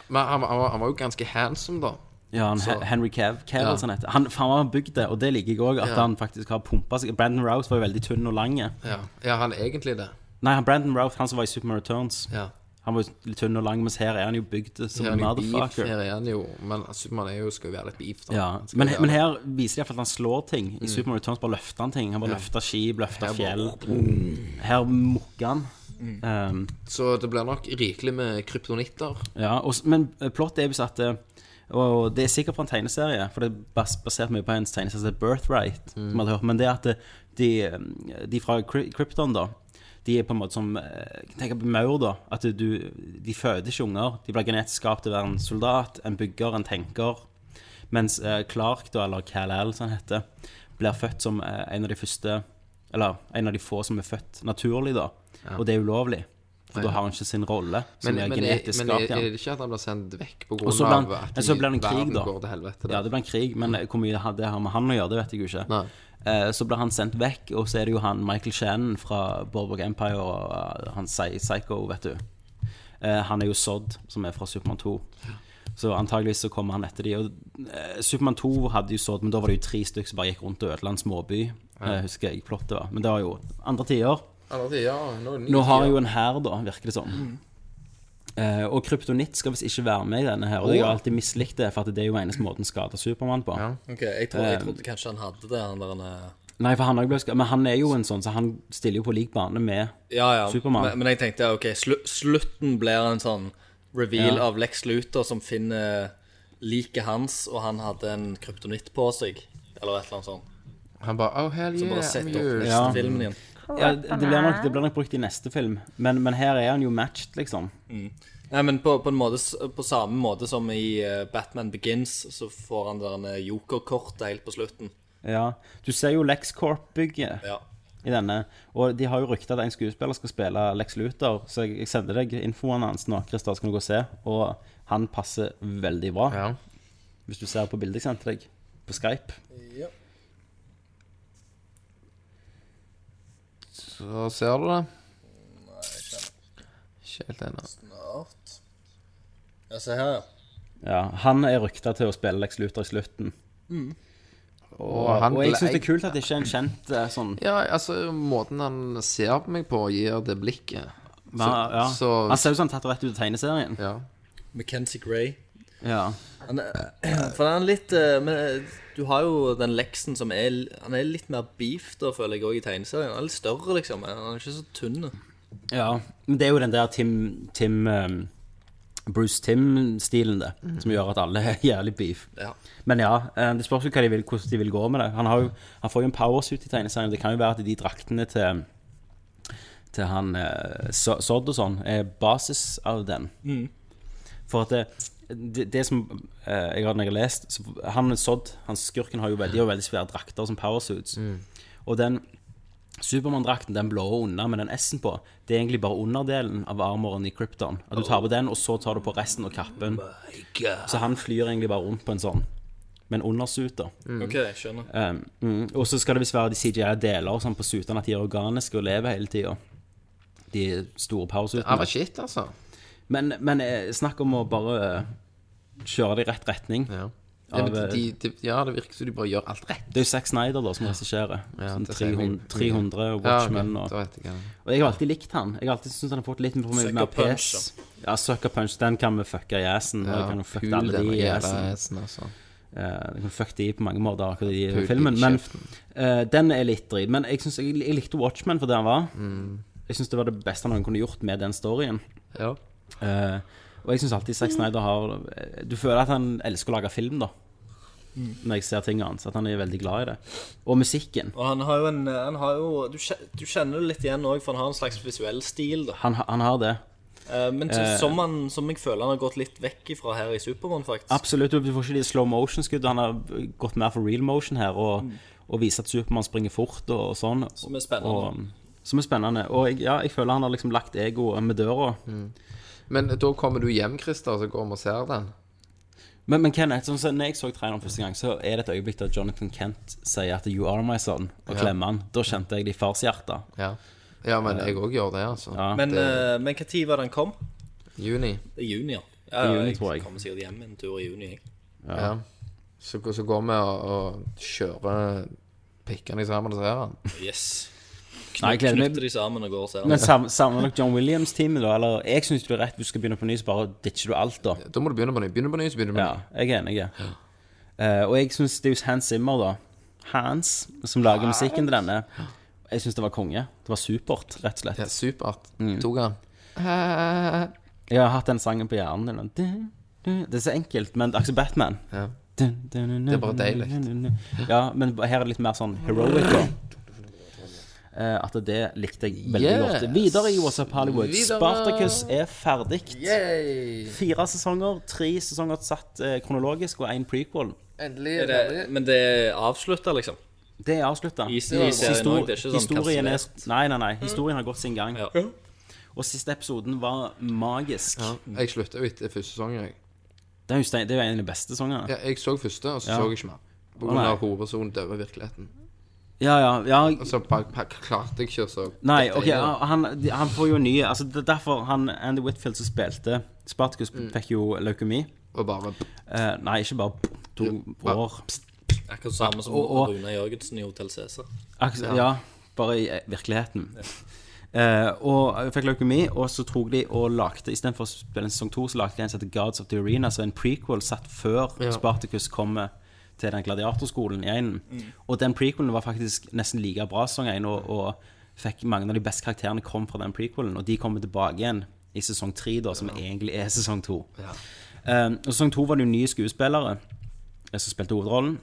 Men han, var- han, var- han var jo ganske handsome, da. Ja, han, Så- Henry Cav, Cav Ja. eller sånn heter. Han, for han har bygd det, og det liker jeg òg. At Ja. han faktisk har pumpa seg. Brandon Rouse var jo veldig tynn og lang. Ja, ja han er egentlig det. Nei, han, Brandon Rouse, han som var i Superman Returns, Ja. han var jo litt tynn og lang, mens her er han jo bygd som Her er en han jo beef, motherfucker. Her er han jo Men Supermann er jo, skal jo være litt beef, da. Ja, Han skal men, være- men her viser de i hvert fall at han slår ting. I Mm. Superman Returns bare løfter han ting. Han bare Ja. løfter skip, løfter Her fjell. bare- Mm. Her mukker han. Um, Så det blir nok rikelig med kryptonitter. ja, og, s- men eh, plottet er visst at eh, Og det er sikkert fra en tegneserie, for det er bas basert mye på en tegneserie som heter Birthright. Mm. Som alle har hørt. Men det er at det, de, eh, de fra Kry- Krypton, da de er på en måte som eh, Tenk på maur, da. At du, de føder ikke unger. De blir genetisk skapt til å være en soldat, en bygger, en tenker. Mens eh, Clark, da, eller Kal-El, som han heter, blir født som eh, en av de første Eller en av de få som er født naturlig, da. Ja. Og det er ulovlig. For Ja. da har han ikke sin rolle som Men, er men, genetisk men er, skapt er igjen. det ikke at han blir sendt vekk på Og grunn så ble han, av at men så ble det en verden krig, da. går til helvete? Ja, det ble en krig, men Mm. eh, hvor mye det har- det har med han å gjøre, det vet jeg jo ikke. Eh, Så ble han sendt vekk, og så er det jo han Michael Shannon fra Borborg Empire og eh, han Psy- Psycho, vet du. Eh, Han er jo Sod, som er fra Supermann 2. Så antageligvis så kommer han etter de. Og eh, Supermann 2 hadde jo Sod, men da var det jo tre stykker som bare gikk rundt og ødela en småby. Ja. eh, Husker jeg plottet var. Men det var jo andre tider. Andre tider, ja, nå er det nye Nå har tider. Mm. jo en hær, da, virker det som. Eh, og kryptonitt skal visst ikke være med i denne her. Å, Og det ja. har jeg alltid mislikt det, for at det er jo eneste måten å skade Supermann på. Ok, jeg, tror, jeg Eh, trodde kanskje han hadde det, han der han eh, Nei, for han har jo blitt skadet. Men han er jo en sånn, så han stiller jo på lik bane med Ja, ja. Supermann. Men, men jeg tenkte ja, ok, slu, slutten blir en sånn reveal Ja. av Lex Luthor som finner liket hans, og han hadde en kryptonitt på seg, eller et eller annet sånt. Han bare Oh, hell Så yeah. bare sett I'm opp yours. liksom. neste filmen igjen. ja, det, blir nok, det blir nok brukt i neste film, men, men her er han jo matched, liksom. Nei, men på, på, en måte, s- på samme måte som i eh, Batman Begins, så får han der en eh, jokerkortet helt på slutten. Ja. Du ser jo Lex Corp-bygget i denne, og de har jo ryktet at en skuespiller skal spille Lex Luthor, så jeg, jeg sender deg infoen hans nå, Christer, så kan du gå og se, og han passer veldig bra. Hvis du ser på bildet jeg sendte deg på Skype. Ja. Så ser du det. Ikke helt ennå. Snart. Ja, se her, ja. Ja, han er ryktet til å spille Lex Luthor i slutten. Mm. Og, Og og, han ble- jeg synes det er kult at det ikke er en kjent eh, sånn Ja, altså, måten han ser på meg på, gir det blikket. Så, Hva- ja. så Han ser jo sånn tatt rett ut av tegneserien. Ja. Mackenzie Gray. Ja. Han er, for han er litt eh, Men eh, du har jo den leksen som er Han er litt mer beef, da, føler jeg òg, i tegneserien. Han er litt større, liksom. Han er ikke så tynn. Ja, men det er jo den der Tim, Tim ehm, Bruce Tim-stilen, det. Mm. Mhm. Som gjør at alle er jævlig beef. Ja. Men ja, eh, det spørs jo hva de vil, hvordan de vil gå med det. Han, har jo, han får jo en powersuit i tegneserien. Det kan jo være at de draktene til Til han eh, So- Sodd og sånn er basis av den. Mhm. For at det, det, det som eh, jeg har, når jeg har lest så Han Sodd, han skurken, har jo veldig, de har veldig svære drakter som powersuits. Og den Supermann-drakten, den blå under med den S-en på, det er egentlig bare underdelen av armoren i Krypton. At du tar på den, og så tar du på resten av kappen. God. Så han flyr egentlig bare rundt på en sånn. Med en undersuit, da. Mm. Ok, jeg skjønner. Um, mm. Og så skal det visst være de CGI-deler sånn på sutene, at de er organiske og lever hele tida. De store powersutene. Det var shit, altså. Men, men eh, snakk om å bare eh, kjøre det i rett retning. Ja, men Av, eh, de, de, ja, det virker som de bare gjør alt rett. det er jo Zack Snyder da som regisserer. Ja, Sånn det sier mye. 300, 300 og Ja, ok, Watchmen. da vet jeg og, hva det er. og jeg har alltid likt han. Jeg har alltid syntes han har fått litt for mye Sucker mer Punch, pes. Ja, Sucker Punch, den kan vi fucke i assen. Ja, Ja, kan jo fucke pul alle den de i jævla assen. assen, altså. Eh, du kan fucke de på mange måter, akkurat i Pul i filmen. Men eh, den er litt drit. Men jeg, synes, jeg, jeg likte Watchmen for det han var. Jeg syns det var det beste han kunne gjort med den storyen. Ja. Eh, og jeg syns alltid Zack Snyder har eh, Du føler at han elsker å lage film, da. Mm. Når jeg ser tingene hans. At han er veldig glad i det. Og musikken. Og han har jo en han har jo, Du, kje- du kjenner det litt igjen òg, for han har en slags visuell stil. da Han, han har det. Eh, Men så, Eh. som, han, som jeg føler han har gått litt vekk ifra her i Supermann, faktisk. Absolutt. Du får ikke de slow motion-skuddene. Han har gått mer for real motion her og, og viser at Supermann springer fort og, og sånn. Mm. Som er spennende. Og, som er spennende. Og jeg, ja, jeg føler han har liksom lagt egoet med døra. Mm. Men eh, da kommer du hjem, Christer, så går vi og ser den. Men, men Kenneth, sånn, som når jeg så traileren første gang, så er det et øyeblikk der Jonathan Kent sier at 'you are my son', og Ja. klemmer han. Da kjente jeg det i farshjertet. Ja. Ja, men jeg òg gjør det, altså. Ja. Men, det, eh, men hva tid var den kom? juni. Det er juni, ja. I ja juni, jeg, tror jeg. kommer sikkert hjem en tur i juni, jeg. Ja. Så, gå- så går vi og, og kjører pikkene sammen og ser den. Yes. Nei, jeg gleder meg. Knytter de sammen og går og ser Men sam- savner dere John Williams-teamet, da? Eller jeg syns du er rett, du skal begynne på ny, så bare ditcher du alt, da. Da må du begynne på ny. Begynne på ny, så begynner du på ja, Jeg er enig. Ja. Eh, og jeg syns det er jo Hans Zimmer, da. Hans, som lager musikken til denne. Jeg syns det var konge. Det var supert, rett og slett. Ja, supert. Mm. Tok han. Jeg har hatt den sangen på hjernen. Den. Det er så enkelt, men akkurat Batman Det er bare deilig. Ja, men her er det litt mer sånn heroic. Da. Eh, At det likte jeg veldig Yes. godt. Videre i What's Up Hollywood. Videre. Spartacus er ferdig. Yay. Fire sesonger. Tre sesonger satt eh, kronologisk, og én prequel. Endelig Er det, men det er avslutta, liksom? Det er avslutta. I- i serien også, det er ikke sånn historien er, nei, nei, Mm. nei. Historien har gått sin gang. Og siste episoden var magisk. Jeg slutta jo etter første sesongen, jeg. Det er jo stein- det er jo en av de beste sangene. Ja, jeg så første, og så Ja. så jeg ikke mer. På Å, grunn nei. av hovedpersonen døde i virkeligheten. Ja, ja, ja. Og så bare, bare klarte jeg ikke å så Altså, Nei, dette ok, er jo- ja, han, de- han får jo nye Altså, det er derfor han, Andy Whitfield som spilte Spartacus Mm. fikk jo leukemi Og bare eh, Nei, ikke bare To år Akkurat samme som Og- og- Rune Jørgensen i Hotell Cæsar. Akkurat- ja. bare i eh, virkeligheten Eh, Og jeg fikk leukemi Og så tok de og lagde I stedet for å spille en sesong 2 Så lagde de en som heter Gods of the Arena Så en prequel satt før Ja. Spartacus kommer til den gladiatorskolen i enen Mm. Og den prequelen var faktisk nesten like bra som en og, og fikk mange av de beste karakterene kom fra den prequelen Og de kommer tilbake igjen i sesong 3 da Som egentlig er sesong 2 Um, og sesong to var det jo nye skuespillere eh, som spilte hovedrollen.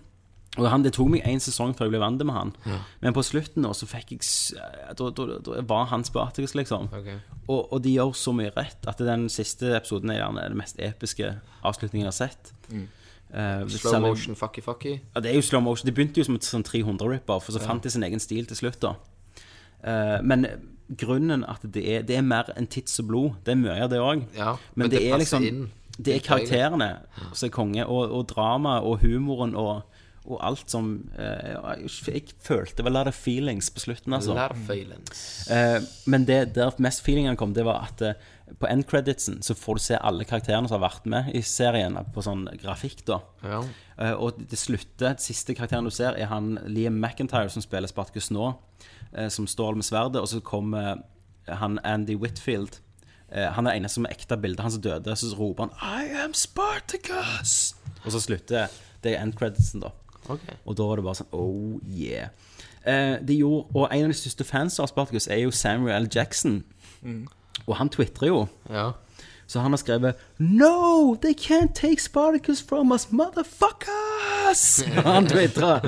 Og han, Det tok meg én sesong før jeg ble vant med han. Ja. Men på slutten nå, så fikk jeg s- eh, Da, da, da var han Spartacus, liksom. Ok. Og, og de gjør så mye rett at den siste episoden er gjerne den mest episke avslutningen jeg har sett. Mm. Eh, Slow særlig- motion, fucky fucky. ja, det er jo slow motion. Det begynte jo som et sånn 300-ripper, for så Ja. fant de sin egen stil til slutt, da. Eh, men grunnen at det er, det er mer enn tits og blod. Det er mye av det òg. men, det, er passer liksom inn. Det er Det er deilig. karakterene som er konge, og, og dramaet og humoren og, og alt som eh, jeg, jeg følte vel av det feelings på slutten, altså. Lot of feelings. Eh, men det der mest feelingen kom, det var at eh, på end creditsen så får du se alle karakterene som har vært med i serien, på sånn grafikk, da. Ja. Eh, og det slutter, den siste karakteren du ser, er han Liam McIntyre, som spiller Spartacus nå, eh, som står med sverdet, og så kommer eh, han Andy Whitfield. Eh, han er den eneste som er ekte bilde, han som døde, så roper han I am Spartacus! Og så slutter det er end creditsen, da. Og da var det bare sånn Oh yeah. Eh, de gjorde, og en av de største fans av Spartacus er jo Samuel L. Jackson. Mm. Og han twitrer jo. Ja. Så han har skrevet No, they can't take Spartacus from us, motherfuckers! han twitrer.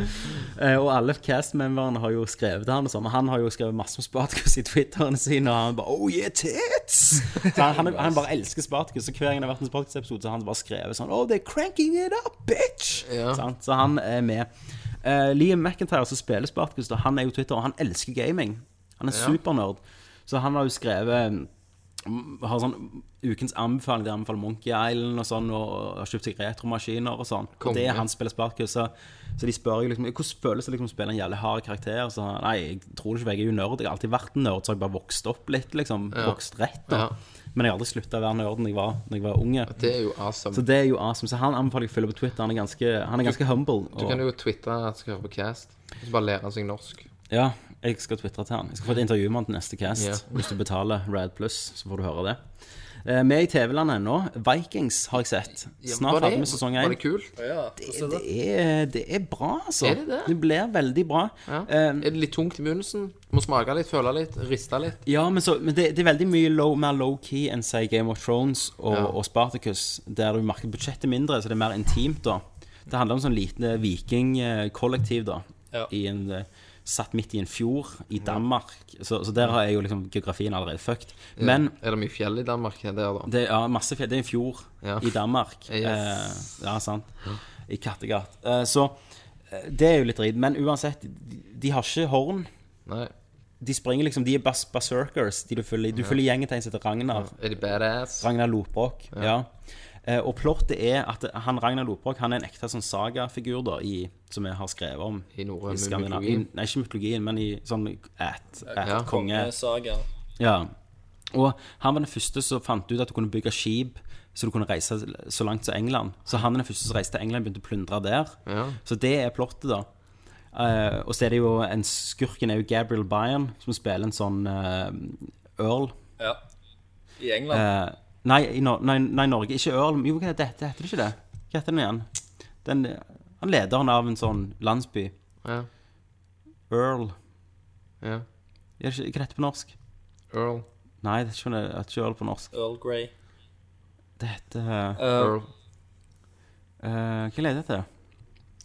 Eh, og alle castmemberne har jo skrevet han, og sånn, men han har jo skrevet masse om Spartacus i Twitterne sine, og han bare Oh yeah, tits! Så han, han, han bare elsker Spartacus, og hver gang det har vært en Spartacus-episode, så har han bare skrevet sånn Oh, they're cranking it up, bitch! Sant? Så han er med. Eh, Liam McIntyre, som spiller Spartacus, da, han er jo Twitter, og han elsker gaming. Han er Ja. supernerd. Så han har jo skrevet mm, har sånn ukens anbefaling der han anbefaler Monkey Island og sånn, og har kjøpt seg retromaskiner og sånn. Konge. Og det er han spiller Spartacus. Så, så de spør jo liksom hvordan føles det liksom å spille en jævlig hard karakter. Så han, nei, jeg tror ikke for jeg er jo nerd. Jeg har alltid vært en nerd, så har jeg bare vokst opp litt, liksom. Ja. Vokst rett. da Ja. Men jeg har aldri slutta å være nerden jeg var da jeg var unge. Det er jo awesome. Så det er jo awesome. Så han anbefaler jeg å følge på Twitter. Han er ganske, han er ganske humble. Du kan jo twitre at du skal høre på Cast, og så bare lære seg norsk. Ja, jeg skal twittre til han. Jeg skal få et intervju med han til neste cast. Ja. Hvis du betaler Rad Plus, så får du høre det. Eh, Vi er i TV-landet ennå. Vikings har jeg sett. Ja, var Snart det- ferdig med sesong én. Var det kult? Det, det, er, det er bra, altså. Er det det? blir veldig bra. Eh, er det litt tungt i begynnelsen? Må smake litt, føle litt, riste litt. Ja, men, så, men det, det er veldig mye low, mer low-key enn si Game of Thrones og, Ja. og Spartacus, der du merker budsjettet er mindre, så det er mer intimt, da. Det handler om sånn lite vikingkollektiv, da. I en, eh, satt midt i en fjord i Mm. Danmark. Så, så der har jeg jo liksom geografien allerede fucked. Ja. Men Er det mye fjell i Danmark der, da? det er masse fjell. Det er en fjord Ja. i Danmark. Yes. Eh, ja, sant. I Kattegat. Eh, så eh, det er jo litt drit. Men uansett, de, de har ikke horn. De springer liksom, de er bas berserkers. De du følger, du Ja. følger gjengen til en som heter Ragnar. Er de badass? Ragnar Lopråk. Ja. Eh, og plottet er at han Ragnar Lopråk han er en ekte sånn sagafigur da, i, som vi har skrevet om. I norrøn Skandinav- mytologi. i- Nei, ikke mytologien, men i sånn at, at Ja. konge... Kongesaga. Ja. Og han var den første som fant ut at du kunne bygge skip så du kunne reise så langt som England. Så han er den første som reiste til England og begynte å plyndre der. Ja. Så det er plottet, da. Eh, og så er det jo en skurken er jo Gabriel Byan, som spiller en sånn eh, earl. Ja. I England. Eh, nei, i Nor nei, nei, Norge. Ikke earl. men Jo, hva heter det? Heter det ikke det? Hva heter den igjen? Den, han lederen av en sånn landsby. Ja. Earl. Ja. Er det ikke, hva heter det på norsk? Earl. Eh. Nei, det er ikke, det er ikke earl på norsk. Earl Grey. Det heter Eh, Eh, hva leder jeg til?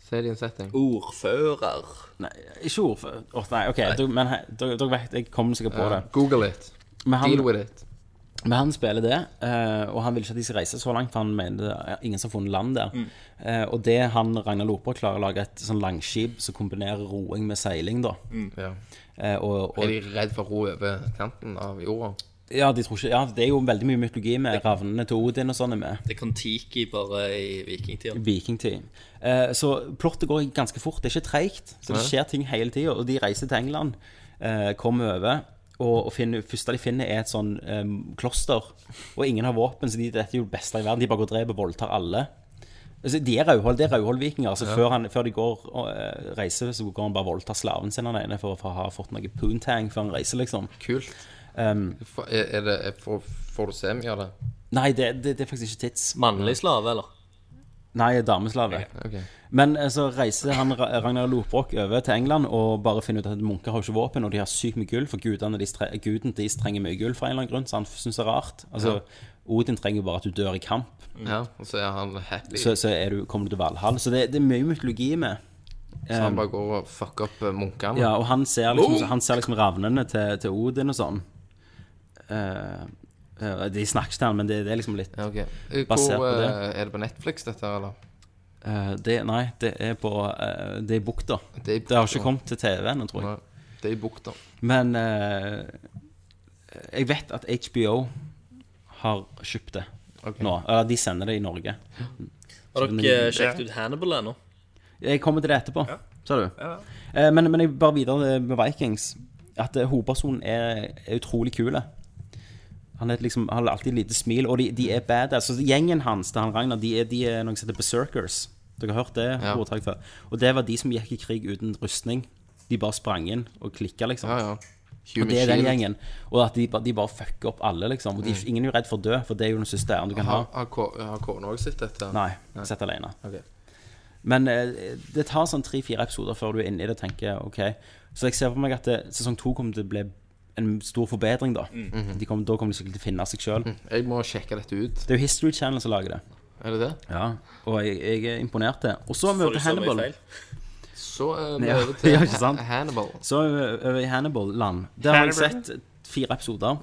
Si det i en setting. Ordfører. Nei, ikke ordfører. Åh, nei, OK, Du, men he- dere dere vet, jeg kommer sikkert på Ja, det. Google it. Men han, Deal with it. Men han spiller det, eh, og han vil ikke at de skal reise så langt, for han mener det er ingen som har funnet land der. Mm. Eh, og det han, Ragnar Loper, klarer å lage et sånn langskip som kombinerer roing med seiling, da. Ja. Eh, og, og, Er de redd for å ro over kanten av jorda? ja, de tror ikke, ja, det er jo veldig mye mytologi med ravnene til Odin og sånn er med. Det er Kon-Tiki bare i vikingtida. Vikingtid. Eh, så plottet går ganske fort. Det er ikke treigt. Så det Nei. skjer ting hele tida. Og de reiser til England, eh, kommer over, og, og finner, første de finner, er et sånn eh, kloster. Og ingen har våpen, så de, dette er jo det beste i verden. De bare går og dreper og voldtar alle. Altså, de er Rauhold, det er Rauhold-vikinger. Altså, Ja. før, han- før de går og eh, reiser, så går han bare og voldtar slaven sin han ene for, for å ha fått noe poontang før han reiser, liksom. Kult. er, er det, er, får, får du se mye av det? Nei, det, det, det er faktisk ikke tids. Mannlig slave, eller? Nei, dameslave. ok. Men eh, så reiser han Ra- Ragnar Lodbrok over til England og bare finner ut at munker har ikke våpen, og de har sykt mye gull, for gudene deres tre- guden deres trenger mye gull for en eller annen grunn, så han syns det er rart. Altså, Ja. Odin trenger bare at du dør i kamp, Ja, og så er han happy. Mm. så, så er du, kommer du til Valhall. Så det, det er mye mytologi med. Så han Eh, bare går og fucker opp eh, munkene? ja, og han ser liksom, Oh! han ser liksom ravnene til, til Odin og sånn. Eh, eh, de snakker ikke til han, men det, det er liksom litt Eh, basert Hvor, på det. eh, Er det på Netflix, dette, eller? Eh, det, nei, det er på eh, Det er i bukta. Det er i Det har bukta. ikke kommet til TV ennå, tror jeg. Det er i bukta. Men eh, jeg vet at HBO har kjøpt det nå. Eller de sender det i Norge. Har Så- dere eh, sjekket ut Hannibal ennå? Jeg kommer til det etterpå, sa du. Ja. Eh, Men, men jeg bare videre eh, med Vikings. At eh, hovedpersonen er, er utrolig kul. Han er liksom, han har alltid et lite smil, og de, de er badass. Så gjengen hans til han Ragnar, de er, de er noen som heter Berserkers. Dere har hørt det Ja. ordtaket før. Og det var de som gikk i krig uten rustning. De bare sprang inn og klikka, liksom. Human og det er den shield. gjengen. Og at de, bare- de bare fucker opp alle, liksom. Og de, Mm. ingen er jo redd for å dø, for det er jo den siste æren du kan ha. Har- Har ko- har kona òg sett dette? Nei, sett alene. Ok. Men eh, det tar sånn tre-fire episoder før du er inne i det og tenker OK. Så jeg ser for meg at eh, sesong to kommer til å bli en stor forbedring, da. Mm. De kommer, da kommer de sikkert til å finne seg sjøl. Jeg må sjekke dette ut. Det er jo History Channel som lager det. Er det det? Ja, og jeg, jeg er imponert. det. Og så Får møter du så mye Hannibal. feil? Så er vi Ja, over til ja, ikke sant? Hannibal. Så er vi over i Hannibal-land. Der har jeg Hannibal. sett fire episoder.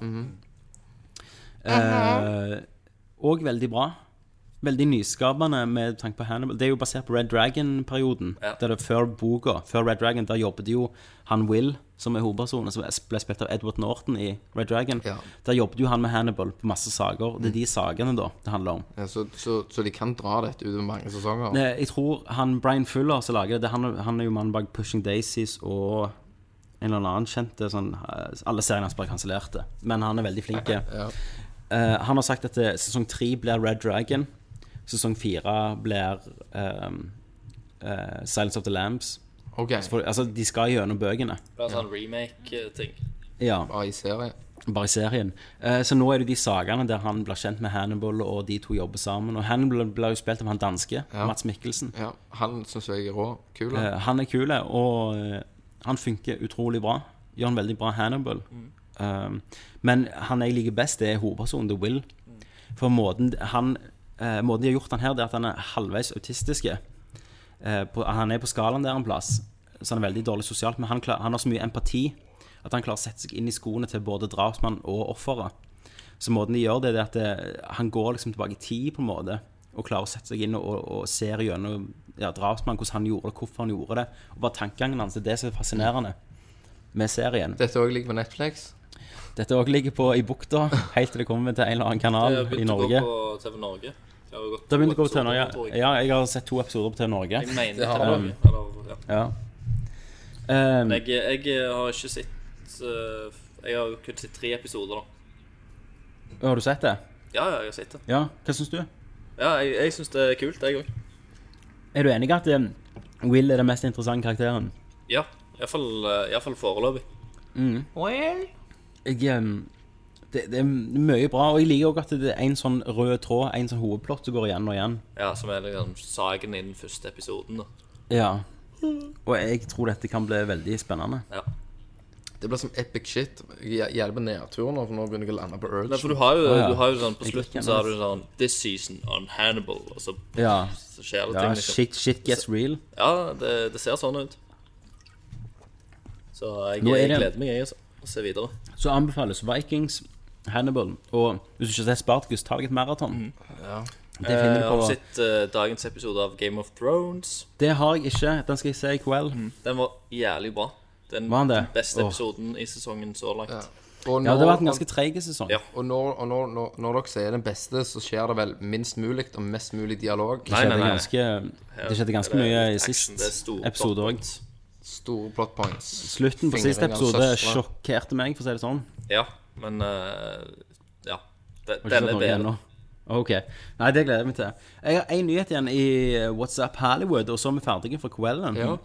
eh, og veldig bra. Veldig nyskapende med tanke på Hannibal. Det er jo basert på Red Dragon-perioden. Der det Før boka, før Red Dragon, der jobbet jo han Will, som er hovedpersonen, som ble spilt av Edward Norton i Red Dragon. Der jobbet jo han med Hannibal på masse saker. Det er de sakene da det handler om. Ja, så, så, så de kan dra dette utover mange sesonger? Nei, Eh, Jeg tror han Brian Fuller som lager det, det han, han er jo mannen bak Pushing Daisies og en eller annen kjente sånn, eh, Alle seriene hans bare kansellerte, men han er veldig flink. Eh, han har sagt at eh, sesong tre blir Red Dragon. Sesong fire blir ehm, eh, Silence of the Lambs. Så får- altså, de skal gjennom bøkene. Bare sånn remake-ting. Ja. Bare i serien. Bare i serien. Eh, så nå er det de sagene der han blir kjent med Hannibal, og de to jobber sammen. Og Hannibal blir jo spilt av han danske, Mats Mikkelsen. Ja, han syns jeg er rå. Kul. Eh, han er kul, og eh, han funker utrolig bra. Gjør en veldig bra Hannibal. Um, men han jeg liker best, det er hovedpersonen, The Will. For måten, han, eh, måten de har gjort han her, det er at han er halvveis autistisk. Eh, på, han er på skalaen der en plass, så han er veldig dårlig sosialt. Men han, klar, han har så mye empati at han klarer å sette seg inn i skoene til både drapsmannen og offeret. Så måten de gjør det, det er at det, han går liksom tilbake i tid, på en måte, og klarer å sette seg inn og, og, og ser gjennom ja, drapsmannen, hvordan han gjorde det, hvorfor han gjorde det. Og bare tankegangen hans. Det er det som er fascinerende med serien. Dette òg ligger på Netflix? Dette også ligger på i bukta, helt til det kommer til en eller annen Det kanal har i begynt å gå Norge. på TV Norge. Det har jo gått Det har begynt å gå på to TV Norge. episoder, tror jeg. Ja, jeg har sett to episoder på TV Norge. Jeg mener Det Mm. har TV du. Norge, eller- ja. Um, Men Jeg, jeg har ikke sett eh, Jeg har jo kun sett tre episoder, da. Ehm, har du sett det? Ja, ja, jeg har sett det. Ja, hva syns du? Ja, jeg, jeg syns det er kult, jeg òg. Er du enig i at um, Will er den mest interessante karakteren? Ja. Iallfall eh, uh, foreløpig. Mm. Jeg, um, det, det er mye bra, og jeg liker også at det er en sånn rød tråd, en sånn hovedplott som går igjen og igjen. Ja, som er liksom saken i den første episoden, da. Ja. Og jeg tror dette kan bli veldig spennende. Ja. Det blir som epic shit. Jeg jeg hjelper nedtur nå, for nå begynner jeg å lande på urge. Nei, for du har jo, du har jo sånn På slutten så har du sånn This season on Hannibal, og så, Ja. så skjer det Ja, ting. liksom. shit- shit gets real. Ja, det, det ser sånn ut. Så jeg, Nå er jeg det- gleder meg, jeg, altså. Å se videre. Så anbefales Vikings, Hannibal og hvis du ikke har sett Spartacus, ta deg et maraton. Det finner du Eh, Har du på. sett eh, dagens episode av Game of Thrones? Det har jeg ikke. Den skal jeg se i kveld. Den var jævlig bra. Den Var den det? beste Åh. episoden i sesongen så langt. Og Ja, det har når- vært en ganske treg sesong. Og, når, og når, når, når dere sier den beste, så skjer det vel minst mulig og mest mulig dialog. Det skjedde Nei, nei, nei. ganske- det skjedde ganske mye i sist episode òg. Store plot points. Slutten på siste Fingring av episode søstre. sjokkerte meg, for å si det sånn. Ja, men eh, Ja. De- Og ikke Den sett er noe bedre. ennå. Ok. Nei, det gleder jeg meg til. Jeg har én nyhet igjen i eh, WhatsApp Hollywood, og så er vi ferdige for kvelden. Ja.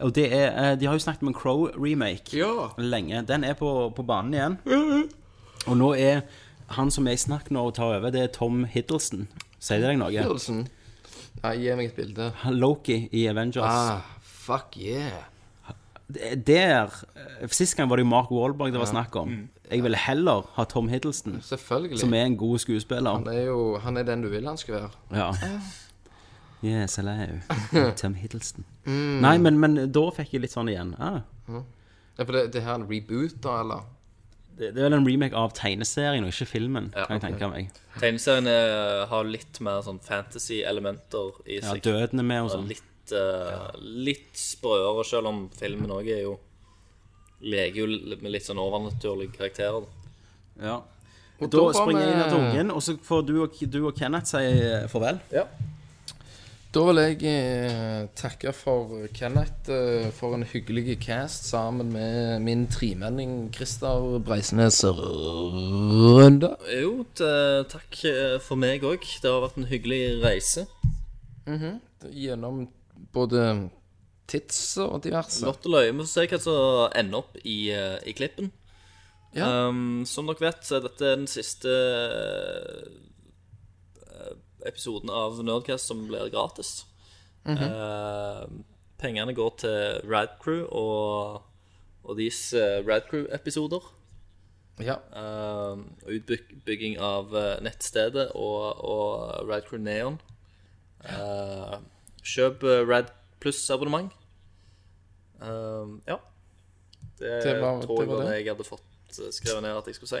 Og det er, eh, De har jo snakket om en Crow-remake lenge. Den er på, på banen igjen. Og nå er han som jeg snakket med og tar over, det er Tom Hiddleston. Sier det deg noe? Hiddleston? Nei, gi meg et bilde. Loki i Avengers. Ah, fuck yeah. Det- Der eh, Sist gang var det jo Mark Wahlberg det var Ja. Mm. snakk om. Jeg ville heller ha Tom Hiddleston, Selvfølgelig. som er en god skuespiller. Han er jo han er den du vil han skal være. Ja. Ah. Yes, hello. Tom Hiddleston. Mm. Nei, men, men da fikk jeg litt sånn igjen. Ah, Ja. Ja, for det, det her er en reboot, da, eller? det, det er vel en remake av tegneserien, og ikke filmen, kan jeg ok. tenke meg. Tegneseriene har litt mer sånn fantasy-elementer i Ja, seg. døden er med og sånn. Litt, eh, litt sprøere, selv om filmen òg er jo Leker jo litt- med litt sånn overnaturlige karakterer. Ja. Da, springer jeg inn av tungen, og så får du og, du og Kenneth si eh, farvel. Da vil jeg eh, takke for Kenneth eh, for en hyggelig cast sammen med min tremenning Christer Breisnes Rønde. Jo, t- takk eh, for meg òg. Det har vært en hyggelig reise. Gjennom både tits og diverse. Lotteløye. Vi får se hva som ender opp i, eh, i klippen. Ja. Um, som dere vet, så er dette den siste eh, episoden av Nerdcast som blir gratis. Mhm. Eh, pengene går til Radcrew og, og deres eh, Radcrew-episoder. Ja. Eh, og utbygging av eh, nettstedet og, og Radcrew Neon. Eh, kjøp eh, Rad Plus-abonnement. Eh, ja. Det, Det var- tror det jeg var var det det. jeg hadde fått eh, skrevet ned at jeg skulle si.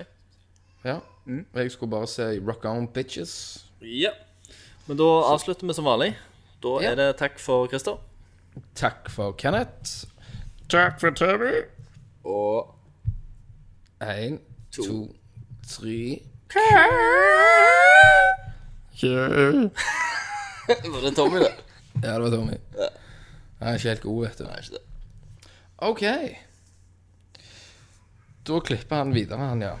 Ja. Jeg skulle bare si rock on bitches. Ja. Men da avslutter vi som vanlig. Da er det takk for Christer. Takk for Kenneth. Takk for Tommy. Og én, to, tre yeah. Var det Tommy, det? Ja, det var Tommy. Han er ikke helt god, vet du. OK. Da klipper han videre, han, ja.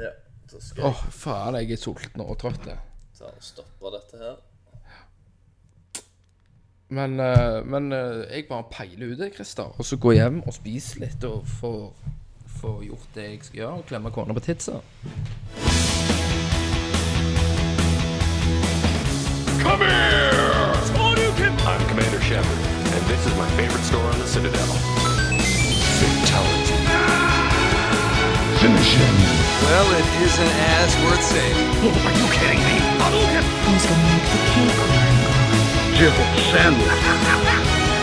Ja, så Åh, faen, jeg er sulten og trøtt. jeg. ta og stoppe dette her. Men, eh, men eh, jeg bare peiler ut det, Christer. Og så går jeg hjem og spiser litt og får, får gjort det jeg skal gjøre, og klemmer kona på titsa. Come here! I'm Commander Shepard, and this is my favorite store on the Citadel. Fatality. Finish him. Well, it isn't as worth saying. Are you kidding me? Who's gonna make the cake? Civil sandwich.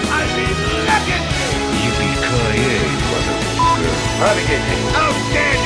I mean, look at this! Yippee-ki-yay, motherfucker. Out there!